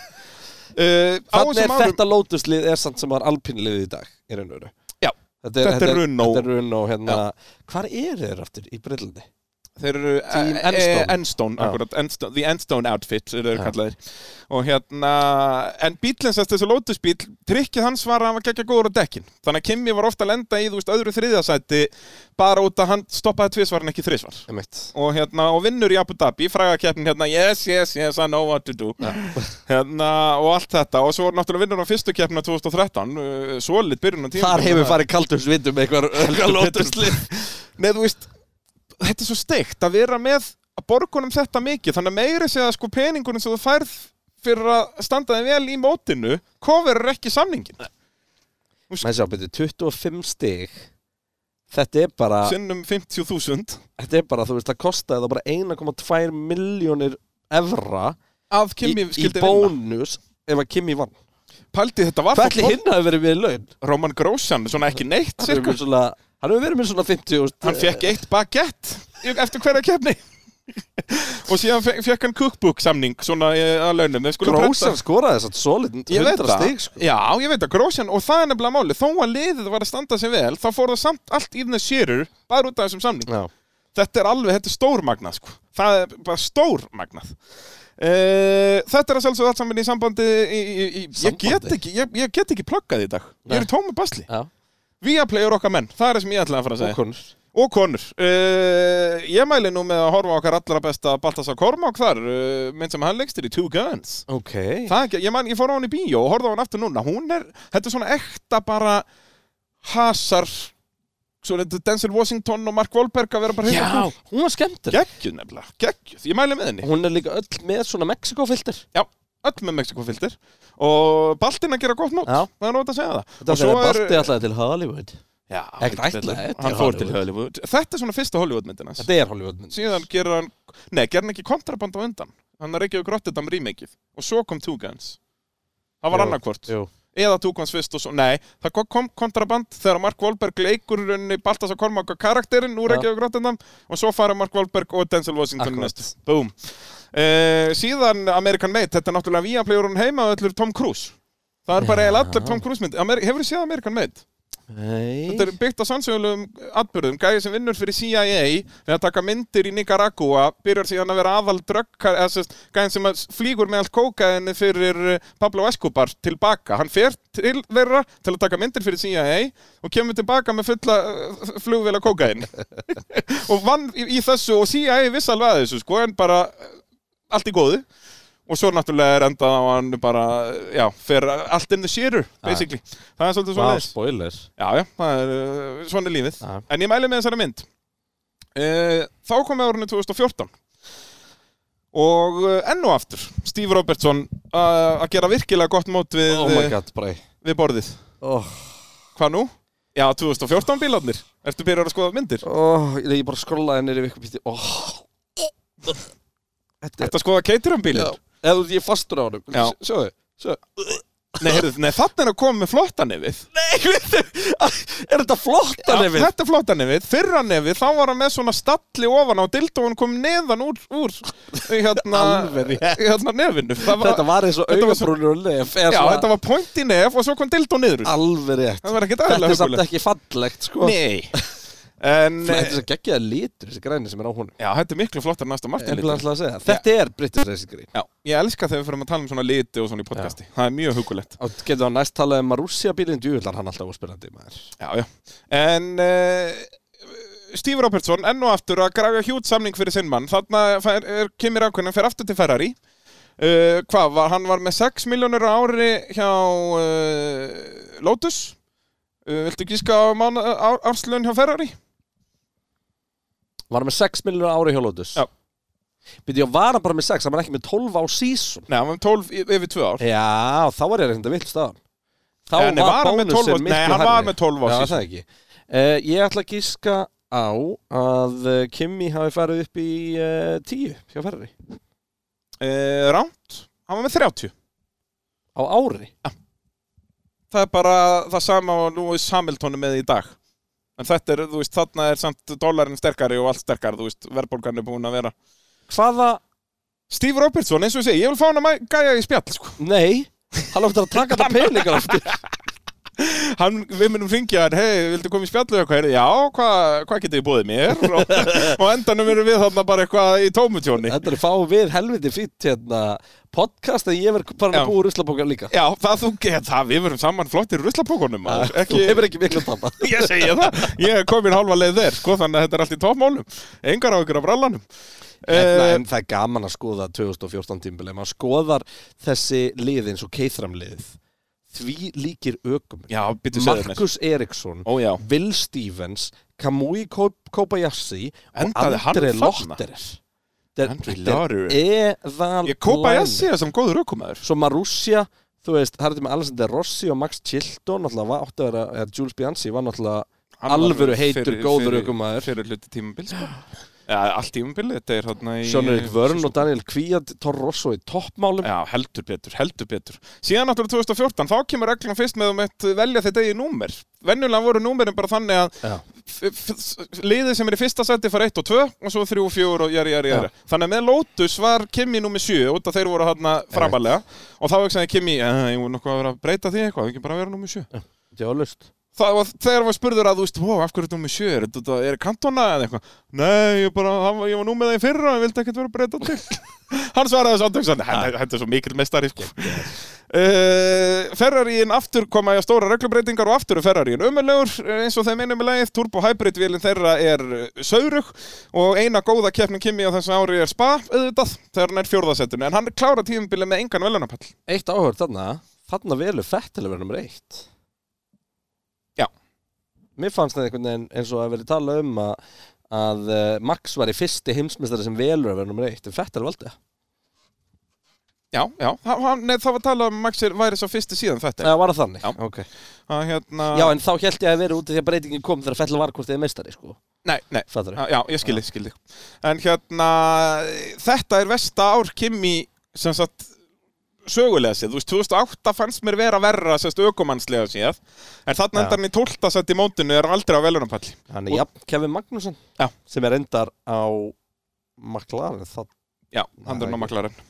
Uh, á þannig þessum er árum, þetta Lotus-lið er samt sem var alpínlið í dag í raun og veru Já. þetta er, Þetta er Renault. þetta er Runo hérna, hvar er þeir aftur í Breitlandi? þeir eru Team eh, Enstone. eh, Enstone, Já. akkurat, Enstone, The Enstone Outfit eru þeir Já. kallaðir. Og hérna, en bílinn sérst þessi Lotus bíl, trikkið hans var að hann var geggja góður á dekkin. Þannig að Kimi var ofta að lenda í, þú veist, öðru þriðasæti bara út að hann stoppaði tvisvar en ekki þrisvar. og, hérna, og vinnur í Abu Dhabi frægakeppnin hérna, yes, yes, yes, I know what to do hérna, og allt þetta og svo náttúrulega vinnur hann fyrstu keppna 2013 uh, solid byrjun á tíma þar hefur farið kaldusvitum eitthvað, eitthvað Lotus-lið Nei, þú veist, þetta er svo steikt að vera með að borgunum þetta mikið þannig að meiri segja sko peningunum sem þú færð fyrir að standa þig vel í mótinu coverur ekki samningin menn sjá, betur, 25 stig þetta er bara sinnum 50.000 þetta er bara, þú veist, það kostaði það bara 1,2 miljónir evra að í, Kimi í skildi vinna bónus ef að Kimi vann Paldi, þetta var hvað fór- ætli hinn hafi verið við í laun? Roman Grosjan, svona ekki neitt hann hefur cirka. verið svona, hann hefur verið með svona 50 úst, Hann fekk eitt baguette eftir hverja kefni og síðan fe- fekk hann cookbook samning svona eh, að launum Þeir skulu prenta- Grósan skoraði þess að solid Ég veit 100 sko, það. stig sko. Já, ég veit það, Grósan og það er nefnilega máli þó að liðið var að standa sig vel þá fór það samt allt í þenni sérur bara út af þessum samning Já. Þetta er alveg, þetta er stórmagnað sko. Það er bara stórmagnað Uh, þetta er að sjálfsögðu allt saman í sambandi, í, í, í, Ég, Sambandi? get ekki, ég, ég get ekki pluggað í dag Ég er Nei. í tómu basli Já. Viaplay eru okkar menn, það er það sem ég ætlaði að fara að segja Og konur Og konur. Uh, ég mæli nú með að horfa á okkar allra besta Baltasar Kormák þar, uh, minn sem hann legstir í Two Guns. Ok Það er ekki, ég, man, ég fór á hann í bíó og horfði á hann aftur núna. Hún er, þetta er svona ekta bara hasar, svo þetta Denzel Washington og Mark Wahlberg að vera bara Já, hérna. hún var skemmtir Gekkjuð nefnilega, geggjuð. Ég mæli með henni. Hún er líka öll með svona Mexiko-filter Já, öll með Mexikofildir og Baltin að gera gott nót. Já. Það er nót að segja það. Þetta Og svo er er- Balti alltaf til Hollywood Já, Ekkert ætlaðið. Hann fór til Hollywood Þetta er svona fyrsta Hollywoodmyndin hans Þetta er Hollywood mynd Síðan gerir hann Nei, gerir hann ekki kontraband á undan Hann er ekki að grotta þetta um rímikið Og svo kom Two Guns Það var Jú, annarkvort Jú, Eða Two Guns fyrst og svo Nei, það kom- kom kontraband Þegar Mark Wahlberg leikur Runni Baltasar Kormáka karakterinn Úr Já. ekki að grotta Og svo fara Mark Wahlberg og Denzel Washington Akkurat. Akkurat. næst Búm uh, Síðan American Made Þetta er náttúrulega Víaplegur hún heima og Öllur Tom Cruise Það er bara Já. eiginlega allir Tom Cruise mynd Amer Hefur þið séð American Made? Þetta nei er byggt á sannsögulegum atbyrðum gæði sem vinnur fyrir CIA við að taka myndir í Nicaragua byrjar síðan að vera aðal dröggar gæðin sem að flýgur með allt kókaðinni fyrir eh, Pablo Escobar tilbaka hann fer til þeirra til að taka myndir fyrir CIA og kemur tilbaka með fulla eh, flugvila kókaðin og vann í, í þessu og CIA viss alveg að þessu sko en bara eh, allt í góðu og svo náttúrulega er endað á hann bara, eh, já, fer allt in the shitter basically, það er svolítið svona Vá, spoiler Já, já, það er uh, svona er lífið. Já. En ég mæli með þessari mynd. Uh, þá komið árunni 2014 og uh, enn og aftur Steve Robertson uh, að gera virkilega gott mót við, Oh my eh, god, bræ við borðið. oh, Hvað nú? Já, 2014 bílarnir. Ertu byrjar að skoða myndir? oh, Ég bara skrollaði nýri vikum píti oh. Þetta Ertu að skoða Caterham Já, bílinn? eða þú veist, ég er fastur á honum Já. Sjóðu, sjóðu Nei, heyrðu, nei, þarna er að koma með flotta nefið. Nei, veitu, er þetta flott Já, að nefið? Þetta er flotta nefið. Fyrra nefið, þá var hann með svona stalli ofan á dildóun kom neðan úr, úr hérna, Alveg rétt. hérna nefinu. Það Þetta var eins og Þetta var svo- augabrúnur og nef eða Já, svona Ah, þetta var point í nef og svo kom dildó niður úr. alveg rétt Það var ekkert Þetta aðlega er samt ekki fallegt, sko Nei En, eh, Þetta er svo geggjaða litur, þessi græni sem er á honum já, þetta er miklu flottar næsta Martin Ég litur ætla að segja, Þetta er British Racing Green Já, ég elska þegar við fyrir að tala um svona liti og svona í podcasti Það er mjög hugulegt Og getur það næst talað um Marussia bílinn Djúvillar hann alltaf óspilandi maður Já, já En uh, Steve Robertson enn og aftur að graga hjút samning fyrir sinn mann Þarna fær, er, kemur ákveðin, hann fer aftur til Ferrari uh, Hvað, var, hann var með 6 miljónur á ári hjá uh, Lotus uh, Viltu gíska á, mánu- á árslun hjá Ferrari? Var hann með 6 miljonur ári hjá Lotus Já. Býtti ég var hann bara með 6, hann var ekki með 12 á season Nei, hann var með 12 y- yfir 2 ár Já, þá var ég reynda vilt staðan Þá Nei, var hann með 12 á- bónusinn miklu Nei, hann hærri. var með 12 á Já, season. það ekki uh, Ég ætla að gíska á að eh, Kimi hafi farið upp í uh, 10 hjá Ferrari uh, Ránt, hann var með 30 á ári það er bara það sama og Lewis Hamilton er með í dag en þetta er, þú veist, þarna er samt dólarinn sterkari og allt sterkari, þú veist, verðbólgan er búin að vera Hvaða? Steve Robertson, eins og ég segi, ég vil fá hann að mæ- gæja í spjall sko. Nei Hann áttur að taka þetta peningar aftur hann, við munum ringja hann, hei, viltu koma í spjallu eitthvað, Heyrðu, já, hvað hva getið þið búið mér og, og á endanum erum við þarna bara eitthvað í tómutjóni Þetta er að fá við helviti fýtt hérna podcast en ég verð bara Já. að búa ruslapókar líka já, það þú get, það, við verum saman flottir ruslapókunum, Þú Ah. hefur ekki miklu að tapa ég segja það, ég er komin hálfa leið þér sko, þannig að þetta er allt í toppmálum engar á ykkur af rallanum Hérna, Eh, en það er gaman að skoða 2014 tímbil ef maður skoðar þessi lið eins og keithram liðið því líkir ökum já, byttu segðu mér Markus Eriksson ó já, Will Stevens, Kamui Ko- Kobayashi og Endaði hann Andre þarna? Lotterer Þetta er- Andre þetta er eðal ég kópa ég að line. segja sem góður ökumæður Svo Marussia, þú veist, það er þetta með Alexander Rossi og Max Chilton náttúrulega var átti að vera, eða Jules Bianchi var náttúrulega Hann var Alvöru heitur, fyrir- góður fyrir- ökumaður. fyrir hluti tímabil sko. já, allt tímabil, þetta er hérna í Sean Eric Vörn og Daniel Kvíad Torrosso í toppmálum já, heldur betur, heldur betur síðan náttúrulega 2014, þá kemur reglan fyrst með um eitt velja þetta í númer venjulega voru númerin bara þannig að Já. f- f- liðið sem er í fyrsta seti fara 1 og 2 og svo 3 og 4 og jari, jari, jari þannig að með Lotus var Kimi nummi 7 út að þeir voru hérna framalega og þá ekki Kimi, eh, ég voru nokkuð að vera að breyta því eitthvað, ekki bara að vera nummi 7 Þetta er lust Það var, þegar var spurður að, þú veist, wow, af hverju er nummi 7, er þetta, er kantona eða eitthvað? Nei, ég bara, það var- ég var númið það í fyrra, ég vildi ekkert vera að breyta til. Hann svaraði þessu andöksan, þetta er svo mikil mestari, sko. Uh, Ferraríin aftur koma í að stóra reglubreitingar og aftur er Ferraríin ömulegur eh, eins og þeim einum með leið, Turbo Hybrid vélinn þeirra er eh, saurug og eina góða keppnum Kimi á þessu ári er Spa auðvitað þegar hann er fjórðasettinu en hann klára tíðumbilið með engan velunapall Eitt áhörð þarna, þarna velu Fettel að vera nummer eitt Já. Mér fannst það einhvern veginn eins og að verið tala um að, að eh, Max var í fyrsti heimsmyndstari sem velur að vera nummer eitt en Fettel valdi það Já, já, það, hann- nei, það var talað um að Maxi væri svo fyrsti síðan þetta Það var það þannig Já. ok. að, hérna, Já, en þá held ég að vera úti því að breytingin kom þegar fellur var hvort þið er meistari, sko. Nei, nei, Fattar já, ég skildi, skildi En hérna, þetta er vesta ár Kimi sem sagt sögulega séð, þú veist, 2008 fannst mér vera verra sem sagt ökumannslega séð en Já. þarna endar hann í 12. sett í mótinu er aldrei á velunarpalli Hann er, já, Kevin Magnússon. Já. Sem er endar á McLaren. Það, Já, hann er Nei. námaklarinn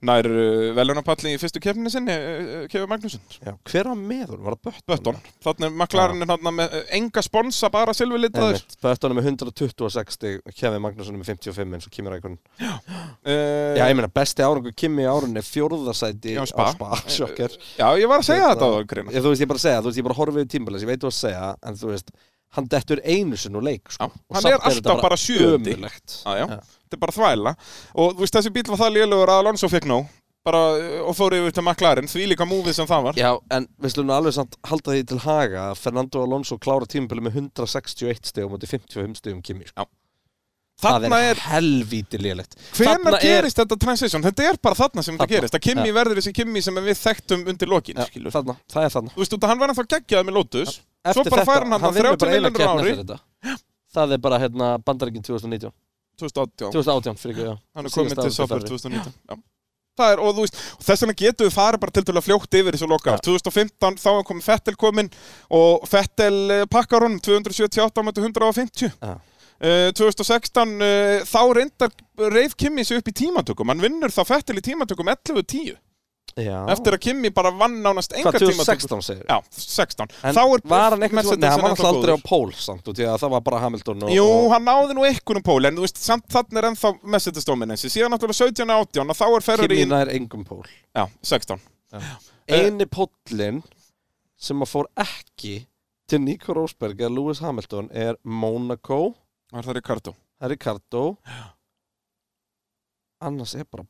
Nær uh, velunarpalli í fyrstu kefninu sinni uh, Kefur Magnússon já, hver á meður? Var það Bötton? Bötton, þannig maklarinn er þarna með uh, enga sponsa bara silfurlitaður Einmitt, Bötton er með 126 stig, Kevin Magnússon er með 55 eins og Kimi Rækun. uh, Já, ég meina, besti árangur Kimi í árunni er fjórðasæti Já, Spa. á Eh, spa sjokker. já, ég var að segja þetta á það Ég, þú veist, ég bara að segja, þú veist, ég bara horfið í tímbalins, ég veit þú að segja, en þú veist, hann dettur einu sinn úr leik, sko. Já, Og hann samt er alltaf bara sjöundi. ömurlegt. Já, já, Já. þetta er bara þvæla Og þú veist, þessi bíl var það lélugur að Alonso fekk nóg bara, uh, og fór yfir til maklarinn, því líka múfið sem það var Já, en við slunum alveg samt halda því til haga að Fernando Alonso klára tímabili með 161 stegum og 55 stegum Kimi sko. Það Þarna er er, helvítið lélegt hvenær Þarna er- gerist þetta transition? Þetta er bara þarna sem Þarna, þetta gerist að Kimi verður þessi Kimi sem við þekktum undir lokin, Já, skilur þarna, Það er þarna Þú veist, út að hann var ennþá geggjað með Lotus Svo bara fær hann hann hann vinnur 30 bara eina keppni miljonur ári fyrir þetta Það er bara hérna, bandaríkin 2019 2018 2018 fyrir ekki, já hann er Síðasta komin til árið Sáfjörð Ferrari. 2019 já. það er, og þú veist, og þess vegna getum við farið bara tiltölu að fljótt yfir þessu loka Já. 2015 þá er komin Fettel komin og Fettel eh, pakkar honum 278 á mætu 150 Já. Eh, 2016 eh, þá reyndar reif Kimi sig upp í tímatökum hann vinnur þá Fettel í tímatökum 11.10 Já, eftir að Kimi bara vann nánast enga hvað tímatökum 2016 segir já, 16 En þá er Var hann eitthvað, Mercedes nei, hann var ennþá alltaf aldrei á góður. pól samt út í að það var bara Hamilton og, Jú, og, hann náði nú ekkunum pól en þú veist, samt þannig er ennþá Mercedes dominansi síðan náttúrulega 17 og 18 og þá er Ferrari Kimi í- Eh. nær engum pól já, 16 eini póllin sem að fór ekki til Nico Rosberg eða Lewis Hamilton er Monaco, Var það Ricardo? það er Ricardo annars er bara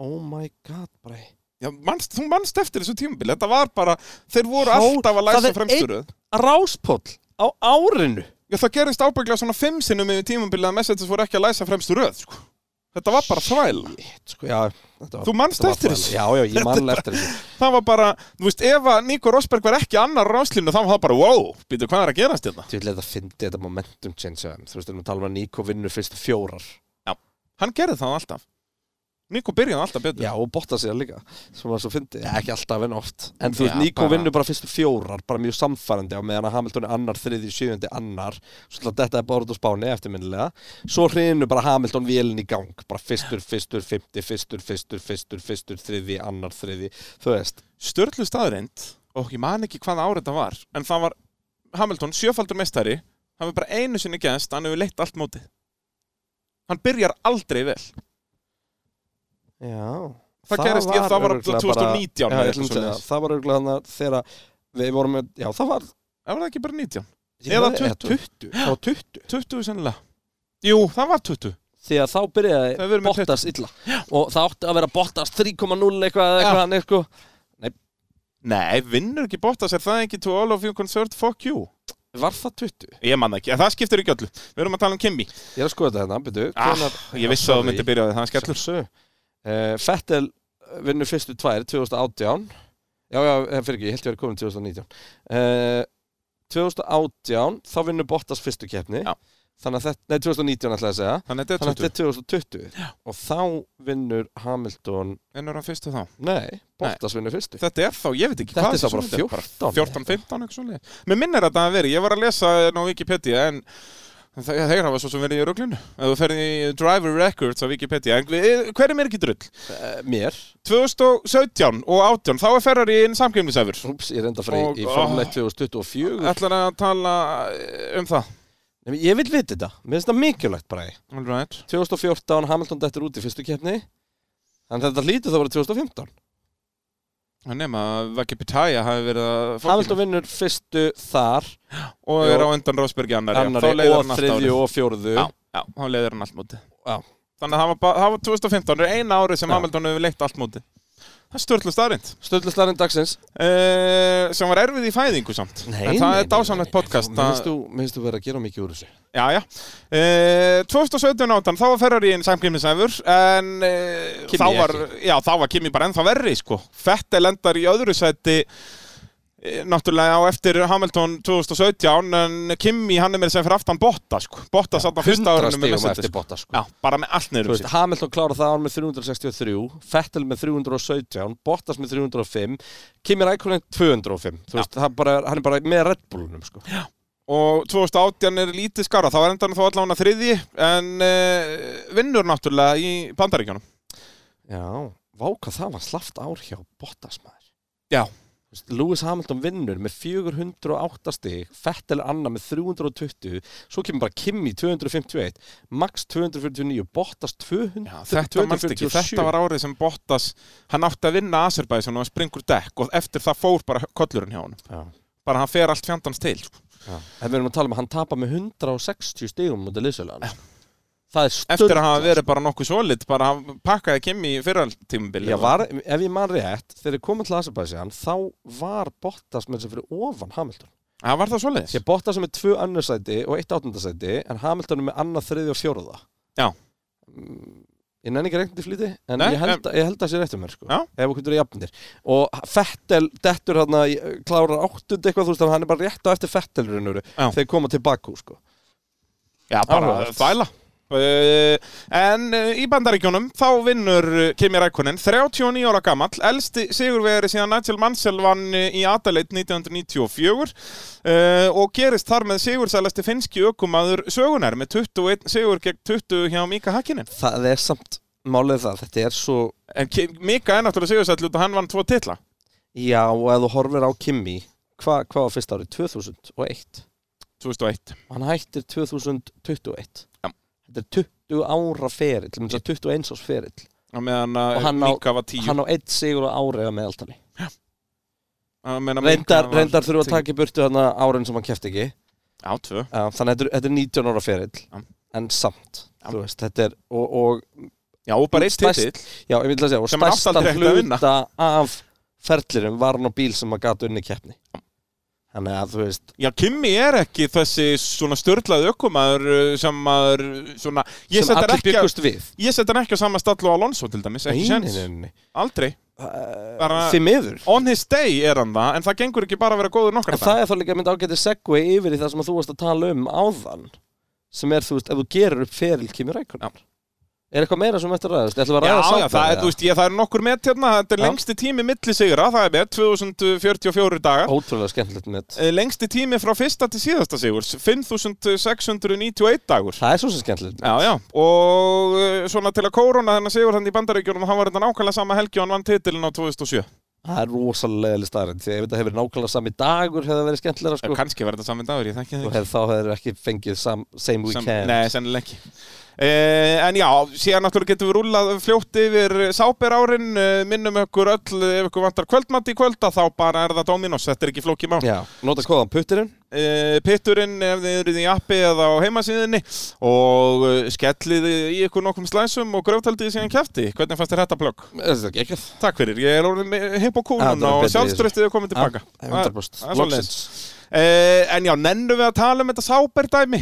oh my god brei. Já, manst, þú manst eftir þessu tímabil, þetta var bara, þeir voru Hó, alltaf að það læsa er fremsturöð. ráspóll á árinu Já, það gerist ábygglega svona fimm sinnum yfir tímabil að Mercedes voru ekki að læsa fremsturöð, sko. Þetta var bara þvæla. Shit, sko, já, þetta var, Þú manst þetta var eftir þvæla. þessu? já, já, ég mann eftir þessu Það var bara, þú veist, ef að Nico Rosberg var ekki annar á ráslínu, þá var það bara, wow, býtu, hvað er að gerast hérna? Þú vil þetta fyndi þetta momentum change á þeim. Þú veist, við erum að tala um að Nico vinnur fyrstu fjórar Hann gerði það alltaf. Nico byrjaði alltaf betur. Já, og botta sér líka sem var svo fyndi, ekki alltaf en oft en þú veist, Já, Nico bara- vinnur bara fyrstu fjórar bara mjög samfærandi á meðan að Hamilton er annar þriði, sjöundi, annar svo þetta er bara út á spáni eftirminnilega svo hrinu bara Hamilton vélin í gang bara fyrstur, fyrstur, fymti, fyrstur, fyrstur fyrstur, fyrstur, þriði, annar, þriði þú veist, Störlu staðreind, og ég man ekki hvaða ár þetta var, en það var Hamilton, sjöfaldur meistari, hann var bara einu sinni gæst, hann hefur leitt allt mótið. Hann byrjar aldrei vel. já Það gerist, ég- það var örugglega 2019 bara, eða já, ég eitthvað ætlum að segja, svoleiðis. það var örgulega þannig að þegar við vorum með, já það var Það var það ekki bara 19? ég Eða man- 20. 20, það var 20 20 sennilega Jú, það var 20 því að þá Það byrjaði verður með Bottas illa og það átti að vera Bottas 3.0 eitthvað eða Já. eitthvað, eitthvað sko. Nei, vinnur ekki Bottas, er það ekki to all of you concerned, fuck you var það 20? Ég man það ekki, en það skiptir ekki öllu Við erum að tala um Kimi Ég er að skoða þetta hérna, byrju ah, Ég vissi að það myndi byrjaði, það er skellur skellur Eh, Fettel vinnur fyrstu tvær 2018 já, já, eh, fyrir ekki, ég held ég verið komin 2019 uh, 2018 þá vinnur Bottas fyrstu keppni Já. þannig að þetta, nei 2019 ætlaði að segja Þannig að þannig að þetta er 20, þetta er 2020 já. og þá vinnur Hamilton en er hann fyrstu þá nei, Bottas vinnur fyrstu Þetta er þá, ég veit ekki þetta hvað er þá bara session þetta 14 14, 15, eitthvað svolítið Mér minnir að það að veri, ég var að lesa ná Wikipedia en en þe- þeir hafa svo sem verið í röglinu Ef þú ferði í driver records á Wikipedia en eh, hver er mér ekki drull? Eh, mér 2017 og 18 þá er Ferrari inn samkjöfnisæfur Úps, ég reynda að fara Og- í, í Formule oh. 1 2024 Ætlar að tala eh, um það Nei, Ég vil vita þetta, mér finnst það mikilvægt bara All right. 2014, Hamilton dettur út í fyrstu keppni Þannig þetta hlýtur þá bara 2015 Það nema að Vaki Pitaya hafi verið að fá Hamilton kíló. vinnur fyrstu þar og er Jú. á undan Rósbergi annari, annari já. Þá leiðir og hann allt þriðju árið. og fjórðu Já, já, þá leiðir hann allt móti Já. Þannig að það var, bara- það var 2015, það er eina árið sem Já. Hamilton hefur leitt allt móti Það er störtlega staðrind Stöldlistarinn dagsins uh, sem var erfið í fæðingu samt en það er dásamlegt podcast Mér finnst þú, mér finnst þú verið að gera mikið úr þessu Já, já uh, 2017 áttan, þá var Ferrari einn samklimnisæfur en uh, Kimi þá var ekki. já, þá var Kimi bara ennþá verri sko. Fettel endar í öðru sæti eh, náttúrulega á eftir Hamilton 2017 en Kimi hann er með sem fyrir aftan Botta sko. Botta satt á 100 fyrsta árunum með stigum Mercedes eftir Botta sko. Já, bara með allt um Þú neyrum veist, sér Hamilton klára það án með 363 Fettel með 317 Bottas með 305 Kimi Rækonen 205 Þú veist, hann, bara, hann er bara með Red Bullunum sko. og 2018 er lítið skara þá er endan þó allan að þriði en uh, vinnur náttúrulega í bandaríkjónum Já, vá hvað það var slaft ár hjá Bottas maður Já. Þú veist, Lewis Hamilton vinnur með 408 stig Fettel annar með 320 Svo kemur bara Kimi 251 Max 249 Bottas 200 Já, þetta mannst ekki, þetta var árið sem Bottas hann átti að vinna Azerbaijan og hann springur dekk og eftir það fór bara kollurinn hjá hann Já. bara hann fer allt fjandans til sko. En við erum að tala um að hann tapar með 160 stigum mútið liðsölega Það er stöld eftir að hafa verið bara nokkuð svolít bara hann pakkaði Kimi í fyrraltímubili Já, var, ef ég man rétt, þegar ég komið til Azerbaijan þá var Bottas með þess að fyrir ofan Hamilton. það var það svolítið Því að Bottas er með tvö önnur sæti og eitt áttundasæti en Hamilton er með annað, þriði og fjóruða. Já. Mm, Ég nenni ekki reyndi flýti, en Nei, ég, held, að- ég held að sé rétt um mér, sko. Já. Ef okkur eru jafnir. Og Fettel, dettur hérna, klárar áttund eitthvað, þú veist, þannig að hann er bara rétt á eftir Fettel raunuru Já. þegar koma til Bakú, sko. Já, bara Áhugavert. þvæla. Uh, en uh, í bandaríkjónum þá vinnur uh, Kimi Rækonen 39 ára gamall, elsti sigurveri síðan Nigel Mansell vann uh, í Adelaide 1994 uh, og gerist þar með sigursælasti finski ökumaður sögunar með 21 sigur gegn 20 hjá Mika Hakkinen Það er samt málið það, þetta er svo en Ki- Mika er náttúrulega sigursæll út og hann vann tvo titla Já, og ef þú horfir á Kimi hva, hvað var fyrsta árið? 2001 2001 og hann hættir 2021 Já. Þetta er 20 ára ferill til myndið 21 árs ferill og meðan Og að hann á- Mika var 10 Hann á eitt sigur á ári að meðaltali Á meðan að Mika Reyndar, var reyndar þurfa að 10. taka í burtu þarna árin sem hann kefti ekki Já, tvö Já, Þannig að þetta er- þetta er 19 ára ferill Já. En samt, Já. þú veist, þetta er og, og, Já, og bara eitt Stærst- titill já, ég vil að segja, og Sem hann átti stærsta aldrei eftir að vinna. hluta af ferlirum var hann á bíl sem að gata unni keppni Þannig að þú veist, Já, Kimi er ekki þessi svona störlaði ökumaður uh, sem maður uh, svona, ég sem setja hann allir ekki, byggust við á- ég set hann ekki á sama stall og Alonso til dæmis, ekki Nei, sjens, nei, nei, nei. aldrei bara, Því miður on his day er hann það, en það gengur ekki bara að vera góður nokkar En það er þá líka mynd ágæti segway yfir í það sem þú varst að tala um áðan sem er, þú veist, ef þú gerir upp feril Kimi Rækonar Er eitthvað meira sem eftir að ræðast? Ætlum við að Já, ræða já, sátt það er, þú veist, ég, það er nokkur met hérna, þetta er Já. lengsti tími milli sigra, það er met, 2044 dagar, Ótrúlega skemmtilegt mitt Eh, lengsti tími frá fyrsta til síðasta sigurs, 5691 dagur. Það er svo sem skemmtilegt Já, já, og eh, svona til að kórona þennan sigur hann í bandaríkjunum, hann var þetta nákvæmlega sama helgi og hann vann titilin á 2007. Það er rosalega starrend Því að ef þetta hefur nákvæmlega sami dagur hefði það verið skemmtilega Sko, sko kannski verður þetta saman dagur, ég þekki það og ekki. hef, þá hefur ekki fengið sam, same Sem- weekend Nei, sennilega ekki. Uh, en já, síðan náttúrulega getum við rúlað fljótt yfir sáber árin, uh, minnum ykkur öll, eh, ef ykkur vantar kvöldmatt í kvölda, þá bara er það Dominos, þetta er ekki flókið mál. Já, nota kóðan putturinn Uh, pitturinn ef þið eruð í appi eða á heimasíðinni og uh, skellið í ykkur nokkrum slæsum og gröftaldið síðan kæfti. Hvernig fannst þér Eh, þetta plögg? Það er ekki ekkert Takk fyrir, ég er orðin hipp Já, þetta og var kúnun og betra í þessu. sjálfströftið er komið tilbaka. Ah, Það- 100% það er Loksins. Uh, en já, nennum við að tala um þetta sáber dæmi?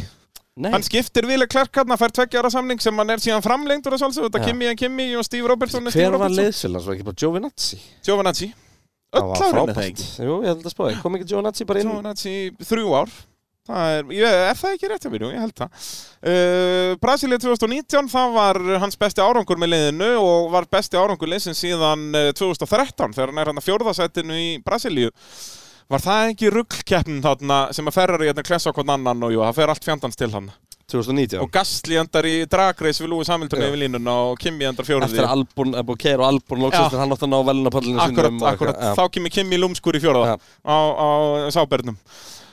Nei, Hann skiptir Vili Klerk hann að fær tveggja ára samning sem hann er síðan framlengdur að sjálfsög þetta Já. Kimi en Kimi og Steve Robertson er Steve hver var Robertson leiðsjölan? Svo ekki bara Giovinazzi Giovanazzi Það öll var árin er það frábært. ekki Jú, ég held að spá ekki. Kom ekki Giovinazzi bara inn? Giovanazzi þrjú ár það er, ég, er það ekki rétt hjá mér, Jú, ég held það uh, Brasilia 2019 það var hans besti árangur með liðinu og var besti árangur liðsin síðan eh, 2013 þegar hann er hann að fjórðasættinu í Brasilíu Var það ekki ruggkeppnin þarna sem að ferrar í hérna klessa okkur annan og jú, það fer allt fjandans til hann 2019. Og Gastli endar í dragreis við Lúi Samildum yfir línuna og Kimi endar fjóruði. Eftir að Albon, að Bokero Albon loksast Já. en hann átti að ná velunapallinu Akkurat, akkurat. Þá kemur Kimi lúmskur í fjóruða Já. á, á sábernum.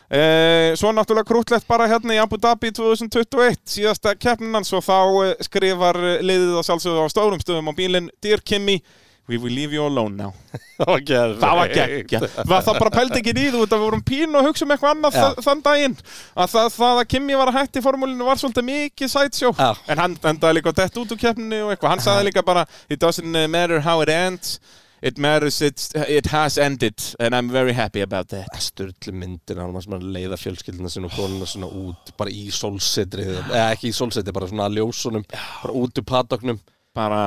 Eh, svo náttúrulega krútlegt bara hérna í Abu Dhabi 2021, síðasta keppninan, svo þá eh, skrifar eh, liðið að sjálfsögðu á stórum stöðum á bílinn Dear Kimi, we will leave you alone now. það var gerð. Það var geggja. Var það bara pældi ekki nýðu út að við vorum pínu og hugsa um eitthvað annað Já. þa- þann daginn. Að það, það að Kimi var að hætti í formúlinu var svolítið mikið sætsjó. Já. En hann endaði líka dætt út úr keppninu og eitthvað. Hann sagði líka bara, it doesn't matter uh, how it ends, It matters, it's, it has ended and I'm very happy about that Sturlu myndir hann var sem að leiða fjölskyldina sinna og konuna sinna út bara í solsetri eða ekki í solsetri, bara svona að ljósunum bara út úr paddocknum Bara,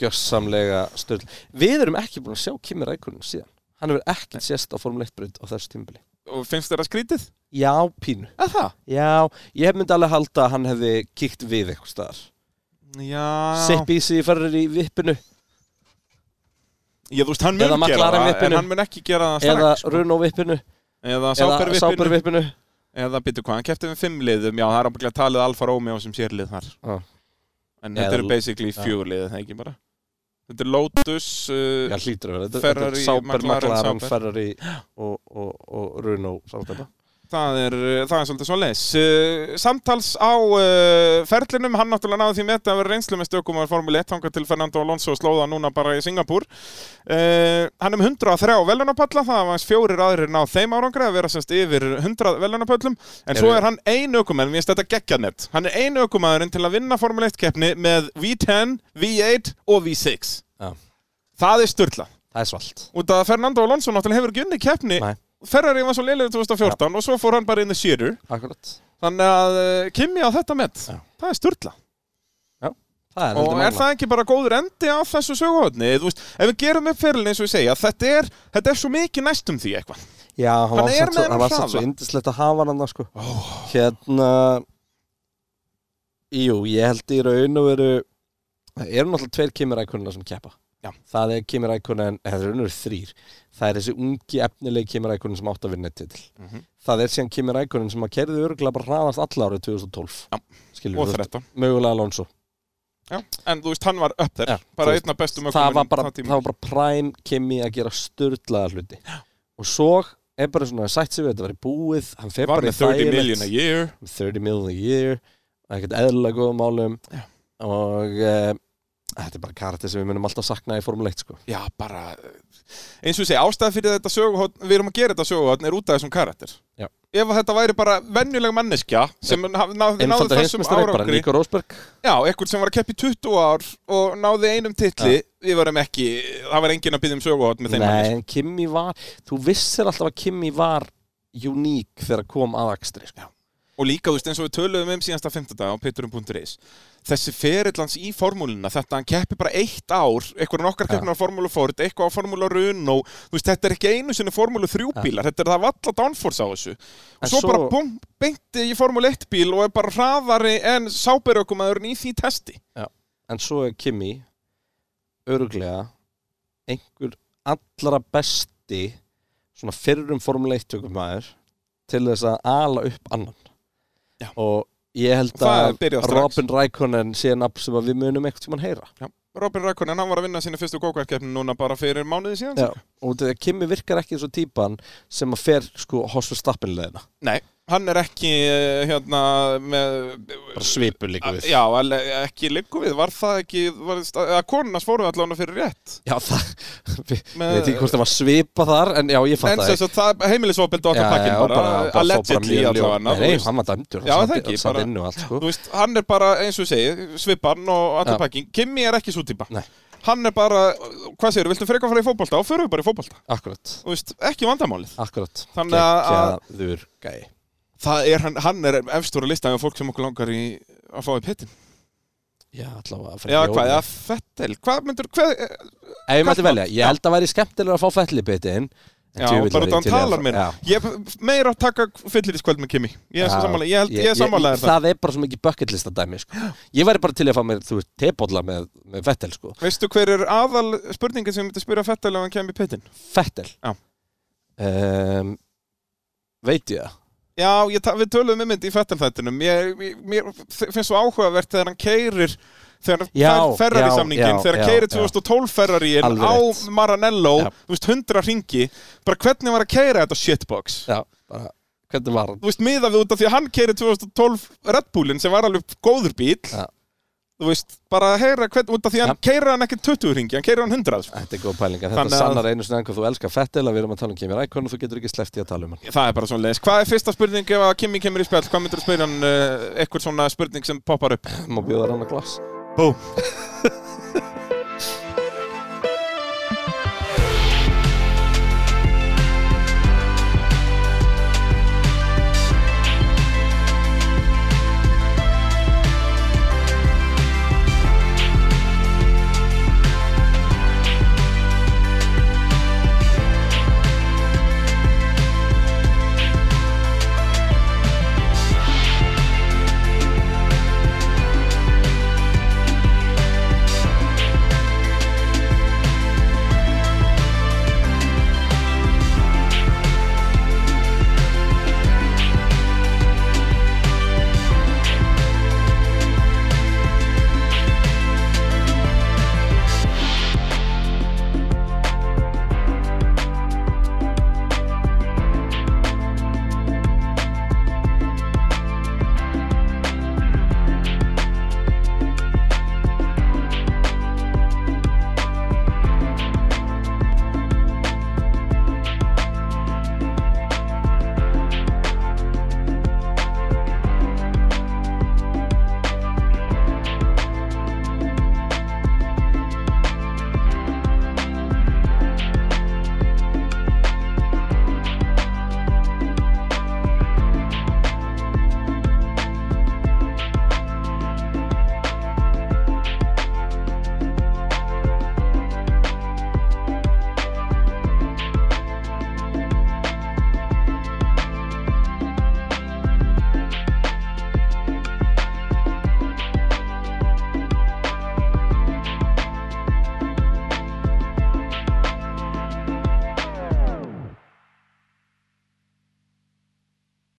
gjössamlega sturl Við erum ekki búin að sjá Kimi Rækunin síðan Hann hefur ekkert sést á Formule 1 braut á þessu tímbili og finnst þér að skrítið? Já, pínu Að það? Já, ég myndi alveg halda að hann hefði kíkt við eitthvað staðar Já Sipp í sig farir í vippinu Ég þú veist, hann mun Eða gera McLaren það vippinu. En hann mun ekki gera það eða strax runn á vippinu Eða eða sápervippinu sáper vippinu Eða býttu hvað, hann kefti með fimm liðum Já, það er ábygglega talið Alfa Romeo sem sérlið þar Já. En Eða- þetta eru basically Já. fjögur liðið, það ekki bara Þetta er Lotus Já, uh, hlýtur að vera Þetta- þetta Ferrari, er Sáper, McLaren, McLaren, Sauber. Ferrari og, og, og runn á sáper það, er, uh, það er svolítið svo les uh, Samtals á uh, ferlinum Hann náttúrulega náði því með þetta að vera reynslu með stökum að Formule 1 hanga til Fernando Alonso og slóða núna bara í Singapúr uh, Hann er með 103 velunapalla Það var hans fjórir aðrir náð þeim árangri að vera semst yfir 100 velunapöllum En Er- svo er hann ein ökumenn, mér finnst þetta geggjannett Hann er ein ökumæðurinn til að vinna Formule 1 keppni með V10, V8 og V6 Já. Það er störtlað Það er svalt út af að Fernando Alonso náttúrulega hefur ekki unni keppni Nei. Ferrari var svo leilir 2014 og svo fór hann bara inn í sérur Akkurat þannig að uh, Kimi á þetta met Já. það er sturla Það er og heldur er málað. það ekki bara góður endi á þessu söguhotni ef við gerum upp fyrirlin eins og ég segja þetta er, þetta er svo mikið næstum því eitthvað Já, hann Hann var samt er með svo, þennan hann var samt svo hraða. indislegt að hafa hann þarna, sko. Hérna Jú, ég held í raun og veru Það eru náttúrulega tveir kemirækunna sem keppa Já. Það er kemirækunna en það eru raun og veru þrýr Það er þessi ungi efnilegi kemirækunna sem átt að vinna til Mhm. Það er síðan kemirækunna sem að kerði örgulega bara hraðast alla árið 2012 Já. Skilur og við 13 mögulega Alonso Já. en þú veist hann var upp þér Já, þú bara veist, einna bestum það var, bara, það það var bara prime Kimi að gera sturdlaða hluti og svo er bara svona sætt sig við þetta var í búið hann fer var bara í með 30 million a þægilegt year 30 million a year ekkert eðlilega góðum málum Já. og uh, þetta er bara karakter sem við munum alltaf sakna í Formule 1 sko. já bara eh, eins og ég segja ástæða fyrir þetta söguhotn við erum að gera þetta söguhotn er út af þessum karakter Já. ef að þetta væri bara venjuleg manneskja sem náði, náði einfalda þessum hinsmestari, bara árangri Nico Rosberg Já, eitthvað sem var að keppa í 20 ár og náði einum titli, við varum ekki, það var enginn að byggja um söguhótt með þeim nei manni. en Kimi var þú vissir alltaf að Kimi var uník þegar kom að Akstri sko. Og líka, þú veist, eins og við töluðum um síðasta 15 dag á pitturum.is, þessi ferillans í formúluna, þetta hann keppi bara eitt ár, eitthvað er nokkar Já. keppnur á formúlu Ford, eitthvað á formúlu Renault, þú veist, þetta er ekki einu sinni formúlu 3 Já. bílar, þetta er það valla downforce á þessu. En Og svo, svo- bara búm, beinti í formúlu 1 bíl og er bara hraðari en sáberökumæðurinn í því testi. en svo er Kimi öruglega einhver allra besti svona fyrrum Formule 1 tökum til þess að ala upp annan Já. og ég held Það að er byrjað strax. Robin Rækonen sé nafn sem að við munum eitthvað tímann heyra Robin Rækonen, hann var að vinna sína fyrstu kókarkeppni núna bara fyrir mánuði síðan. Já. og þetta Kimi virkar ekki eins og típan sem að fer sko hossu stappinleðina Nei, hann er ekki eh, hérna með bara svipur líka við Já, alveg ekki liggu við, var það ekki var, að konunars fórum allavega fyrir rétt Já, það, við Með- veit ekki hvort það var svipa þar en já, ég fatt En það þess að það heimilisofbeldi okkar pakkin bara, allegedly allavega Nei, þú, veist. hann var dæmdur, Já, hann það sat- ekki, sat bara- inn og allt sko þú veist, hann er bara eins og ég segi, svipan og allir Já. pakkin, Kimi er ekki svo típa Nei. Hann er bara, hvað segir, viltu frekar fara í fótbolta og förum við bara í fótbolta, Akkurat þú veist, ekki vandamálið Akkurat Þannig að- Gekkjaður gæi Það er, hann, hann er efstur að lista af fólk sem okkur langar í að fá í pittin Já, allavega að Já, hvað, Ef að fettel, hvað myndur, hvað, ég mætti Kallmann. velja, ég held að væri skemmtilega að fá fellibitinn Já, bara út af hann talar meira Já, Ég meira að taka fylliriskvöld með Kimi Ég er Já, samanlega, ég held, ég er samanlega ég- það Það er bara svo mikið bucket list að dæmi sko. Ég væri bara til að fá mér, þú veist, tebolla með, með Fettel sko. Veistu hver er aðal spurningin sem ég myndi spyrja Fettel ef hann kemur í pittin? Fettel Já. um, Veit ég það? Já, ég, ta- við töluðum um myndi í Fettel þættinum Ég, ég- mér finnst svo áhugavert þegar hann keirir þegar hann Já, fer- Ferrari já, samningin já, þegar já, hann keirir já. 2012 Ferrari Alveg á rétt. Maranello Já. þú veist, 100 ringi bara hvernig var að keira þetta shitbox Já, bara, hvernig var hann? þú veist, miðað við út af því að hann keiri 2012 Red Bullin sem var alveg góður bíl Já. þú veist, bara að heyra hvern, út af því að hann ja. keiri hann ekki 20 ringi, hann keiri hann 100 sko. Þetta er góð pælinga, þetta Þannig að- sannar einu sinni hvað þú elskar Fettel að við erum að tala um Kimi Rækon og þú getur ekki sleppt í að tala um hann það er bara svona leis, hvað er fyrsta spurning ef að Kimi kemur í spjall, hvað myndur að eh, spyrja hann uh, eitthvað svona spurning sem poppar upp Má bjóða hann að glas Bú